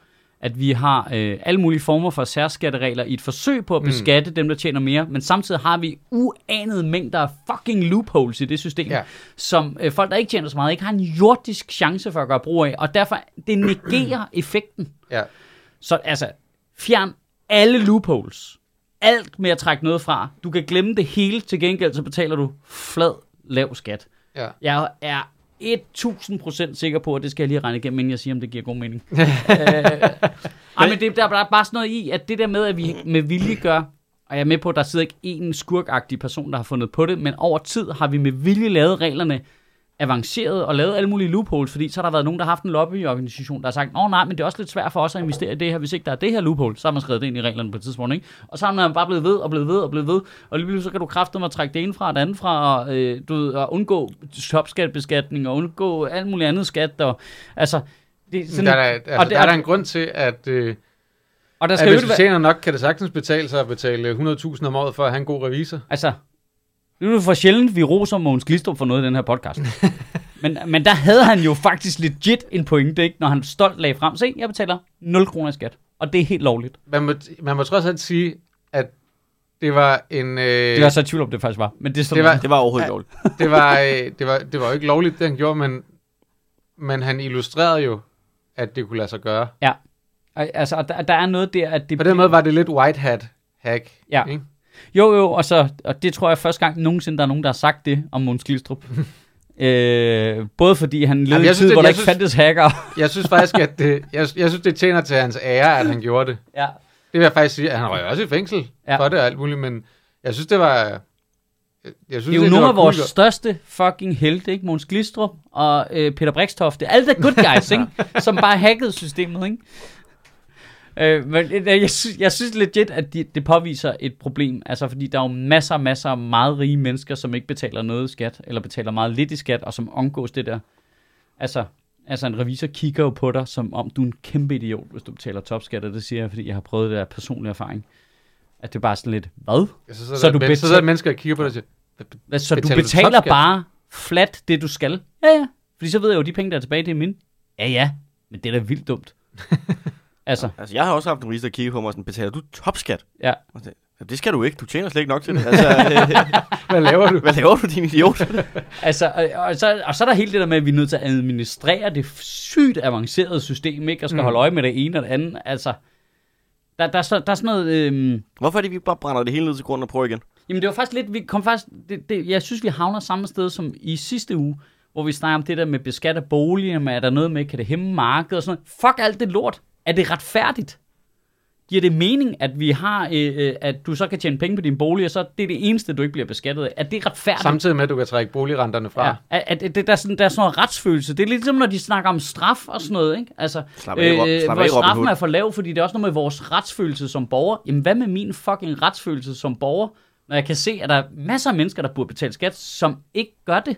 Speaker 2: at vi har øh, alle mulige former for særskatteregler i et forsøg på at beskatte mm. dem, der tjener mere, men samtidig har vi uanede mængder af fucking loopholes i det system,
Speaker 3: Ja.
Speaker 2: ja. som øh, folk, der ikke tjener så meget, ikke har en jordisk chance for at gøre brug af, og derfor det negerer effekten.
Speaker 3: Ja.
Speaker 2: Så altså, fjern alle loopholes. Alt med at trække noget fra. Du kan glemme det hele. Til gengæld så betaler du flad, lav skat.
Speaker 3: Ja.
Speaker 2: Jeg er 1000% sikker på, at det skal jeg lige regne igennem, inden jeg siger, om det giver god mening. øh, ej, men det, der, der er bare sådan noget i, at det der med, at vi med vilje gør, og jeg er med på, at der sidder ikke én skurkagtig person, der har fundet på det, men over tid har vi med vilje lavet reglerne avanceret og lavet alle mulige loopholes, fordi så har der været nogen, der har haft en lobbyorganisation, der har sagt, åh nej, men det er også lidt svært for os at investere i det her, hvis ikke der er det her loophole, så har man skrevet det ind i reglerne på et tidspunkt, ikke? Og så har man bare blevet ved og blevet ved og blevet ved, og lige pludselig så kan du kræfte mig at trække det ene fra og det andet fra, og, øh, du ved, og undgå topskatbeskatning og undgå alt muligt andet skat, og altså, det er sådan,
Speaker 3: Men der, er, altså,
Speaker 2: og,
Speaker 3: og
Speaker 2: det,
Speaker 3: der er der en grund til, at, øh,
Speaker 2: og der
Speaker 3: at
Speaker 2: skal jo
Speaker 3: hvis
Speaker 2: ikke
Speaker 3: du
Speaker 2: være-
Speaker 3: tjener nok, kan det sagtens betale sig at betale 100.000 om året for at have en god revisor.
Speaker 2: Altså, nu er det for sjældent, vi roser Mogens Glistrup for noget i den her podcast. men, men der havde han jo faktisk legit en pointe, ikke? når han stolt lagde frem. Se, jeg betaler 0 kroner i skat, og det er helt lovligt.
Speaker 3: Man må, man må trods alt sige, at det var en... Øh,
Speaker 2: Det var så i tvivl om, det faktisk var. Men det, er sådan,
Speaker 3: Det var-
Speaker 4: Det var overhovedet ikke lovligt.
Speaker 3: det var, øh, det var, det var jo ikke lovligt, det han gjorde, men, men han illustrerede jo, at det kunne lade sig gøre.
Speaker 2: Ja. Og- Altså, og der, der er noget der, at det...
Speaker 3: På den måde var det lidt white hat hack.
Speaker 2: Ja.
Speaker 3: Ikke?
Speaker 2: Jo, jo, og, så, og det tror jeg første gang nogensinde, der er nogen, der har sagt det om Mogens Glistrup. øh, både fordi han levede
Speaker 3: Jamen,
Speaker 2: i
Speaker 3: jeg
Speaker 2: en
Speaker 3: synes,
Speaker 2: tid,
Speaker 3: det-
Speaker 2: hvor der
Speaker 3: jeg
Speaker 2: ikke
Speaker 3: synes-
Speaker 2: fandtes hacker.
Speaker 3: Jeg synes faktisk, at det, jeg, jeg synes, det tjener til hans ære, at han gjorde det.
Speaker 2: ja.
Speaker 3: Det vil jeg faktisk sige, at han røg også i fængsel
Speaker 2: Ja.
Speaker 3: ja. for det og alt muligt, men jeg synes, det var... Jeg synes,
Speaker 2: Det er jo
Speaker 3: det
Speaker 2: nogle
Speaker 3: var
Speaker 2: af vores
Speaker 3: cool.
Speaker 2: største fucking helte, ikke? Måns Glistrup og øh, Peter Brikstofte. Alle de good guys, ikke? Som bare hackede systemet, ikke? Øh, men øh, jeg, synes, jeg synes legit, at de, det påviser et problem. Altså, fordi der er jo masser og masser af meget rige mennesker, som ikke betaler noget i skat, eller betaler meget lidt i skat, og som omgås det der. Altså, altså en revisor kigger jo på dig, som om du er en kæmpe idiot, hvis du betaler topskat, og det siger jeg, fordi jeg har prøvet det af personlig erfaring. At det er bare sådan lidt, hvad?
Speaker 3: Ja, så, så,
Speaker 2: Så
Speaker 3: så,
Speaker 2: du
Speaker 3: du men, så
Speaker 2: betal-
Speaker 3: sidder der mennesker og kigger på dig og siger,
Speaker 2: Hvad, så betaler
Speaker 3: Betaler
Speaker 2: du
Speaker 3: du
Speaker 2: betaler
Speaker 3: topskat?
Speaker 2: bare flat det, du skal? Ja, ja. Fordi så ved jeg jo, at de penge, der er tilbage, det er mine. Ja, ja. Men det er da vildt dumt. altså,
Speaker 4: Altså, jeg har også haft en ris, der kiggede på mig og sådan, betaler du topskat?
Speaker 2: ja.
Speaker 4: Og så, "Jamen, Det skal du ikke, du tjener slet ikke nok til det. Altså, øh,
Speaker 3: hvad laver du?
Speaker 4: hvad laver du, din idiot?
Speaker 2: Altså, og, og, så, og så er der hele det der med, at vi er nødt til at administrere det sygt avancerede system, ikke? Og skal mm. holde øje med det ene og det andet. Altså, der, der, er, så, der er sådan noget... Øhm,
Speaker 4: Hvorfor er det, vi bare brænder det hele ned til grunden og prøver igen?
Speaker 2: Jamen det var faktisk lidt, vi kom faktisk, det, det, jeg synes vi havner samme sted som i sidste uge, hvor vi snakker om det der med beskat af boliger, med er der noget med, kan det hæmme markedet og sådan noget. Fuck alt det lort. Er det retfærdigt? Giver det mening, at vi har, øh, øh, at du så kan tjene penge på din bolig, og så er det det eneste, du ikke bliver beskattet af? Er det retfærdigt?
Speaker 3: Samtidig med, at du kan trække boligrenterne fra.
Speaker 2: Ja, at, at, at, der, er sådan, der er sådan noget retsfølelse. Det er lidt ligesom, når de snakker om straf og sådan noget. Ikke? Altså,
Speaker 4: Slap af, Rob- slap
Speaker 2: hvor
Speaker 4: af, Robin
Speaker 2: straffen
Speaker 4: Hood.
Speaker 2: er for lav, fordi det er også noget med vores retsfølelse som borger. Jamen, hvad med min fucking retsfølelse som borger, når jeg kan se, at der er masser af mennesker, der burde betale skat, som ikke gør det,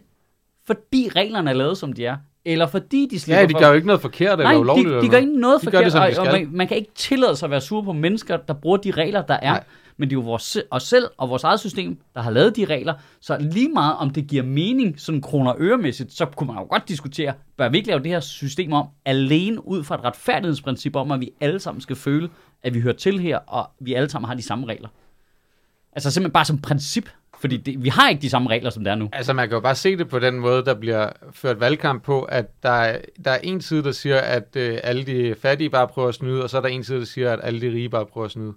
Speaker 2: fordi reglerne er lavet, som de er. Eller fordi de slipper
Speaker 3: Ja, de
Speaker 2: for-
Speaker 3: gør jo ikke noget forkert eller
Speaker 2: Nej,
Speaker 3: ulovligt.
Speaker 2: de,
Speaker 3: eller
Speaker 2: de gør ikke noget
Speaker 3: De gør
Speaker 2: forkert,
Speaker 3: det, som
Speaker 2: og,
Speaker 3: de skal.
Speaker 2: og man, man kan ikke tillade sig at være sur på mennesker, der bruger de regler, der er. Nej.
Speaker 3: Nej.
Speaker 2: Men det er jo vores, se- os selv og vores eget system, der har lavet de regler. Så lige meget om det giver mening, sådan kroner og øremæssigt, så kunne man jo godt diskutere, bør vi ikke lave det her system om, alene ud fra et retfærdighedsprincip om, at vi alle sammen skal føle, at vi hører til her, og vi alle sammen har de samme regler. Altså simpelthen bare som princip. Fordi det, vi har ikke de samme regler, som der er nu.
Speaker 3: Altså, man kan jo bare se det på den måde, der bliver ført valgkamp på, at der er, der er en side, der siger, at øh, alle de fattige bare prøver at snyde, og så er der en side, der siger, at alle de rige bare prøver at snyde.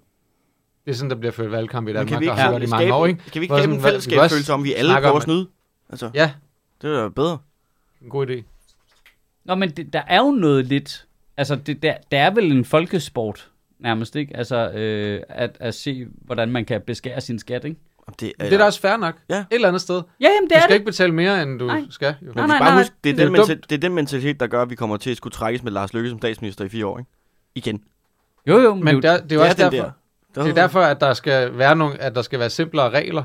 Speaker 3: Det er sådan, der bliver ført valgkamp i
Speaker 4: Men
Speaker 3: Danmark,
Speaker 4: kan vi ikke,
Speaker 3: og har gjort i mange
Speaker 4: skabe,
Speaker 3: år, ikke?
Speaker 4: kan vi ikke
Speaker 3: Hvor
Speaker 4: skabe
Speaker 3: sådan,
Speaker 4: en
Speaker 3: hvad- vi
Speaker 4: fællesskabsfølelse
Speaker 3: også
Speaker 4: om, at vi alle
Speaker 3: snakker
Speaker 4: prøver
Speaker 3: om,
Speaker 4: at snyde? Altså,
Speaker 3: Ja,
Speaker 4: det er da bedre.
Speaker 3: en god idé.
Speaker 2: Nå, men det, der er jo noget lidt... Altså, det, der, der er vel en folkesport nærmest, ikke? Altså, øh, at, at se, hvordan man kan beskære sin skat, ikke?
Speaker 4: Det
Speaker 3: Men det er da også fair nok.
Speaker 4: Ja.
Speaker 3: Et eller andet sted.
Speaker 2: Ja, jamen, det
Speaker 3: Du
Speaker 2: er
Speaker 3: skal
Speaker 2: det.
Speaker 3: ikke betale mere, end du
Speaker 2: Nej.
Speaker 3: skal. Jo.
Speaker 4: Men
Speaker 2: Nej,
Speaker 4: vi skal
Speaker 2: nej,
Speaker 4: bare
Speaker 2: nej.
Speaker 4: huske, det er,
Speaker 3: Det er
Speaker 4: den
Speaker 3: dumt.
Speaker 4: mentalitet, det er den mentalitet, der gør, at vi kommer til at skulle trækkes med Lars Løkke som statsminister i fire år, ikke? Igen.
Speaker 2: Jo, jo, men,
Speaker 3: Men
Speaker 2: men
Speaker 3: der, det er jo også derfor,
Speaker 4: Der.
Speaker 3: Det er derfor, at der skal være nogle, at der skal være simplere regler,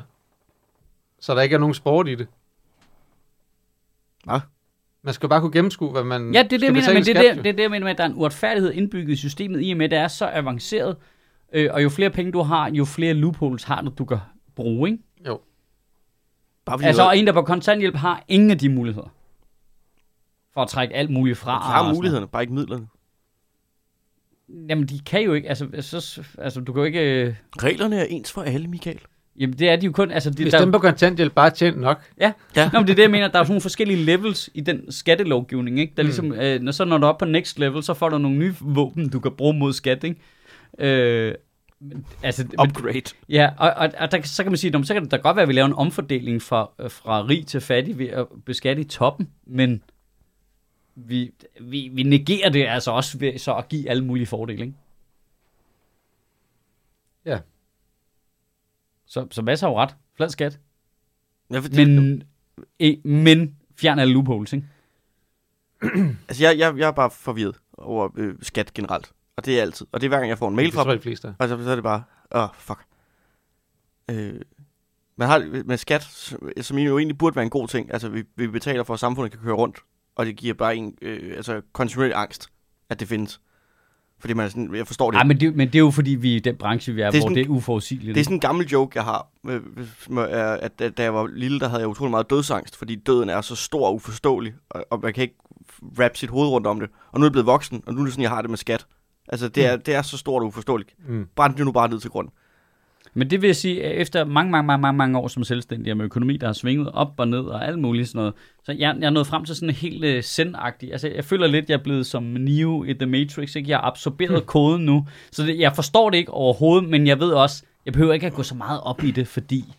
Speaker 3: så der ikke er nogen sport i det.
Speaker 4: Nå.
Speaker 3: Man skal bare kunne gennemskue, hvad man
Speaker 2: Ja, det er det,
Speaker 3: skal
Speaker 2: jeg mener,
Speaker 3: betale
Speaker 2: men
Speaker 3: i
Speaker 2: det er,
Speaker 3: skat,
Speaker 2: der,
Speaker 3: jo.
Speaker 2: det er det, jeg mener med, at der er en uretfærdighed indbygget i systemet, i og med, at det er så avanceret, øh, og jo flere penge du har, jo flere loopholes har du, du kan bruge, ikke?
Speaker 3: Jo.
Speaker 4: Bare fordi
Speaker 2: Altså,
Speaker 4: altså,
Speaker 2: og en, der er på kontanthjælp, har ingen af de muligheder for at trække alt muligt fra. og sådan
Speaker 4: har
Speaker 2: noget.
Speaker 4: mulighederne, bare ikke midlerne.
Speaker 2: Jamen, de kan jo ikke, altså, så, altså du kan jo ikke... Øh,
Speaker 4: Reglerne er ens for alle, Michael.
Speaker 2: jamen, det er de jo kun... Altså, de,
Speaker 3: Hvis dem på kontanthjælp bare tjent nok,
Speaker 2: Ja,
Speaker 4: Ja.
Speaker 2: ja. Nå, men det er det, jeg mener. Der er sådan nogle forskellige levels i den skattelovgivning, ikke? Der mm. ligesom, øh, når, så når du er oppe på next level, så får du nogle nye våben, du kan bruge mod skat, ikke? Øh, men, altså, men,
Speaker 4: Upgrade.
Speaker 2: ja, og, og, og der, kan- så kan man sige, "Nå, men så kan det da godt være, at vi laver en omfordeling fra, øh, fra rig til fattig ved at beskatte i toppen, men vi, vi, vi negerer det altså også ved så at give alle mulige fordele, ikke?
Speaker 3: Ja.
Speaker 2: Så, så masser af ret. Flad skat.
Speaker 4: Ja, fordi, men...
Speaker 2: Men, e, men fjern alle loopholes, ikke?
Speaker 4: Altså, jeg, jeg, jeg er bare forvirret over øh, skat generelt. Og det er altid. Og det er hver gang, jeg får en mail
Speaker 3: det
Speaker 4: fra
Speaker 3: tror
Speaker 4: dem.
Speaker 3: jeg, de fleste er.
Speaker 4: Og så, så er det bare, åh, oh, fuck. Øh, man har med skat, som som jo egentlig burde være en god ting. Altså, vi, vi betaler for, at samfundet kan køre rundt. Og det giver bare en øh, altså, kontinuerlig angst, at det findes. Fordi man er sådan, jeg forstår det.
Speaker 2: Nej, men det, men det er jo fordi, vi er i den branche, vi er,
Speaker 4: Det er
Speaker 2: det er hvor
Speaker 4: sådan-
Speaker 2: det er uforudsigeligt.
Speaker 4: Det er sådan en gammel joke, jeg har, øh, med- er, at da- da jeg var lille, der havde jeg utrolig meget dødsangst, fordi døden er så stor og uforståelig, og, og man kan ikke wrap sit hoved rundt om det. Og nu er jeg blevet voksen, og nu er det sådan, jeg har det med skat. Altså, det
Speaker 2: Mm.
Speaker 4: er, det er så stort og uforståeligt.
Speaker 3: Mm.
Speaker 4: Brænd det nu bare ned til grund.
Speaker 2: Men det vil jeg sige, at efter mange, mange, mange, mange, mange år som selvstændig og med økonomi, der har svinget op og ned og alt muligt sådan noget, så jeg, jeg er nået frem til sådan en helt øh, zen Altså, jeg føler lidt, jeg er blevet som Neo i The Matrix, ikke? Jeg har absorberet
Speaker 4: Hmm.
Speaker 2: koden nu, så det, jeg forstår det ikke overhovedet, men jeg ved også, jeg behøver ikke at gå så meget op i det, fordi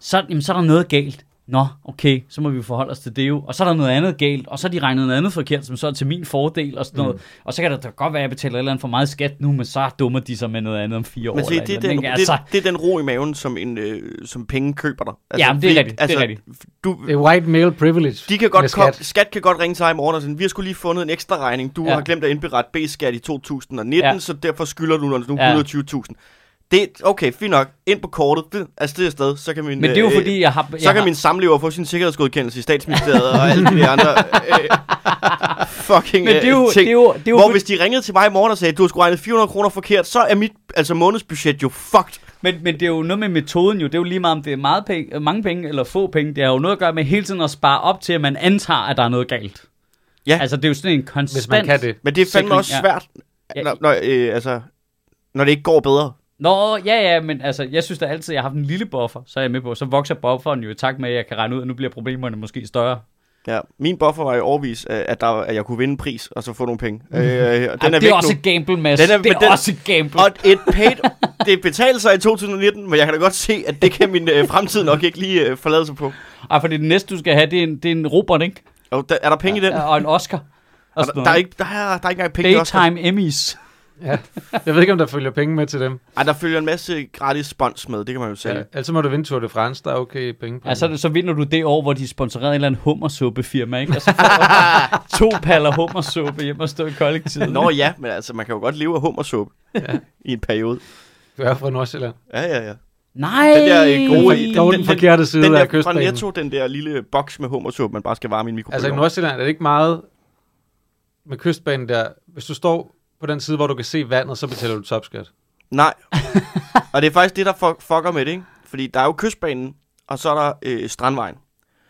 Speaker 2: så, jamen, så er der noget galt. Nå, okay, så må vi forholde os til det jo. Og så er der noget andet galt, og så har de regnet noget andet forkert, som så er til min fordel og sådan noget.
Speaker 4: Hmm.
Speaker 2: Og så kan det da godt være, at jeg betaler et eller andet for meget skat nu, men så dummer de sig med noget andet om fire år.
Speaker 4: Men se,
Speaker 2: eller et
Speaker 4: det, er
Speaker 2: eller andet,
Speaker 4: den,
Speaker 2: ikke? Altså,
Speaker 4: det, det, er den ro i maven, som, en, øh, som penge køber dig. Altså,
Speaker 2: Ja, men det er
Speaker 4: fordi-
Speaker 2: rigtigt, det er rigtigt.
Speaker 4: Du,
Speaker 3: Det er white male privilege.
Speaker 4: de kan godt
Speaker 3: med
Speaker 4: komme,
Speaker 3: skat.
Speaker 4: skat. skat kan godt ringe til dig i morgen og sådan, vi har skulle lige fundet en ekstra regning, du ja.
Speaker 2: Ja.
Speaker 4: har glemt at indberette B-skat i 2019, ja.
Speaker 2: Ja.
Speaker 4: så derfor skylder du nu
Speaker 2: Ja.
Speaker 4: 120.000. Det, okay, fint nok, ind på kortet, det, altså det er sted, så kan min,
Speaker 2: Men det er jo
Speaker 4: øh,
Speaker 2: fordi, jeg har... Jeg
Speaker 4: så kan
Speaker 2: har,
Speaker 4: min samlever få sin sikkerhedsgodkendelse i statsministeriet og alle de der andre øh, fucking
Speaker 2: men det er jo,
Speaker 4: øh,
Speaker 2: det
Speaker 4: ting.
Speaker 2: er jo, det er jo
Speaker 4: Hvor hvis de ringede til mig i morgen og sagde, du har sgu regnet 400 kroner forkert, så er mit altså månedsbudget jo fucked.
Speaker 2: men, men det er jo noget med metoden jo. Det er jo lige meget, om det er meget penge, øh, mange penge eller få penge. Det har jo noget at gøre med hele tiden at spare op til, at man antager, at der er noget galt.
Speaker 4: Ja.
Speaker 2: Altså, det er jo sådan en konstant...
Speaker 3: Hvis man kan det.
Speaker 4: Men det er fandme
Speaker 2: Sikring,
Speaker 4: også
Speaker 2: ja.
Speaker 4: svært,
Speaker 2: Ja,
Speaker 4: når, når, øh, altså, når det ikke går bedre.
Speaker 2: Nå, ja, ja, men altså, jeg synes da altid, at jeg har haft en lille buffer, så er jeg med på. Så vokser bufferen jo i takt med, at jeg kan regne ud, at nu bliver problemerne måske større.
Speaker 4: Ja, min buffer var i årvis, at, der, at jeg kunne vinde en pris, og så få nogle penge. Øh, og den er
Speaker 2: det
Speaker 4: væk
Speaker 2: er også
Speaker 4: nu.
Speaker 2: et gamble, Mads. Den er, det er den... også et gamble.
Speaker 4: Og et paid, det betalte sig i 2019, men jeg kan da godt se, at det kan min øh, fremtid nok ikke lige øh, forlade sig på.
Speaker 2: Ej, fordi det næste, du skal have, det er en, det er en robot, ikke?
Speaker 4: Og der, er der penge i den?
Speaker 2: Og en Oscar. Og
Speaker 4: Er
Speaker 2: sådan
Speaker 4: der,
Speaker 2: noget,
Speaker 4: der, er ikke, der, er, der er ikke engang penge i Oscar.
Speaker 2: Daytime Emmys.
Speaker 3: Ja. Jeg ved ikke, om der følger penge med til dem.
Speaker 4: Ej, der følger en masse gratis spons med, det kan man jo sælge.
Speaker 3: Ja.
Speaker 4: Ja.
Speaker 3: Ellers må du vinde Tour de France, der er okay penge på.
Speaker 2: Ja, så, er det- Altså, så vinder du det år, hvor de sponsorerede en eller anden hummersuppefirma, ikke? Og så får du to paller hummersuppe hjem og stå i kollektivet.
Speaker 4: Nå ja, men altså, man kan jo godt leve af hummersuppe ja. i en periode.
Speaker 3: Du er fra Nordsjælland.
Speaker 4: Ja, ja, ja.
Speaker 2: Nej!
Speaker 4: Den der, øh, gode-
Speaker 3: Den, den, den forkerte side
Speaker 4: Den
Speaker 3: den,
Speaker 4: der
Speaker 3: af
Speaker 4: fra
Speaker 3: kystbanen.
Speaker 4: Netto, den der lille boks med hummersuppe, man bare skal varme i en mikrobølgeovn.
Speaker 3: Altså i Nordsjælland er det ikke meget med kystbanen der. Hvis du står på den side, hvor du kan se vandet, så betaler du topskat.
Speaker 4: Nej. og det er faktisk det, der fuck- fucker med det, ikke? Fordi der er jo kystbanen, og så er der øh, strandvejen.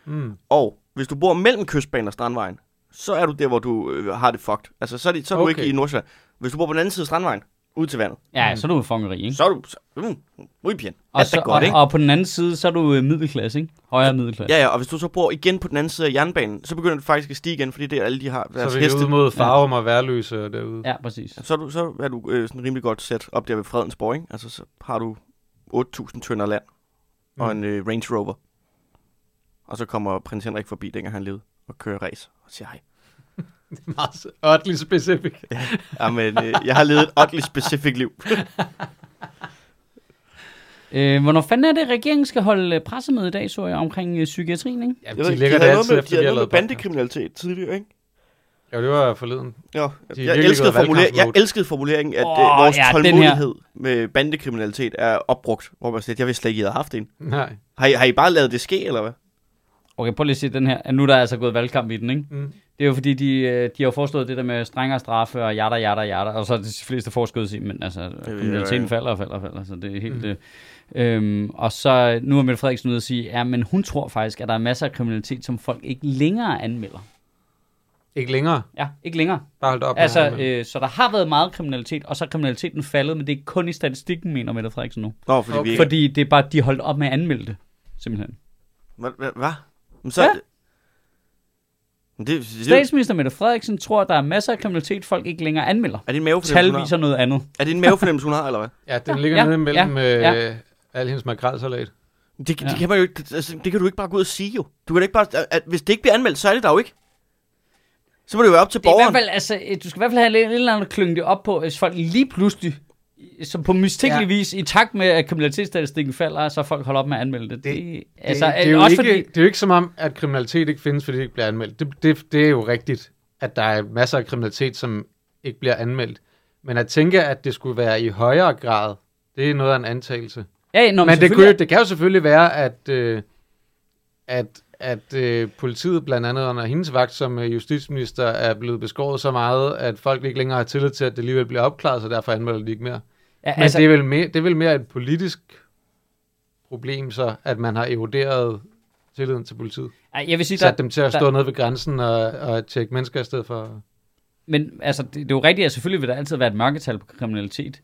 Speaker 2: Hmm.
Speaker 3: Mm.
Speaker 4: Og hvis du bor mellem kystbanen og strandvejen, så er du der, hvor du øh, har det fucked. Altså, så er, det, så er okay. du
Speaker 3: Okay.
Speaker 4: ikke i Nordsjælland. Hvis du bor på den anden side af strandvejen, ud til vandet.
Speaker 2: Ja, så er du fucking rig, ikke?
Speaker 4: Så er du... Så, mm, muy bien.
Speaker 2: og,
Speaker 4: Alt
Speaker 2: så,
Speaker 4: er godt,
Speaker 2: og,
Speaker 4: ikke?
Speaker 2: og på den anden side, så er du øh, middelklasse, ikke? Højere middelklasse.
Speaker 4: Ja, ja, og hvis du så bor igen på den anden side af jernbanen, så begynder det faktisk at stige igen, fordi det er alle de har
Speaker 3: Så
Speaker 4: deres
Speaker 3: er vi
Speaker 4: heste.
Speaker 3: ude mod Farum og Værløse og derude.
Speaker 2: Ja, præcis.
Speaker 4: Så er du, så er du øh, sådan rimelig godt sat op der ved Fredensborg, ikke? Altså, så har du 8.000 tønder land og
Speaker 3: Mm.
Speaker 4: en øh, Range Rover. Og så kommer prins Henrik forbi, dengang han levede, og kører race og siger hej.
Speaker 3: Meget s- oddly specific.
Speaker 4: Jamen, øh, jeg har levet et oddly specific liv.
Speaker 2: Øh, hvornår fanden er det, regeringen skal holde øh, pressemøde i dag, så jeg, omkring øh, psykiatrien, ikke?
Speaker 3: Jamen,
Speaker 4: Jeg
Speaker 3: de
Speaker 4: ikke,
Speaker 3: ligger
Speaker 4: de
Speaker 3: det
Speaker 4: havde noget
Speaker 3: altid
Speaker 4: med, de
Speaker 3: efter, vi har
Speaker 4: havde noget
Speaker 3: lavet
Speaker 4: med bandekriminalitet tidligere, ikke?
Speaker 3: podcast. Ja, det var forleden.
Speaker 4: Jo,
Speaker 3: virkelig
Speaker 4: jeg,
Speaker 3: gået
Speaker 4: elskede formuler- jeg
Speaker 3: valgkampmode.
Speaker 4: elskede formuleringen, at
Speaker 2: Åh,
Speaker 4: oh, vores
Speaker 2: ja,
Speaker 4: ja,
Speaker 2: den her.
Speaker 4: tålmodighed med bandekriminalitet er opbrugt. Hvor man siger, jeg vidste slet ikke, I havde haft en.
Speaker 3: Nej.
Speaker 4: Har I, har I bare lavet det ske, eller hvad?
Speaker 2: Okay, prøv lige at se den her. Nu er der altså gået valgkamp i den, ikke?
Speaker 3: Mm.
Speaker 2: Det er jo fordi, de, øh, de har jo foreslået det der med strengere straffe og jatter, jatter, jatter. Og så er de fleste forskud sige, men altså, kriminaliteten falder og falder og falder. Så det er helt... Mm. Øhm, og så nu er Mette Frederiksen ude at sige, ja, men hun tror faktisk, at der er masser af kriminalitet, som folk ikke længere anmelder.
Speaker 3: Ikke længere.
Speaker 2: Ja, ikke længere.
Speaker 3: Bare holdt op med
Speaker 2: Altså,
Speaker 3: ham, men-
Speaker 2: øh, så der har været meget kriminalitet, og så er kriminaliteten faldet, men det er kun i statistikken, mener Mette Frederiksen nu.
Speaker 4: Nå, fordi okay. vi
Speaker 3: Okay.
Speaker 4: ikke...
Speaker 2: Fordi det er bare, de holdt op med at anmelde det, simpelthen.
Speaker 4: Hvad? Hva? hva? Men så...
Speaker 2: Ja.
Speaker 4: Men det, det, det,
Speaker 2: Statsminister Mette Frederiksen tror, at der er masser af kriminalitet, folk ikke længere anmelder.
Speaker 4: er det en mavefornemmelse,
Speaker 2: Tal
Speaker 4: hun
Speaker 2: viser
Speaker 4: har?
Speaker 2: noget andet.
Speaker 4: Er det en mavefornemmelse, hun har, eller hvad?
Speaker 3: ja, den ligger
Speaker 2: ja,
Speaker 3: ja, nede mellem
Speaker 2: ja,
Speaker 3: ja,
Speaker 2: ja.
Speaker 3: ja. Øh, al hendes makrelsalat.
Speaker 4: Det, det,
Speaker 2: Ja.
Speaker 4: kan man jo ikke, det, altså, det kan du ikke bare gå ud og sige, jo. Du kan da ikke bare... At, at, hvis det ikke bliver anmeldt, så er det der jo ikke. Så må det jo være op til
Speaker 2: Det er i hvert
Speaker 4: borgeren.
Speaker 2: fald, altså, øh, du skal i hvert fald have lidt, lidt eller andet at klynge det op på, hvis folk lige pludselig, i- som på mistænkelig ja.
Speaker 3: Ja.
Speaker 2: vis, i takt med, at kriminalitetsstatistikken falder, så folk holder op med at anmelde det. det altså,
Speaker 3: det, det, er
Speaker 2: øh,
Speaker 3: jo
Speaker 2: også
Speaker 3: ikke,
Speaker 2: fordi,
Speaker 3: det er jo ikke som om, at kriminalitet ikke findes, fordi det ikke bliver anmeldt. Det, det, det er jo rigtigt, at der er masser af kriminalitet, som ikke bliver anmeldt. Men at tænke, at det skulle være i højere grad, det er noget af en antagelse.
Speaker 2: ja, når
Speaker 3: Nå,
Speaker 2: man
Speaker 3: men det, kunne, jo- det kan jo selvfølgelig være, at, øh, at, at øh, politiet blandt andet under hendes vagt som øh, justitsminister er blevet beskåret så meget, at folk ikke længere har tillid til, at det alligevel bliver opklaret, så derfor anmelder de ikke mere.
Speaker 2: ja,
Speaker 3: Men altså, det, er vel mere, det er vel mere et politisk problem så, at man har eroderet tilliden til politiet.
Speaker 2: ej, jeg vil sige, der,
Speaker 3: Sat dem til at stå nede ved grænsen og, og tjekke mennesker i stedet for...
Speaker 2: Men altså, det, det er jo rigtigt, at selvfølgelig vil der altid være et mørketal på kriminalitet.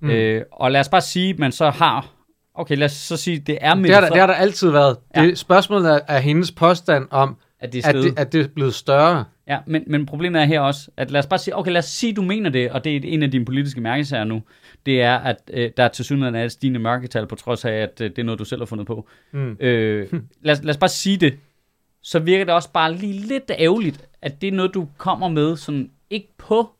Speaker 2: Mm. Øh, og lad os bare sige, at man så har... Okay, lad os så sige, at det er
Speaker 3: Det har, der,
Speaker 2: mindre,
Speaker 3: det har der altid været.
Speaker 2: Ja.
Speaker 3: Ja. Det, spørgsmålet er, er hendes påstand om,
Speaker 2: at det er
Speaker 3: at
Speaker 2: stedet.
Speaker 3: det, at det er blevet større.
Speaker 2: Ja, men, men problemet er her også, at lad os bare sige, okay, lad os sige, du mener det, og det er en af dine politiske mærkesager nu, det er, at øh, der til synligheden er et stigende mørketal, på trods af, at øh, det er noget, du selv har fundet på.
Speaker 3: Mm.
Speaker 2: Øh, lad, os- lad os bare sige det. Så virker det også bare lige lidt ærgerligt, at det er noget, du kommer med, sådan ikke på,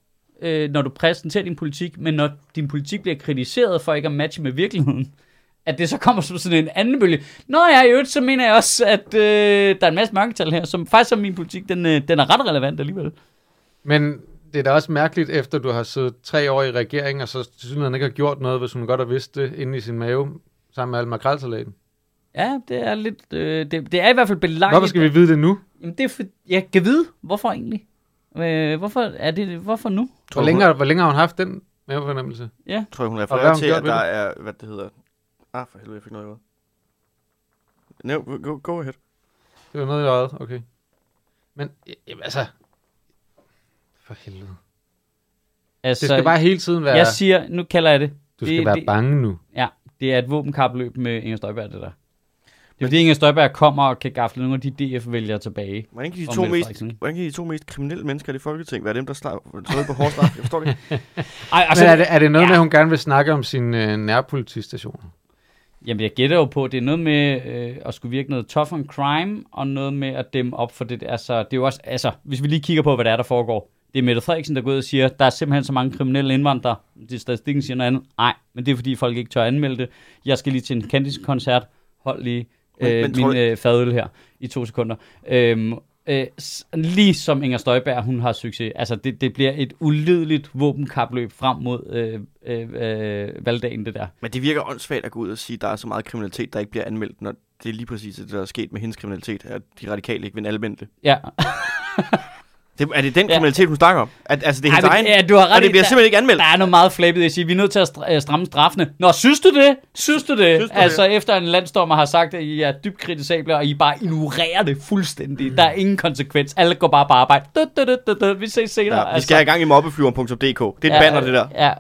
Speaker 2: øh, når du præsenterer din politik, men når din politik bliver kritiseret for ikke at matche med virkeligheden, at det så kommer som sådan en anden bølge. Nå ja, i øvrigt, så mener jeg også, at øh, der er en masse mørketal her, som faktisk er min politik, den, øh, den er ret relevant alligevel.
Speaker 3: Men det er da også mærkeligt, efter du har siddet tre år i regering, og så synes han ikke har gjort noget, hvis hun godt har vidst det inde i sin mave, sammen med al makrelsalaten.
Speaker 2: Ja, det er lidt... Øh, det, det er i hvert fald belagt.
Speaker 3: Hvorfor skal vi vide det nu?
Speaker 2: Jamen, det er for, jeg kan vide, hvorfor egentlig. Øh, hvorfor, er det, hvorfor nu?
Speaker 3: Hvor længe, hvor længe har hun haft den mavefornemmelse?
Speaker 4: Jeg tror, hun
Speaker 3: hvad har
Speaker 4: refererer
Speaker 3: hun
Speaker 4: til,
Speaker 3: gjort
Speaker 4: at
Speaker 3: ved
Speaker 4: der er, hvad det hedder... Ah, for helvede, jeg fik noget i øjet. No, go, go ahead.
Speaker 3: Det var noget i øjet, okay. Men, j- jamen, altså... For helvede.
Speaker 2: Altså,
Speaker 3: Det skal bare hele tiden være...
Speaker 2: Jeg siger, nu kalder jeg det.
Speaker 3: du
Speaker 2: det,
Speaker 3: skal være
Speaker 2: det,
Speaker 3: bange nu.
Speaker 2: Ja, det er et våbenkapløb med Inger Støjberg, det der. Det er fordi Inger Støjberg kommer og kan gafle nogle af de DF-vælgere tilbage.
Speaker 4: Hvordan kan,
Speaker 2: Og
Speaker 4: de to
Speaker 2: Mette
Speaker 4: mest,
Speaker 2: Frederiksen.
Speaker 4: hvordan kan de to mest kriminelle mennesker i det folketing være dem, der slår på hårdt straf? Jeg forstår det ikke.
Speaker 2: Ej, altså,
Speaker 3: Altså, Men er det, er det noget
Speaker 2: ja.
Speaker 3: ja. med, at hun gerne vil snakke om sin øh, nærpolitistation?
Speaker 2: Jamen, jeg gætter jo på, at det er noget med øh, at skulle virke noget tough on crime, og noget med at dæmme op for det. Altså, det er jo også, altså, hvis vi lige kigger på, hvad der er, der foregår. Det er Mette Frederiksen, der går ud og siger, der er simpelthen så mange kriminelle indvandrere. Det er statistikken siger noget andet. Nej, men det er fordi, folk ikke tør anmelde det. Jeg skal lige til en Candice-koncert. Hold lige
Speaker 4: Men-
Speaker 2: øh,
Speaker 4: men
Speaker 2: min
Speaker 4: tror I-
Speaker 2: øh, fadøl her i to sekunder. Øhm, øh, s- ligesom Inger Støjberg, hun har succes. Altså, det, det bliver et ulideligt våbenkapløb frem mod øh, øh, øh, valgdagen, det der.
Speaker 4: Men det virker åndssvagt at gå ud og sige, at der er så meget kriminalitet, der ikke bliver anmeldt, når det er lige præcis det, der er sket med hendes kriminalitet, at de radikale ikke vil anmelde det.
Speaker 2: Ja,
Speaker 4: det. Er det den
Speaker 2: Ja.
Speaker 4: kriminalitet, hun snakker om? At, altså, det er
Speaker 2: Ej,
Speaker 4: hendes
Speaker 2: men,
Speaker 4: egen,
Speaker 2: ja, du har ret
Speaker 4: og det
Speaker 2: i,
Speaker 4: bliver
Speaker 2: der-
Speaker 4: simpelthen ikke anmeldt.
Speaker 2: Der er noget meget flabet i at sige, vi er nødt til at stra- øh, stramme straffene. Nå, synes du det? Synes du det? Synes
Speaker 4: Synes
Speaker 2: du
Speaker 4: du
Speaker 2: altså efter en landsdommer har sagt, at I er dybt kritisable, og I bare ignorerer det fuldstændig. Der er ingen konsekvens. Alle går bare på arbejde. Død, død, død, død, død. Vi ses senere. Altså,
Speaker 4: Ja, vi skal have gang i mobbeflyveren.dk. Det er et banner, det der.
Speaker 2: Ja.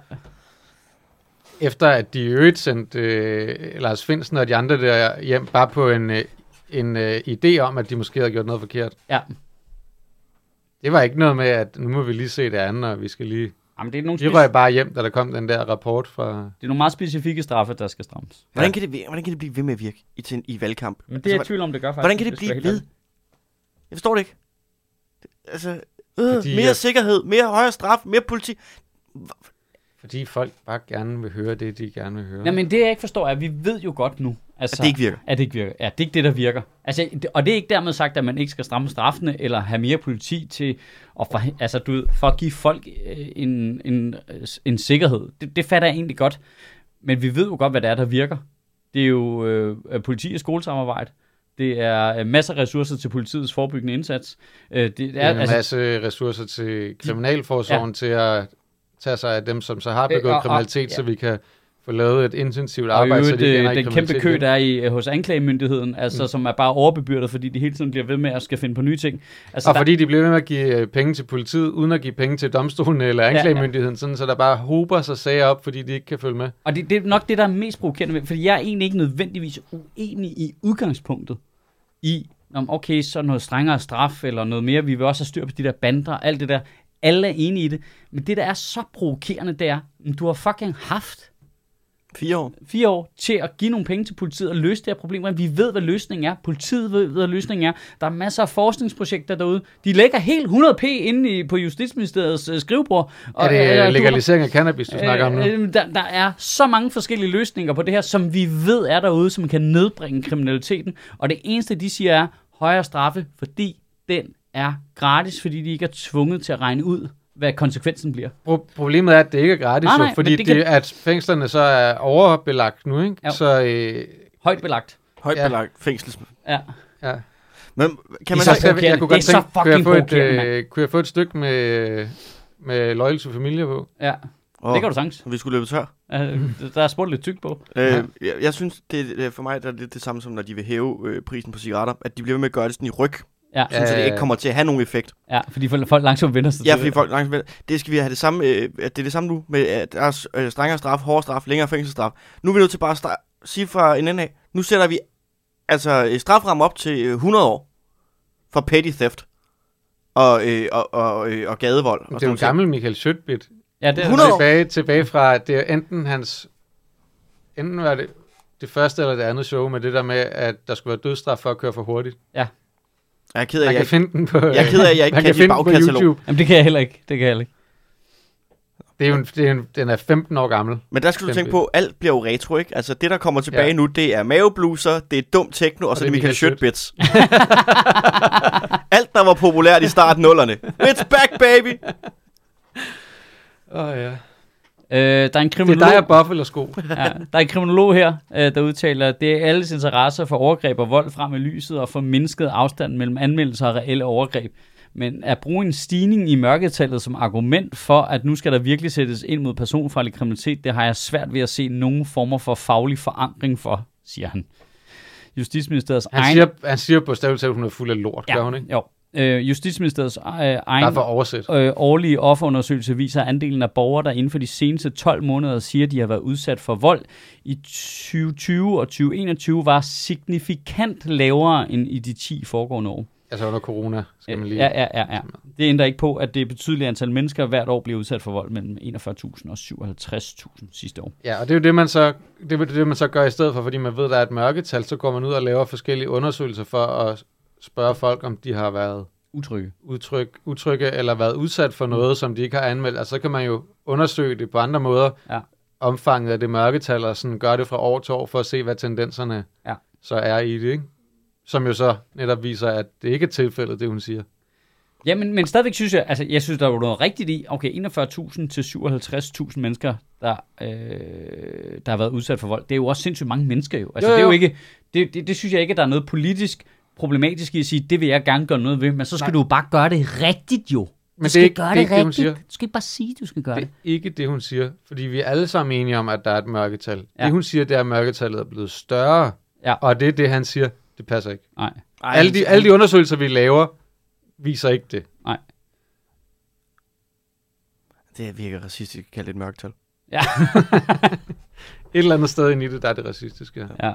Speaker 3: efter at de i øvrigt sendte øh, Lars Finsen og de andre der hjem bare på en, øh, en øh, idé om, at de måske havde gjort noget forkert.
Speaker 2: Ja.
Speaker 3: Det var ikke noget med, at nu må vi lige se det andet, og vi skal lige...
Speaker 2: Jamen, det er nogle,
Speaker 3: De
Speaker 2: speci-
Speaker 3: røg bare hjem, da der kom den der rapport fra...
Speaker 2: det er nogle meget specifikke straffe, der skal strammes.
Speaker 4: Hvordan kan det, hvordan kan det blive ved med at virke i, til, en- i valgkamp?
Speaker 2: Men det er jeg i
Speaker 4: altså,
Speaker 2: tvivl om, det gør faktisk.
Speaker 4: hvordan kan det
Speaker 2: hvis jeg
Speaker 4: blive
Speaker 2: skal være
Speaker 4: ved?
Speaker 2: helt
Speaker 4: Jeg forstår det ikke. Det, altså, øh,
Speaker 3: Fordi,
Speaker 4: mere
Speaker 3: at-
Speaker 4: sikkerhed, mere højere straf, mere politi.
Speaker 3: Fordi folk bare gerne vil høre det, de gerne vil høre.
Speaker 2: ærlig. Nej, men det jeg ikke forstår er, at vi ved jo godt nu, altså,
Speaker 4: det ikke virker.
Speaker 2: At det ikke virker. Ja, det er ikke det, der virker. Altså, det- og det er ikke dermed sagt, at man ikke skal stramme straffene, eller have mere politi til at, for, altså, du, ved, for at give folk øh, en, en, øh, en sikkerhed. Det, det fatter jeg egentlig godt. Men vi ved jo godt, hvad det er, der virker. Det er jo øh, øh, politi og skolesamarbejde. Det er øh, masser af ressourcer til politiets forebyggende indsats. Øh, det, det
Speaker 3: Det er en
Speaker 2: er, altså,
Speaker 3: masse ressourcer til kriminalforsorgen ja. til at tage sig af dem, som så har
Speaker 2: Øh,
Speaker 3: begået
Speaker 2: og-
Speaker 3: øh,
Speaker 2: og-
Speaker 3: kriminalitet,
Speaker 2: ja.
Speaker 3: så vi kan få lavet et intensivt
Speaker 2: Og i
Speaker 3: arbejde, så
Speaker 2: øvrigt,
Speaker 3: de
Speaker 2: øh,
Speaker 3: kender ikke
Speaker 2: den kæmpe kø,
Speaker 3: kriminalitet.
Speaker 2: der er i, øh, hos anklagemyndigheden, altså, mm. som er bare overbebyrdet, fordi de hele tiden bliver ved med at skal finde på nye ting. Altså,
Speaker 3: Og
Speaker 2: der-
Speaker 3: fordi de bliver ved med at give øh, penge til politiet, uden at give penge til domstolen eller
Speaker 2: ja.
Speaker 3: anklagemyndigheden, sådan, så der bare hober sig sager op, fordi de ikke kan følge med.
Speaker 2: Og det, det er nok det, der er mest provokerende ved, fordi jeg er egentlig ikke nødvendigvis uenig i udgangspunktet i, om okay, så noget strengere straf eller noget mere, vi vil også have styr på de der bander og alt det der. Alle er enige i det, men det, der er så provokerende, det er, at du har fucking haft
Speaker 4: Fire år.
Speaker 2: fire år til at give nogle penge til politiet og løse det her problem, men vi ved, hvad løsningen er. Politiet ved, hvad løsningen er. Der er masser af forskningsprojekter derude. De lægger helt 100 p inde i, på Justitsministeriets øh, skrivebord.
Speaker 3: Og, er
Speaker 2: øh,
Speaker 3: det
Speaker 2: du
Speaker 3: øh,
Speaker 2: har-
Speaker 3: legalisering af cannabis, du snakker om nu?
Speaker 2: Øh, øh, der, der er så mange forskellige løsninger på det her, som vi ved er derude, som kan nedbringe kriminaliteten. Og det eneste, de siger, er højere straffe, fordi den er gratis, fordi de ikke er tvunget til at regne ud, hvad konsekvensen bliver.
Speaker 3: Pro- Problemet er, at det ikke er gratis,
Speaker 2: Nej,
Speaker 3: nej,
Speaker 2: nej,
Speaker 3: nej,
Speaker 2: men
Speaker 3: jo, fordi
Speaker 2: det
Speaker 3: det
Speaker 2: kan-
Speaker 3: det, at fængslerne så er overbelagt nu, ikke?
Speaker 2: Jo.
Speaker 3: Så øh,
Speaker 2: Højt belagt.
Speaker 4: Højt
Speaker 3: Ja.
Speaker 4: belagt fængsels.
Speaker 2: Ja.
Speaker 3: ja.
Speaker 4: Men kan man
Speaker 2: så
Speaker 4: så,
Speaker 2: skal-
Speaker 4: ikke,
Speaker 2: provokerende. Det er så
Speaker 3: kunne altså, jeg, få
Speaker 2: fucking
Speaker 3: et,
Speaker 2: provokerende.
Speaker 3: øh, kunne jeg få et stykke med, med Loyal to Familia på?
Speaker 2: ja.
Speaker 4: Åh,
Speaker 2: Det kan du sagtens.
Speaker 4: vi skulle løbe tør.
Speaker 2: Øh, Der er spurgt lidt tyk på.
Speaker 4: Øh, jeg, jeg synes, det, det- for mig der er det lidt det samme som, når de vil hæve øh, prisen på cigaretter, at de bliver ved med at gøre det sådan i ryg,
Speaker 2: Ja,
Speaker 4: sådan, så det
Speaker 3: Øh.
Speaker 4: ikke kommer til at have nogen effekt.
Speaker 2: ja fordi folk- folk langsomt vender sig
Speaker 4: Ja,
Speaker 2: til
Speaker 4: fordi
Speaker 2: det.
Speaker 4: folk langt vel, det skal vi have det samme, øh, at det er det samme nu, med at der er s- øh, strengere straf, hårdere straf, længere fængselsstraf. Nu er vi nødt til bare at sta- sige fra en ende af, nu sætter vi altså øh, straframmen op til øh, 100 år for petty theft og, øh, og, og, øh, og gadevold. Og
Speaker 3: Det er
Speaker 4: sådan
Speaker 3: jo
Speaker 4: nogle
Speaker 3: en
Speaker 4: ting.
Speaker 3: gammel Michael Schøtbit.
Speaker 2: Ja, det er
Speaker 4: 100 år.
Speaker 3: Tilbage, tilbage fra, at det er enten hans, enten var det det første eller det andet show, med det der med, at der skulle være dødsstraf for at køre for hurtigt.
Speaker 4: Jeg er ked af,
Speaker 3: Man
Speaker 4: at
Speaker 3: kan
Speaker 4: jeg,
Speaker 3: finde den på,
Speaker 4: jeg er ked af, at jeg ikke
Speaker 3: man kan
Speaker 4: kan dit
Speaker 3: finde den på
Speaker 4: bagkatalog.
Speaker 3: YouTube.
Speaker 2: Jamen, det kan jeg heller ikke. Det kan jeg heller ikke.
Speaker 3: Det er jo en, det er en, den er 15 år gammel.
Speaker 4: Men der skal du
Speaker 3: Den
Speaker 4: tænke
Speaker 3: bid.
Speaker 4: på, at alt bliver jo retro, ikke? Altså det, der kommer tilbage ja.
Speaker 3: Ja.
Speaker 4: nu, det er mavebluser, det er dum techno, og, og så
Speaker 3: det
Speaker 4: er det
Speaker 3: er
Speaker 4: Michael
Speaker 3: Michael
Speaker 4: Schødt-bits. alt, der var populært i starten nullerne. It's back, baby!
Speaker 3: Åh oh, ja.
Speaker 2: Øh, der er en
Speaker 3: Det
Speaker 2: kriminolog...
Speaker 3: er dig og Buffalo-sko.
Speaker 2: Ja, der er en kriminolog her, øh, der udtaler, at det er alles interesse for overgreb og vold frem i lyset og for mindsket afstand mellem anmeldelser og reelle overgreb. Men at bruge en stigning i mørketallet som argument for, at nu skal der virkelig sættes ind mod personfarlig kriminalitet, det har jeg svært ved at se nogen former for faglig forankring for, siger han. Justitsministeriets
Speaker 3: Han
Speaker 2: egen...
Speaker 3: siger, han siger på stavelset, at hun er fuld af lort, ja. gør hun ikke?
Speaker 2: Jo. Øh, Justitsministeriets øh,
Speaker 3: Bare
Speaker 2: egen
Speaker 3: for at oversætte.
Speaker 2: øh, årlige offerundersøgelse viser, at andelen af borgere, der inden for de seneste 12 måneder siger, at de har været udsat for vold i 2020 og 2021, var signifikant lavere end i de 10 foregående år.
Speaker 3: Altså under corona, skal man lige...
Speaker 2: Ja, ja, ja, ja. Det ændrer ikke på, at det betydelige antal mennesker hvert år bliver udsat for vold mellem 41.000 og 57.000 sidste år.
Speaker 3: Ja, og det er jo det, man så, det, er det, man så gør i stedet for, fordi man ved, der er et mørketal, så går man ud og laver forskellige undersøgelser for at spørge folk, om de har været
Speaker 2: Utrygge.
Speaker 3: utryg, utrygge eller været udsat for noget, som de ikke har anmeldt. Altså, så kan man jo undersøge det på andre måder,
Speaker 2: Ja.
Speaker 3: omfanget af det mørketal, og sådan gøre det fra år til år, for at se, hvad tendenserne
Speaker 2: Ja.
Speaker 3: så er i det, ikke? Som jo så netop viser, at det ikke er tilfældet, det hun siger.
Speaker 2: Ja, men, men stadigvæk synes jeg, altså jeg synes, der er jo noget rigtigt i, okay, 41.000 til 57.000 mennesker, der, øh, der har været udsat for vold. Det er jo også sindssygt mange mennesker jo. Altså
Speaker 3: Jo,
Speaker 2: jo, jo. det er jo
Speaker 3: jo.
Speaker 2: ikke, det, det, det synes jeg ikke, at der er noget politisk problematisk i at sige, det vil jeg gerne gøre noget ved, men så skal Nej. du jo bare gøre det rigtigt jo.
Speaker 3: Men
Speaker 2: du
Speaker 3: det
Speaker 2: skal
Speaker 3: er ikke-
Speaker 2: gøre
Speaker 3: det er ikke det, hun
Speaker 2: rigtigt.
Speaker 3: siger.
Speaker 2: du skal ikke bare sige, du skal gøre det.
Speaker 3: Det er ikke det, hun siger, fordi vi er alle sammen enige om, at der er et mørketal.
Speaker 2: Ja.
Speaker 3: Ja. Det, hun siger, det er, at mørketallet er blevet større,
Speaker 2: Ja.
Speaker 3: og det er det, han siger, det passer ikke.
Speaker 2: Nej.
Speaker 4: Ej,
Speaker 3: Alle de, alle de undersøgelser, vi laver, viser ikke det.
Speaker 4: Det virker racistisk at kalde det et mørktal.
Speaker 2: Ja.
Speaker 3: Et eller andet sted ind i det, der er det racistiske.
Speaker 2: ja.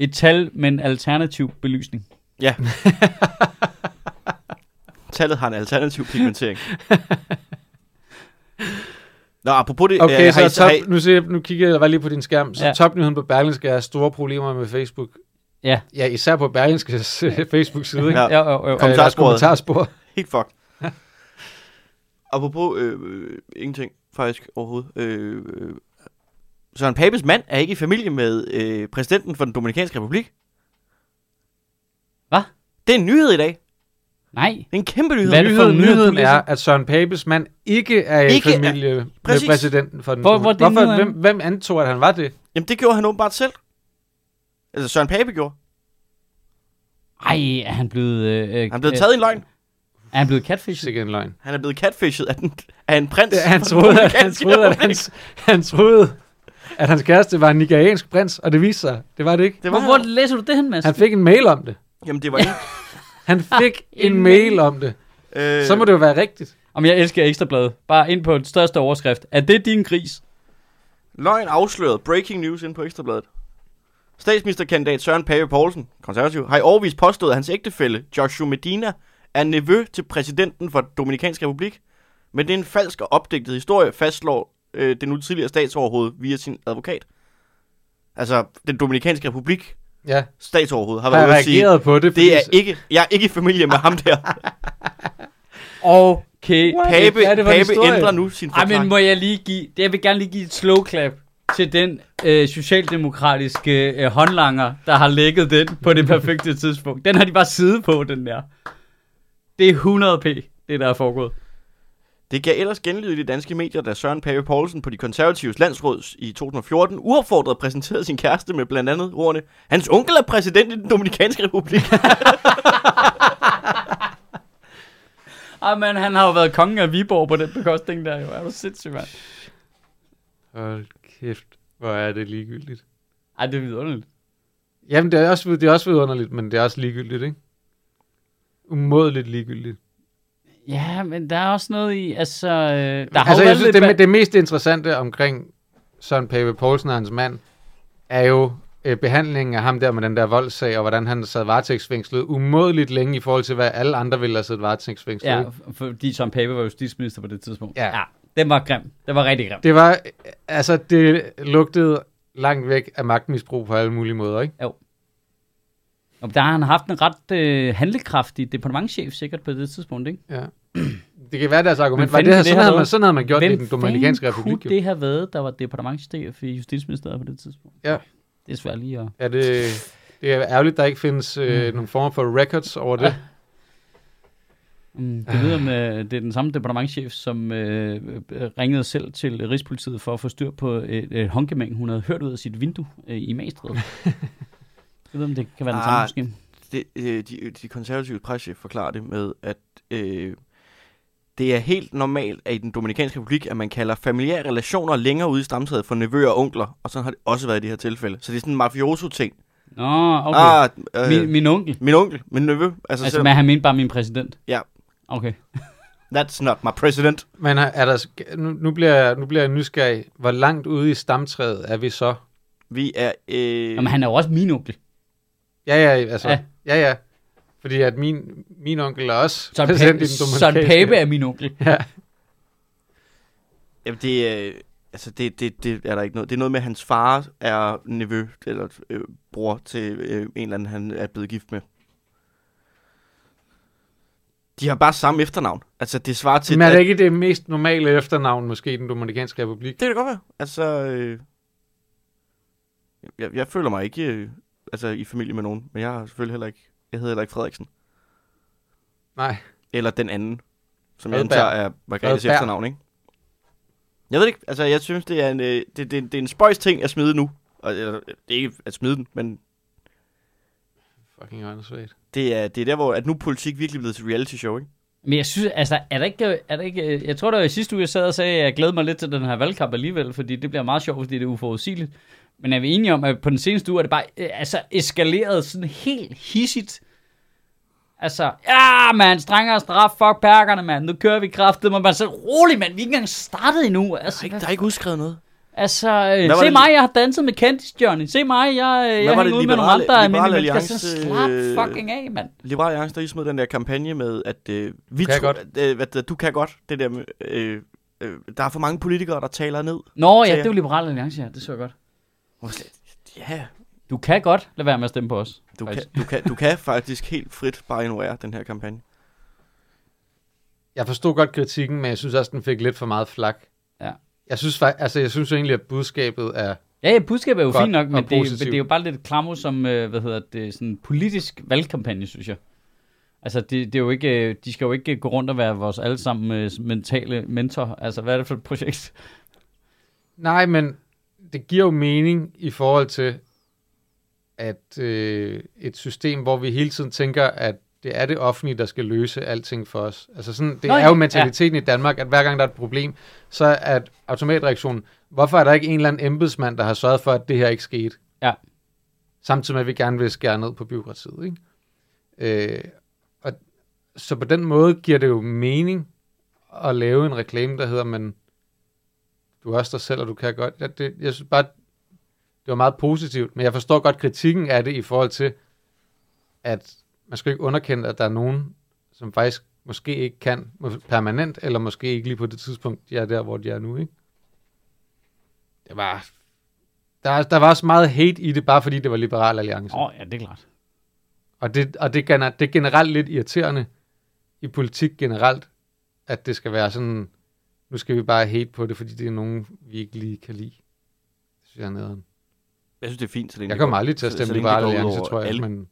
Speaker 2: Et tal, men alternativ belysning.
Speaker 4: Ja. Tallet har en alternativ pigmentering. Nå, apropos det...
Speaker 3: Okay,
Speaker 4: øh, har I-
Speaker 3: så
Speaker 4: har I-
Speaker 3: top, nu, ser, jeg- nu kigger jeg bare lige på din skærm. Så
Speaker 2: Ja.
Speaker 3: ja. topnyheden på Berlingske er store problemer med Facebook.
Speaker 2: Ja.
Speaker 3: Ja, især på Berlingskes øh, Facebook-side. Ikke?
Speaker 4: Ja.
Speaker 3: Ja.
Speaker 2: Jo, jo, jo.
Speaker 4: Kom.
Speaker 3: Kommentarsporet.
Speaker 4: Kommentarsporet.
Speaker 3: kommentarspor.
Speaker 4: Helt fuck. Apropos øh, øh, ingenting, faktisk, overhovedet. Øh, øh, Søren Papes mand er ikke i familie med øh, præsidenten for den Dominikanske Republik.
Speaker 2: Hvad?
Speaker 4: Det er en nyhed i dag. Det
Speaker 2: Nej.
Speaker 4: er en kæmpe nyhed.
Speaker 2: Hvad er det for en
Speaker 3: Nyheden,
Speaker 2: nyhed, du
Speaker 3: nyheden
Speaker 2: læser?
Speaker 3: er, at Søren Papes mand ikke er i
Speaker 4: Ikke er-
Speaker 3: familie er... med
Speaker 4: Præcis.
Speaker 3: præsidenten for den.
Speaker 2: Hvor- hvor er det
Speaker 3: Hvorfor,
Speaker 2: nyheden?
Speaker 3: hvem, hvem antog, at han var det?
Speaker 4: Jamen, det gjorde han åbenbart selv. Altså, Søren Pape gjorde.
Speaker 2: Ej, er han blevet... Øh, øh,
Speaker 4: Han er blevet taget i en løgn.
Speaker 2: Er han blevet catfished?
Speaker 3: Sikkert en løgn.
Speaker 4: Han er blevet catfished af, den, af en prins.
Speaker 3: Det, han,
Speaker 4: fra den
Speaker 3: troede, at, han,
Speaker 4: Dominikanske
Speaker 3: troede, at,
Speaker 4: Republik.
Speaker 3: hans, han troede, at hans kæreste var en nigeriansk prins, og det viste sig, det var det ikke.
Speaker 4: Det var
Speaker 2: Hvor, hvor læser du det hen, Mads?
Speaker 3: Han fik en mail om det.
Speaker 4: Jamen, det var ikke.
Speaker 3: Han fik
Speaker 2: En
Speaker 3: en mail om det.
Speaker 4: Ah, Øh,
Speaker 3: Så må det jo være rigtigt.
Speaker 2: Om jeg elsker ekstrabladet. Bare ind på den største overskrift. Er det din gris?
Speaker 4: Løgn afsløret. Breaking news ind på Ekstrabladet. Statsministerkandidat Søren Pape Poulsen, konservativ, har i årvis påstået, at hans ægtefælle, Joshua Medina, er nevø til præsidenten for Dominikansk Republik. Men det er en falsk og opdigtet historie, fastslår øh, det nu tidligere statsoverhoved via sin advokat. Altså, den Dominikanske Republik
Speaker 3: Ja,
Speaker 4: statsoverhoved har
Speaker 3: har
Speaker 4: været ude at sige,
Speaker 3: reageret på det. fordi-
Speaker 4: det er ikke, jeg er ikke i familie med ham der.
Speaker 2: Okay.
Speaker 3: What?
Speaker 4: Pape,
Speaker 3: Hvad er det for en
Speaker 4: Pape
Speaker 3: historie?
Speaker 4: ændrer nu sin
Speaker 2: Ej,
Speaker 4: forklaring.
Speaker 2: men må jeg lige give... Det, jeg vil gerne lige give et slow clap til den øh, socialdemokratiske øh, håndlanger, der har lægget den på det perfekte tidspunkt. Den har de bare siddet på, den der. Det er 100p, det der er foregået.
Speaker 4: Det gav ellers genlyd i de danske medier, da Søren Pape Poulsen på de konservatives landsråd i 2014 uopfordret præsenterede sin kæreste med blandt andet ordene Hans onkel er præsident i den Dominikanske Republik.
Speaker 2: Ej, men han har jo været kongen af Viborg på den bekostning der, jo. Er du sindssyg, mand?
Speaker 3: Hold kæft, hvor er det ligegyldigt.
Speaker 2: Ej, det er vidunderligt.
Speaker 3: Jamen, det er også, det er også vidunderligt, men det er også ligegyldigt, ikke? Umådeligt ligegyldigt.
Speaker 2: Ja, men der er også noget i, altså... Øh, der har
Speaker 3: altså,
Speaker 2: jo
Speaker 3: jeg
Speaker 2: været
Speaker 3: synes,
Speaker 2: lidt...
Speaker 3: det,
Speaker 2: ba-
Speaker 3: me- det mest interessante omkring Søren Pape Poulsen og hans mand, er jo øh, behandlingen af ham der med den der voldssag, og hvordan han sad varetægtsfængslet umådeligt længe i forhold til, hvad alle andre ville have siddet varetægtsfængslet.
Speaker 2: Ja,
Speaker 3: ikke?
Speaker 2: fordi Søren Pape var justitsminister på det tidspunkt.
Speaker 3: Ja.
Speaker 2: ja. Den var grim. Den var rigtig grim.
Speaker 3: Det var, øh, altså, det lugtede langt væk af magtmisbrug på alle mulige måder, ikke?
Speaker 2: Og der har han haft en ret øh, handlekraftig departementchef sikkert på det tidspunkt, ikke?
Speaker 3: Ja. Det kan være deres argument. Var
Speaker 2: fanden
Speaker 3: det her,
Speaker 2: kunne det
Speaker 3: sådan,
Speaker 2: have
Speaker 3: havde man,
Speaker 2: været?
Speaker 3: sådan havde man gjort det i den
Speaker 2: fanden
Speaker 3: Dominikanske Republik.
Speaker 2: kunne
Speaker 3: jo.
Speaker 2: det have været, der var departementchef i Justitsministeriet på det tidspunkt?
Speaker 3: Ja.
Speaker 2: Det Mm. er svært lige at...
Speaker 3: Er det, det er ærgerligt, der ikke findes øh, nogen form for records over det.
Speaker 2: Mm, det ved om øh, det er den samme departementchef, som øh, øh, ringede selv til Rigspolitiet for at få styr på et, et håndgemæng, hun havde hørt ud af sit vindue øh, i Magstred. jeg ved, om det kan være den samme
Speaker 4: Ah,
Speaker 2: måske.
Speaker 4: Det, øh, de, de konservative presse forklarer det med, at øh, det er helt normalt at i den Dominikanske Republik, at man kalder familiære relationer længere ude i stamtaget for nevøer og onkler, og sådan har det også været i det her tilfælde. Så det er sådan en mafioso-ting.
Speaker 2: Nå, okay. Ah,
Speaker 4: Ah, øh,
Speaker 2: min,
Speaker 4: min,
Speaker 2: min onkel.
Speaker 4: min onkel, min nevø. Altså,
Speaker 2: Altså,
Speaker 4: altså
Speaker 2: men han mente bare min præsident.
Speaker 4: Ja. Øh.
Speaker 2: Okay.
Speaker 4: that's not my president.
Speaker 3: Men er- er der, sk- nu, nu, bliver, jeg- nu bliver jeg nysgerrig. Hvor langt ude i stamtræet er vi så?
Speaker 4: Vi er... Øh,
Speaker 2: Jamen, han er jo også min onkel.
Speaker 3: Ja, ja, altså.
Speaker 2: Ja.
Speaker 3: Ja, ja. ja. Fordi at min, min onkel er også
Speaker 2: Søren,
Speaker 3: præsident i
Speaker 2: pa-
Speaker 3: den
Speaker 2: Søren
Speaker 3: dominikanske.
Speaker 2: Pape er min onkel.
Speaker 4: Jamen det, øh, altså det, det, det er der ikke noget. Det er noget med, at hans far er nevø eller øh, bror til øh, en eller anden, han er blevet gift med. De har bare samme efternavn. Altså det svarer til...
Speaker 3: Men er
Speaker 4: at-
Speaker 3: det ikke det mest normale efternavn, måske, i den dominikanske republik?
Speaker 4: det kan det godt være. Altså... Øh, jeg, jeg føler mig ikke øh, altså, i familie med nogen, men jeg har selvfølgelig heller ikke... Jeg hedder heller ikke Frederiksen.
Speaker 3: Nej.
Speaker 4: Eller den anden, som jeg
Speaker 3: Fredberg.
Speaker 4: antager er Margrethes
Speaker 3: Fredberg.
Speaker 4: efternavn, ikke? Jeg ved det ikke, altså jeg synes, det er en, øh, det, det, det er en spøjs ting at smide nu. Og, eller, det er ikke at smide den, men
Speaker 3: Fucking åndssvagt.
Speaker 4: det er, det er der, hvor at nu er politik virkelig blevet til reality show, ikke?
Speaker 2: Men jeg synes, altså, er der ikke, er der ikke, øh, jeg tror, der var i sidste uge, jeg sad og sagde, at jeg glæder mig lidt til den her valgkamp alligevel, fordi det bliver meget sjovt, fordi det er uforudsigeligt. Men er vi enige om, at på den seneste uge er det bare øh, altså, eskaleret sådan helt hissigt? Altså, ja, mand, strengere straf, fuck perkerne, mand. Nu kører vi kraftet, men man så rolig, mand. Vi er ikke engang startet endnu. Altså,
Speaker 4: Der er ikke, der er ikke udskrevet noget.
Speaker 2: altså øh,
Speaker 4: var
Speaker 2: se
Speaker 4: det-
Speaker 2: mig, jeg har danset med Candice Johnny. Se mig, jeg, øh, jeg
Speaker 4: var
Speaker 2: hænger
Speaker 4: det,
Speaker 2: ud med nogle
Speaker 4: Liberale-
Speaker 2: andre af mine
Speaker 4: Liberale
Speaker 2: mennesker. Så
Speaker 4: Alliance,
Speaker 2: slap
Speaker 4: øh,
Speaker 2: fucking af, mand.
Speaker 4: Liberal Alliance, der lige smed den der kampagne med, at øh, vi
Speaker 3: Kan jeg
Speaker 4: tror,
Speaker 3: godt.
Speaker 4: at, øh, at, at du kan godt det der med, øh, øh, der er for mange politikere, der taler ned.
Speaker 2: Nå, ja,
Speaker 4: Tager-
Speaker 2: det var Liberale Alliance, ja. Det så jeg godt.
Speaker 4: Hvor jeg slet- Ja,
Speaker 2: Du kan godt lade være med at stemme på os.
Speaker 4: du kan,
Speaker 2: faktisk.
Speaker 4: du, kan, du kan faktisk helt frit bare ignorere den her kampagne.
Speaker 3: Jeg forstod godt kritikken, men jeg synes også, den fik lidt for meget flak.
Speaker 2: Ja.
Speaker 3: Jeg synes, fakt- altså, jeg synes jo egentlig, at budskabet er...
Speaker 2: Ja, ja, budskabet er jo
Speaker 3: Godt
Speaker 2: fint nok,
Speaker 3: og
Speaker 2: men det, er-
Speaker 3: positivt.
Speaker 2: det er jo bare lidt klammer som, øh, hvad hedder det, sådan en politisk valgkampagne, synes jeg. Altså, det, det er jo ikke, øh, de skal jo ikke gå rundt og være vores allesammen øh, mentale mentor. Altså, hvad er det for et projekt?
Speaker 3: Nej, men det giver jo mening i forhold til, at øh, et system, hvor vi hele tiden tænker, at det er det offentlige, der skal løse alting for os. Altså sådan, det
Speaker 2: Nå
Speaker 3: Nå,
Speaker 2: ja,
Speaker 3: er jo mentaliteten ja. i Danmark, at hver gang der er et problem, så er automatreaktionen, hvorfor er der ikke en eller anden embedsmand, der har sørget for, at det her ikke skete?
Speaker 2: Ja.
Speaker 3: Samtidig med, at vi gerne vil skære ned på byråkratiet, ikke? Øh, og, så på den måde giver det jo mening at lave en reklame, der hedder, men du er også dig selv, og du kan godt. Ja, det, jeg synes bare, det var meget positivt, men jeg forstår godt kritikken af det i forhold til, at man skal ikke underkende, at der er nogen, som faktisk måske ikke kan må- permanent, eller måske ikke lige på det tidspunkt, jeg er der, hvor de er nu, ikke? Det var... Der, der var også meget hate i det, bare fordi det var Liberal Alliance.
Speaker 2: Åh, oh, ja, det er klart.
Speaker 3: Og, det, og det, gener, det er generelt lidt irriterende i politik generelt, at det skal være sådan, nu skal vi bare hate på det, fordi det er nogen, vi ikke lige kan lide. Det synes jeg er nederen.
Speaker 4: Jeg synes, det er fint. Så længe
Speaker 3: Jeg
Speaker 4: det går-
Speaker 3: kommer aldrig til at
Speaker 4: så-
Speaker 3: stemme
Speaker 4: så længe
Speaker 3: Liberal
Speaker 4: det går ud
Speaker 3: Alliance,
Speaker 4: over
Speaker 3: tror jeg,
Speaker 4: alle.
Speaker 3: men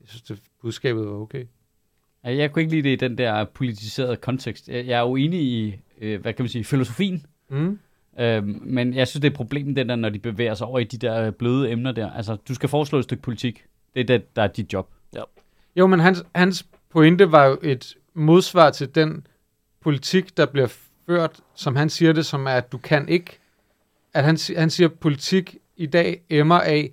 Speaker 3: jeg synes, det budskabet var okay.
Speaker 2: Altså, Jeg kunne ikke lide det i den der politiserede kontekst. Jeg jeg er jo enig i, øh, hvad kan man sige, filosofien.
Speaker 3: Mm.
Speaker 2: Øhm, men jeg synes, det er problemet, den der, når de bevæger sig over i de der øh, bløde emner der. Altså, du skal foreslå et stykke politik. Det er det, der er dit job.
Speaker 3: Jo, men hans, hans pointe var jo et modsvar til den politik, der bliver ført, som han siger det, som er, at du kan ikke. At han, si- han siger, at politik i dag emmer af,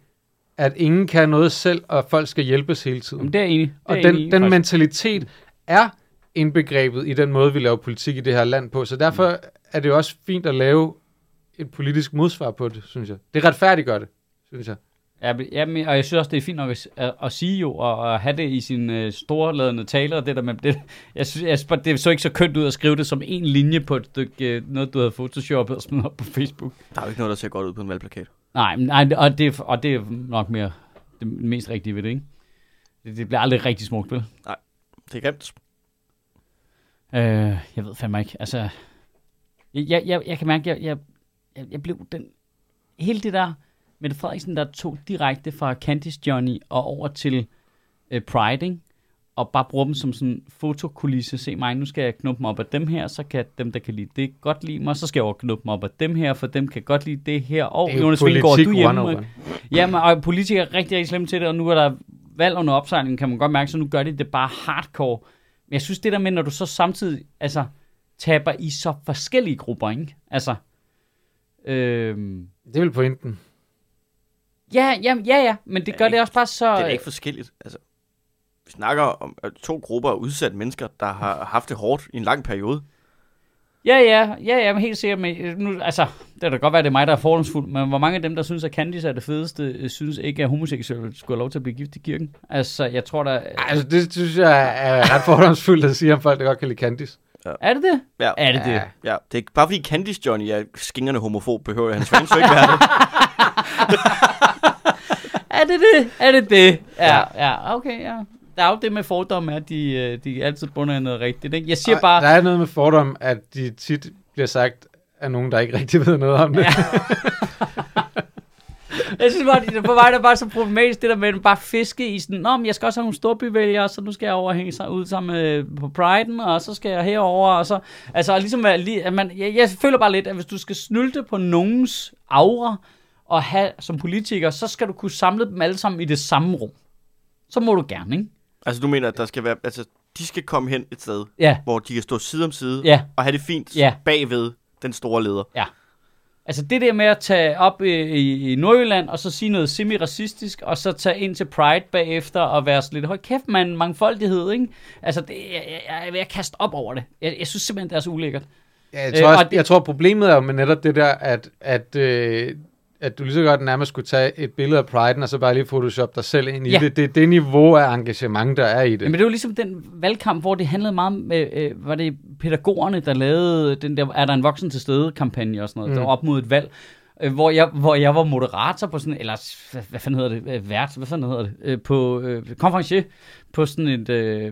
Speaker 3: at ingen kan noget selv, og folk skal hjælpes hele tiden.
Speaker 2: Jamen, det er jeg enig. Det er
Speaker 3: Og
Speaker 2: jeg enig i,
Speaker 3: den, den
Speaker 2: faktisk.
Speaker 3: mentalitet er indbegrebet i den måde, vi laver politik i det her land på. Så derfor er det jo også fint at lave et politisk modsvar på det, synes jeg. Det retfærdiggør det, synes jeg.
Speaker 2: Ja, men- ja, men- og jeg synes også, det er fint nok at, s- at, at sige jo, og at have det i sin øh, storladende tale, og det der med, det, jeg synes, jeg, synes bare, det så ikke så kønt ud at skrive det som en linje på et stykke, øh, noget du havde photoshoppet og smidt op på Facebook.
Speaker 4: Der er jo ikke noget, der ser godt ud på en valgplakat.
Speaker 2: Nej, men- nej og, det, er- og det er nok mere det mest rigtige ved det, ikke? Det, det bliver aldrig rigtig smukt, vel?
Speaker 4: Det er grimt.
Speaker 2: Øh, jeg ved fandme ikke, altså, jeg, jeg, jeg, jeg kan mærke, jeg, jeg, jeg, jeg blev den, hele det der, Mette Frederiksen, der tog direkte fra Candice Johnny og over til øh, Pride, ikke? og bare bruger dem som sådan fotokulisse. Se mig, nu skal jeg knuppe mig op af dem her, så kan dem, der kan lide det, godt lide mig. Så skal jeg over knuppe mig op af dem her, for dem kan godt lide det her. Og
Speaker 3: Det er jo
Speaker 2: Jonas Vingård, du er
Speaker 3: politik
Speaker 2: hjemme. øh,
Speaker 3: 101.
Speaker 2: Ja, men, og politikere er rigtig, rigtig slemme til det, og nu er der valg under opsejling, kan man godt mærke, så nu gør de det bare hardcore. Men jeg synes det der med, når du så samtidig altså, taber i så forskellige grupper, ikke? Altså, øhm,
Speaker 3: Det er vel pointen.
Speaker 2: ja, ja, ja, ja, men det
Speaker 4: Ja,
Speaker 2: gør
Speaker 4: ikke?
Speaker 2: det også bare så...
Speaker 4: Det er da ikke forskelligt. Altså, vi snakker om øh, to grupper af udsatte mennesker, der har haft det hårdt i en lang periode.
Speaker 2: Ja, ja, ja, ja, men helt sikkert. Men øh, nu, altså, det kan da godt være, det er mig, der er fordomsfuld, men hvor mange af dem, der synes, at Candice er det fedeste, øh, synes ikke, at homoseksuelle skulle have lov til at blive gift i kirken? Altså, jeg tror der...
Speaker 3: Altså, det synes jeg er ret fordomsfuldt at sige om folk, der godt kan lide Candice.
Speaker 2: Er det det?
Speaker 4: Ja.
Speaker 2: Er det det?
Speaker 3: Ja.
Speaker 4: Ja, det er ikke bare fordi Candice Johnny er skingerne homofob, behøver hans fans jo ikke være det.
Speaker 2: Er det det? Er det det? Ja, ja, okay, ja. Der er jo det med fordomme, at de, øh, de altid bunder i noget rigtigt. Ikke? Jeg siger
Speaker 3: Og
Speaker 2: bare,
Speaker 3: Der er noget med fordom, at de tit bliver sagt af nogen, der ikke rigtig ved noget om det. Ja.
Speaker 2: jeg synes bare, det- for mig der er bare så problematisk, det der med at bare fiske i sådan, Nå, men jeg skal også have nogle storbyvælgere, så nu skal jeg over og hænge sig ud sammen med, på Pride'en, og så skal jeg herover og så... Altså, og ligesom, at lige- at man, jeg, jeg, føler bare lidt, at hvis du skal snylte på nogens aura og have som politiker, så skal du kunne samle dem alle sammen i det samme rum. Så må du gerne, ikke?
Speaker 4: Altså, du mener, at der skal være... Altså, de skal komme hen et sted,
Speaker 2: Ja,
Speaker 4: hvor de kan stå side om side
Speaker 2: Ja.
Speaker 4: og have det fint
Speaker 2: Ja.
Speaker 4: bagved den store leder.
Speaker 2: ja. Altså det der med at tage op i, i, i Nordjylland, og så sige noget semi-racistisk, og så tage ind til Pride bagefter, og være sådan lidt, hold kæft mand, mangfoldighed, ikke? Altså, det, jeg, jeg, jeg er ved at kaste op over det. Jeg, jeg synes simpelthen, det er så ulækkert.
Speaker 3: Ja, jeg, tror
Speaker 2: Øh,
Speaker 3: også,
Speaker 2: og det-
Speaker 3: jeg tror, problemet er jo med netop det der, at, at, øh, at du lige så godt nærmest skulle tage et billede af Pride'en, og så bare lige Photoshop dig selv ind i
Speaker 2: Ja.
Speaker 3: ja. det. Det er det niveau af engagement, der er i det.
Speaker 2: Jamen, det var ligesom den valgkamp, hvor det handlede meget om, øh, øh, var det pædagogerne, der lavede den der, er der en voksen til stede kampagne og sådan noget, mm. der var op mod et valg, øh, hvor, jeg, hvor jeg var moderator på sådan, eller s- hvad, hvad fanden hedder det, øh, vært, hvad fanden hedder det, øh, på øh, konferencier, på sådan et øh, øh,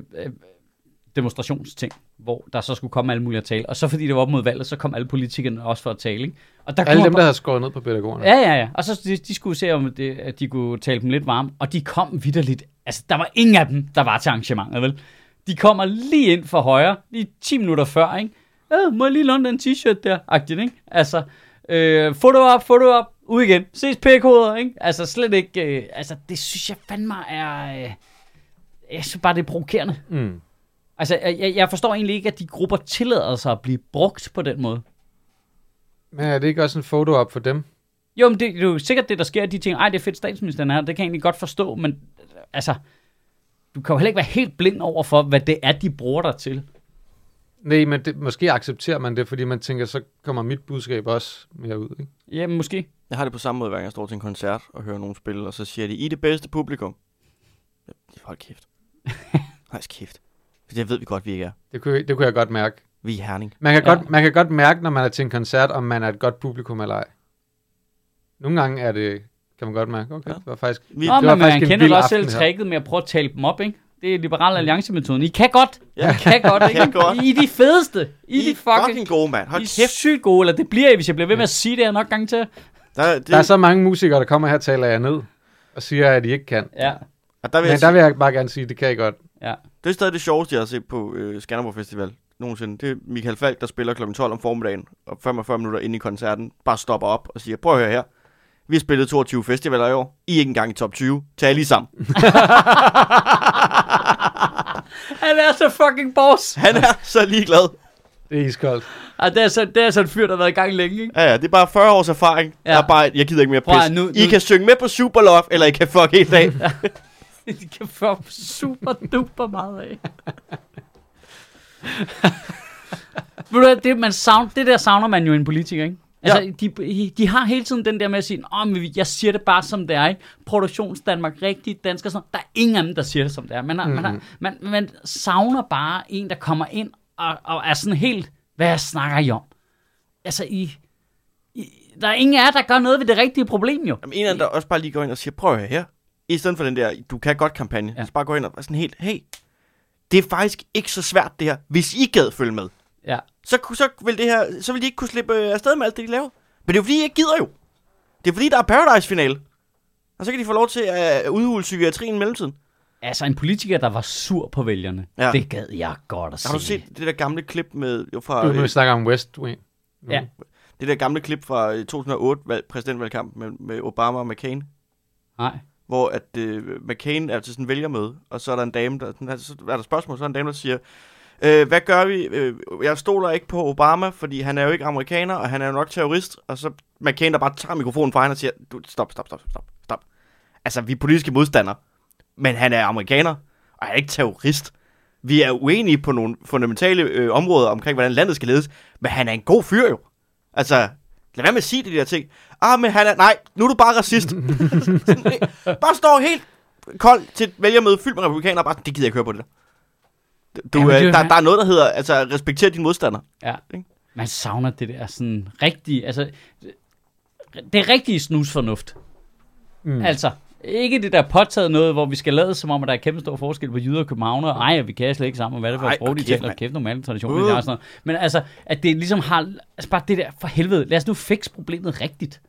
Speaker 2: demonstrationsting, hvor der så skulle komme alle mulige at tale. Og så fordi det var op mod valget, så kom alle politikerne også for at tale, ikke? Og der
Speaker 3: Alle
Speaker 2: kunne
Speaker 3: dem,
Speaker 2: man-
Speaker 3: der har skåret ned på pædagogerne.
Speaker 2: Ja, ja, ja. Og så de, de skulle se, om det, at de kunne tale dem lidt varm. Og de kom vidderligt. Altså, der var ingen af dem, der var til arrangementet, vel? De kommer lige ind for højre, lige 10 minutter før, ikke? Øh, må jeg lige låne den t-shirt der? Agtigt, ikke? Altså, øh, få det op, få det op, ud igen. Ses pækhoveder, ikke? Altså, slet ikke... Øh, altså, det synes jeg fandme er... Øh, jeg synes bare, det er provokerende.
Speaker 3: Mm.
Speaker 2: Altså, jeg, jeg- jeg forstår egentlig ikke, at de grupper tillader sig at blive brugt på den måde.
Speaker 3: Men er det ikke også en foto op for dem?
Speaker 2: Jo, men det, det er jo sikkert det, der sker, at de tænker, ej, det er fedt, statsministeren er her, det kan jeg egentlig godt forstå, men øh, altså, du kan jo heller ikke være helt blind over for, hvad det er, de bruger dig til.
Speaker 3: Nej, men det, måske accepterer man det, fordi man tænker, så kommer mit budskab også mere ud. Ikke?
Speaker 2: Jamen, måske.
Speaker 4: Jeg har det på samme måde, hver gang jeg står til en koncert og hører nogen spille, og så siger de, I er det bedste publikum. Ja, Hold kæft. Hold kæft. For det ved vi godt, vi ikke er.
Speaker 3: Det kunne, det kunne jeg godt mærke.
Speaker 4: Vi er herning.
Speaker 3: Man kan,
Speaker 2: Ja.
Speaker 3: ja. godt, man kan godt mærke, når man er til en koncert, om man er et godt publikum eller ej. Nogle gange er det, kan man godt mærke, okay,
Speaker 4: Ja.
Speaker 3: ja. det var faktisk...
Speaker 4: Vi,
Speaker 2: Nå,
Speaker 3: det var
Speaker 2: men man
Speaker 3: faktisk en
Speaker 2: kender
Speaker 3: vild
Speaker 2: da også selv
Speaker 3: aften her.
Speaker 2: tricket med at prøve at tale dem op, ikke? Det er liberal alliance-metoden. I kan godt.
Speaker 4: Ja.
Speaker 2: I kan godt, ikke?
Speaker 4: Kan godt.
Speaker 2: I er de fedeste. I, er de fucking...
Speaker 4: fucking gode, mand. Hold
Speaker 2: I er
Speaker 4: kæft.
Speaker 2: sygt gode, eller det bliver I, hvis jeg bliver ved med at sige det her nok gange til.
Speaker 4: Der, det,
Speaker 3: Der er så mange musikere, der kommer her og taler jeg ned, og siger, at de ikke kan.
Speaker 2: Ja,
Speaker 4: og der
Speaker 3: Men
Speaker 4: vil jeg
Speaker 3: der
Speaker 4: sige,
Speaker 3: vil jeg bare gerne sige, at det kan I godt.
Speaker 2: ja.
Speaker 4: det er stadig det sjoveste, jeg har set på øh, Skanderborg Festival nogensinde. Det er Michael Falk, der spiller kl. 12 om formiddagen, og 45 minutter inde i koncerten, bare stopper op og siger, prøv at høre her. Vi har spillet 22 festivaler i år. I er ikke engang i top 20. Tag lige sammen.
Speaker 2: Mm. Han er så fucking boss.
Speaker 4: Han er så ligeglad.
Speaker 3: Det er iskoldt.
Speaker 2: Og det er så, det er så en fyr, der har været i gang længe, ikke?
Speaker 4: Ja, ja, det er bare 40 års erfaring.
Speaker 2: Ja.
Speaker 4: Ja. Der er bare, et, jeg gider ikke mere
Speaker 2: Prøv at
Speaker 4: pis.
Speaker 2: nu-
Speaker 4: I
Speaker 2: nu-
Speaker 4: kan synge med på Superlove, eller I kan fuck hele dag.
Speaker 2: De kan få super duper meget af. Ved du hvad, det, man savner, det der savner man jo i en politiker, ikke? Altså, ja. de, de, har hele tiden den der med at sige, Åh, men jeg siger det bare som det er, ikke? Produktions Danmark, rigtig dansker, sådan. der er ingen af dem, der siger det som det er. Man, har, man, har, man, man savner bare en, der kommer ind og, og er sådan helt, hvad snakker I om? Altså, I, I, der er ingen af jer, der gør noget ved det rigtige problem, jo.
Speaker 4: Jamen, en anden, der også bare lige går ind og siger, prøv at høre her. I stedet for den der, du kan godt kampagne.
Speaker 2: Ja.
Speaker 4: Ja. Så bare gå ind og være sådan helt, hey, det er faktisk ikke så svært det her, hvis I gad følge med.
Speaker 2: Ja.
Speaker 4: Så, ku- så, vil det her, så vil de ikke kunne slippe øh, afsted med alt det, de laver. Men det er jo fordi, I ikke gider jo. Det er fordi, der er Paradise-finale. Og så kan de få lov til at øh, udhule psykiatrien i mellemtiden.
Speaker 2: Altså en politiker, der var sur på vælgerne. Ja.
Speaker 4: Ja.
Speaker 2: Det gad jeg godt at se.
Speaker 4: Har du set det der gamle klip med, jo fra,
Speaker 3: Nu, nu
Speaker 4: øh,
Speaker 3: snakker om West Wing. Nu.
Speaker 2: Ja.
Speaker 4: det der gamle klip fra øh, 2008 valg, præsidentvalgkampen med, med Obama og McCain?
Speaker 2: Nej.
Speaker 4: hvor at øh, McCain er til sådan en vælgermøde, og så er der en dame, der, sådan, så er der spørgsmål, så er der en dame, der siger, øh, hvad gør vi? Øh, jeg stoler ikke på Obama, fordi han er jo ikke amerikaner, og han er jo nok terrorist, og så McCain, der bare tager mikrofonen fra hende og siger, du, stop, stop, stop, stop, stop. Altså, vi er politiske modstandere, men han er amerikaner, og han er ikke terrorist. Vi er uenige på nogle fundamentale øh, områder omkring, hvordan landet skal ledes, men han er en god fyr jo. Altså, lad være med at sige de der ting. Ah, men han er... Nej, nu er du bare racist. Bare står helt kold til et vælgermøde fyldt med republikanere, og bare, det gider jeg ikke høre på det der. Du,
Speaker 2: Ja, men
Speaker 4: ja,
Speaker 2: det er jo
Speaker 4: øh, der,
Speaker 2: han-
Speaker 4: der er noget, der hedder, altså, respekter dine modstandere.
Speaker 2: Ja.
Speaker 4: Ikke?
Speaker 2: Man savner det der sådan rigtige, altså det- det rigtige snusfornuft. Mm.
Speaker 3: Mm.
Speaker 2: Altså, ikke det der påtaget noget, hvor vi skal lade som om, at der er kæmpe stor forskel på jyder og københavnere. Ej, og vi kan slet ikke sammen, og hvad er det for
Speaker 4: Ej,
Speaker 2: et sprog, de
Speaker 4: kæft,
Speaker 2: taler,
Speaker 4: mand.
Speaker 2: kæft normale traditioner,
Speaker 4: Uh.
Speaker 2: uh. og sådan noget. Men altså, at det ligesom har, altså bare det der, for helvede, lad os nu fikse problemet rigtigt.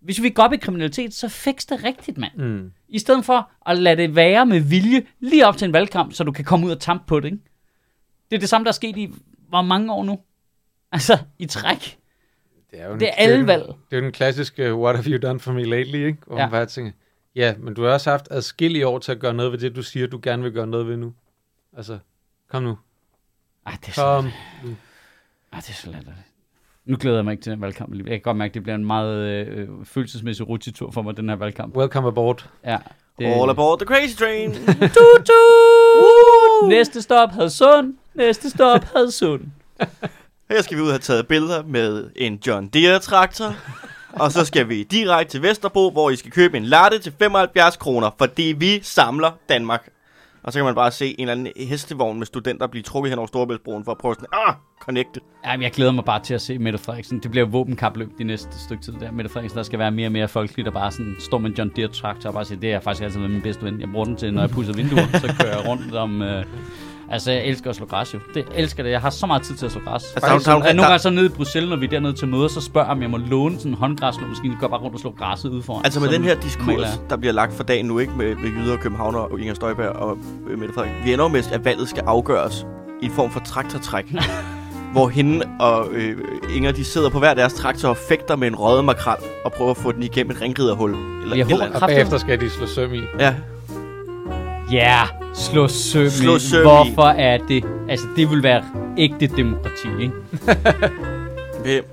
Speaker 2: Hvis vi går op i kriminalitet, så fiks det rigtigt, mand.
Speaker 3: Mm.
Speaker 2: I stedet for at lade det være med vilje lige op til en valgkamp, så du kan komme ud og tampe på det, ikke? Det er det samme, der er sket i hvor mange år nu? Altså, i træk.
Speaker 3: Det er jo den-
Speaker 2: Det er alle
Speaker 3: den-
Speaker 2: valg.
Speaker 3: Det er jo den klassiske, uh, what have you done for me lately, ikke? Hvor
Speaker 2: Ja.
Speaker 3: man bare tænker, ja, men du har også haft adskillige år til at gøre noget ved det, du siger, du gerne vil gøre noget ved nu. Altså, kom nu.
Speaker 2: Ej, det er så,
Speaker 3: Kom.
Speaker 2: ej, det er så latterligt. Nu glæder jeg mig ikke til den valgkamp. alligevel. Jeg kan godt mærke, at det bliver en meget øh, følelsesmæssig rutsjetur for mig, den her valgkamp.
Speaker 3: Welcome aboard.
Speaker 2: Ja, det,
Speaker 4: All aboard the crazy train.
Speaker 2: Tut, tut! Næste stop Hadsund. Næste stop Hadsund.
Speaker 4: Her skal vi ud og have taget billeder med en John Deere-traktor. Og så skal vi direkte til Vesterbro, hvor I skal købe en latte til 75 kroner, fordi vi samler Danmark. Og så kan man bare se en eller anden hestevogn med studenter blive trukket hen over Storebæltsbroen for at prøve sådan, ah, connecte.
Speaker 2: Jamen, jeg glæder mig bare til at se Mette Frederiksen. Det bliver våbenkapløb de næste stykke tid der. Mette Frederiksen, der skal være mere og mere folkeligt og bare sådan står med en John Deere traktor og bare siger, det er faktisk altid været min bedste ven. Jeg bruger den til, når jeg pudser vinduer, så kører jeg rundt om... Øh... Altså, jeg elsker at slå græs jo. Det jeg elsker det. Jeg har så meget tid til at slå græs.
Speaker 4: Altså, der er jo-
Speaker 2: Altså,
Speaker 4: der er jo-
Speaker 2: nogle
Speaker 4: der-
Speaker 2: gange så nede i Bruxelles, når vi er dernede til møder, så spørger jeg, om jeg må låne sådan en håndgræsslåmaskine. Går bare rundt og slår græsset ud foran.
Speaker 4: Altså med
Speaker 2: Sådan
Speaker 4: den her
Speaker 2: normalt
Speaker 4: diskurs,
Speaker 2: er.
Speaker 4: der bliver lagt for dagen nu, ikke med, med jyder og københavner og Inger Støjberg og øh, Mette Frederik. Vi ender jo mest, at valget skal afgøres i en form for traktortræk. hvor hende og øh, Inger, de sidder på hver deres traktor og fægter med en røget makrel og prøver at få den igennem et ringriderhul. Eller
Speaker 2: Jeg
Speaker 4: et eller
Speaker 2: håber-
Speaker 3: Og
Speaker 2: Kraftigt.
Speaker 3: bagefter skal de slå søm i.
Speaker 4: andet. Ja,
Speaker 2: Ja, yeah, slå søm, i.
Speaker 4: Slå søm i.
Speaker 2: Hvorfor er det? Altså, det vil være ægte demokrati, ikke?
Speaker 4: Hvem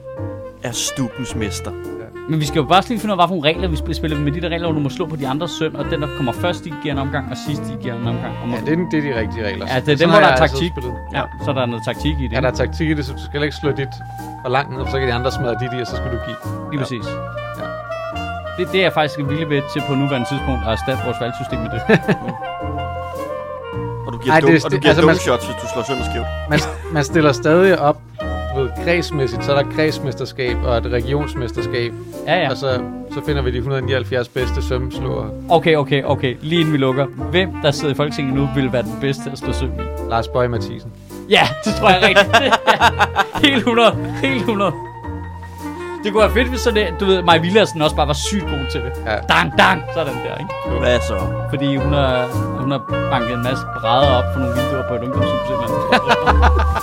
Speaker 4: er stubens mester?
Speaker 2: Men vi skal jo bare lige finde ud af, hvilke regler vi spiller, spiller med de der regler, hvor du må slå på de andres søn, og den, der kommer først, de giver en omgang, og sidst, de giver en omgang. Og må...
Speaker 3: Ja, det er, den- det er de rigtige regler.
Speaker 2: Ja, det er
Speaker 3: Sådan
Speaker 2: dem,
Speaker 3: har
Speaker 2: hvor der
Speaker 3: jeg
Speaker 2: er
Speaker 3: altid
Speaker 2: taktik.
Speaker 3: spillet.
Speaker 2: Ja, så er der noget taktik i det.
Speaker 3: Ja, der er taktik i det, så du skal ikke slå dit for langt ned, for så kan de andre smadre dit i, og så skal du give.
Speaker 2: Lige præcis. Ja. Det, det er jeg faktisk villig ved til på nuværende tidspunkt at erstatte vores valgsystem med det.
Speaker 4: Og du giver,
Speaker 3: Ej,
Speaker 4: Ej,
Speaker 3: det er
Speaker 4: dum,
Speaker 3: sti-
Speaker 4: og du
Speaker 3: altså,
Speaker 4: giver altså,
Speaker 3: man-
Speaker 4: shots, hvis du slår søm skævt.
Speaker 3: Man, man stiller stadig op du ved, kredsmæssigt, så er der kredsmesterskab og et regionsmesterskab,
Speaker 2: Ja, ja.
Speaker 3: og så, så finder vi de 179 bedste sømslåere.
Speaker 2: Okay, okay, okay. Lige inden vi lukker. Hvem, der sidder i Folketinget nu, vil være den bedste til at slå søm i?
Speaker 3: Lars Bøge Mathisen.
Speaker 2: Ja, det tror jeg er rigtigt. Ja. helt 100. Helt 100. Det kunne være fedt, hvis sådan, det- du ved, Maja Villersen også bare var sygt god til det.
Speaker 3: Ja.
Speaker 2: Dang, dang, sådan der, ikke?
Speaker 4: Hvad så?
Speaker 2: Fordi hun har, hun har banket en masse brædder op for nogle vinduer på et ungdomshus. et Eller andet.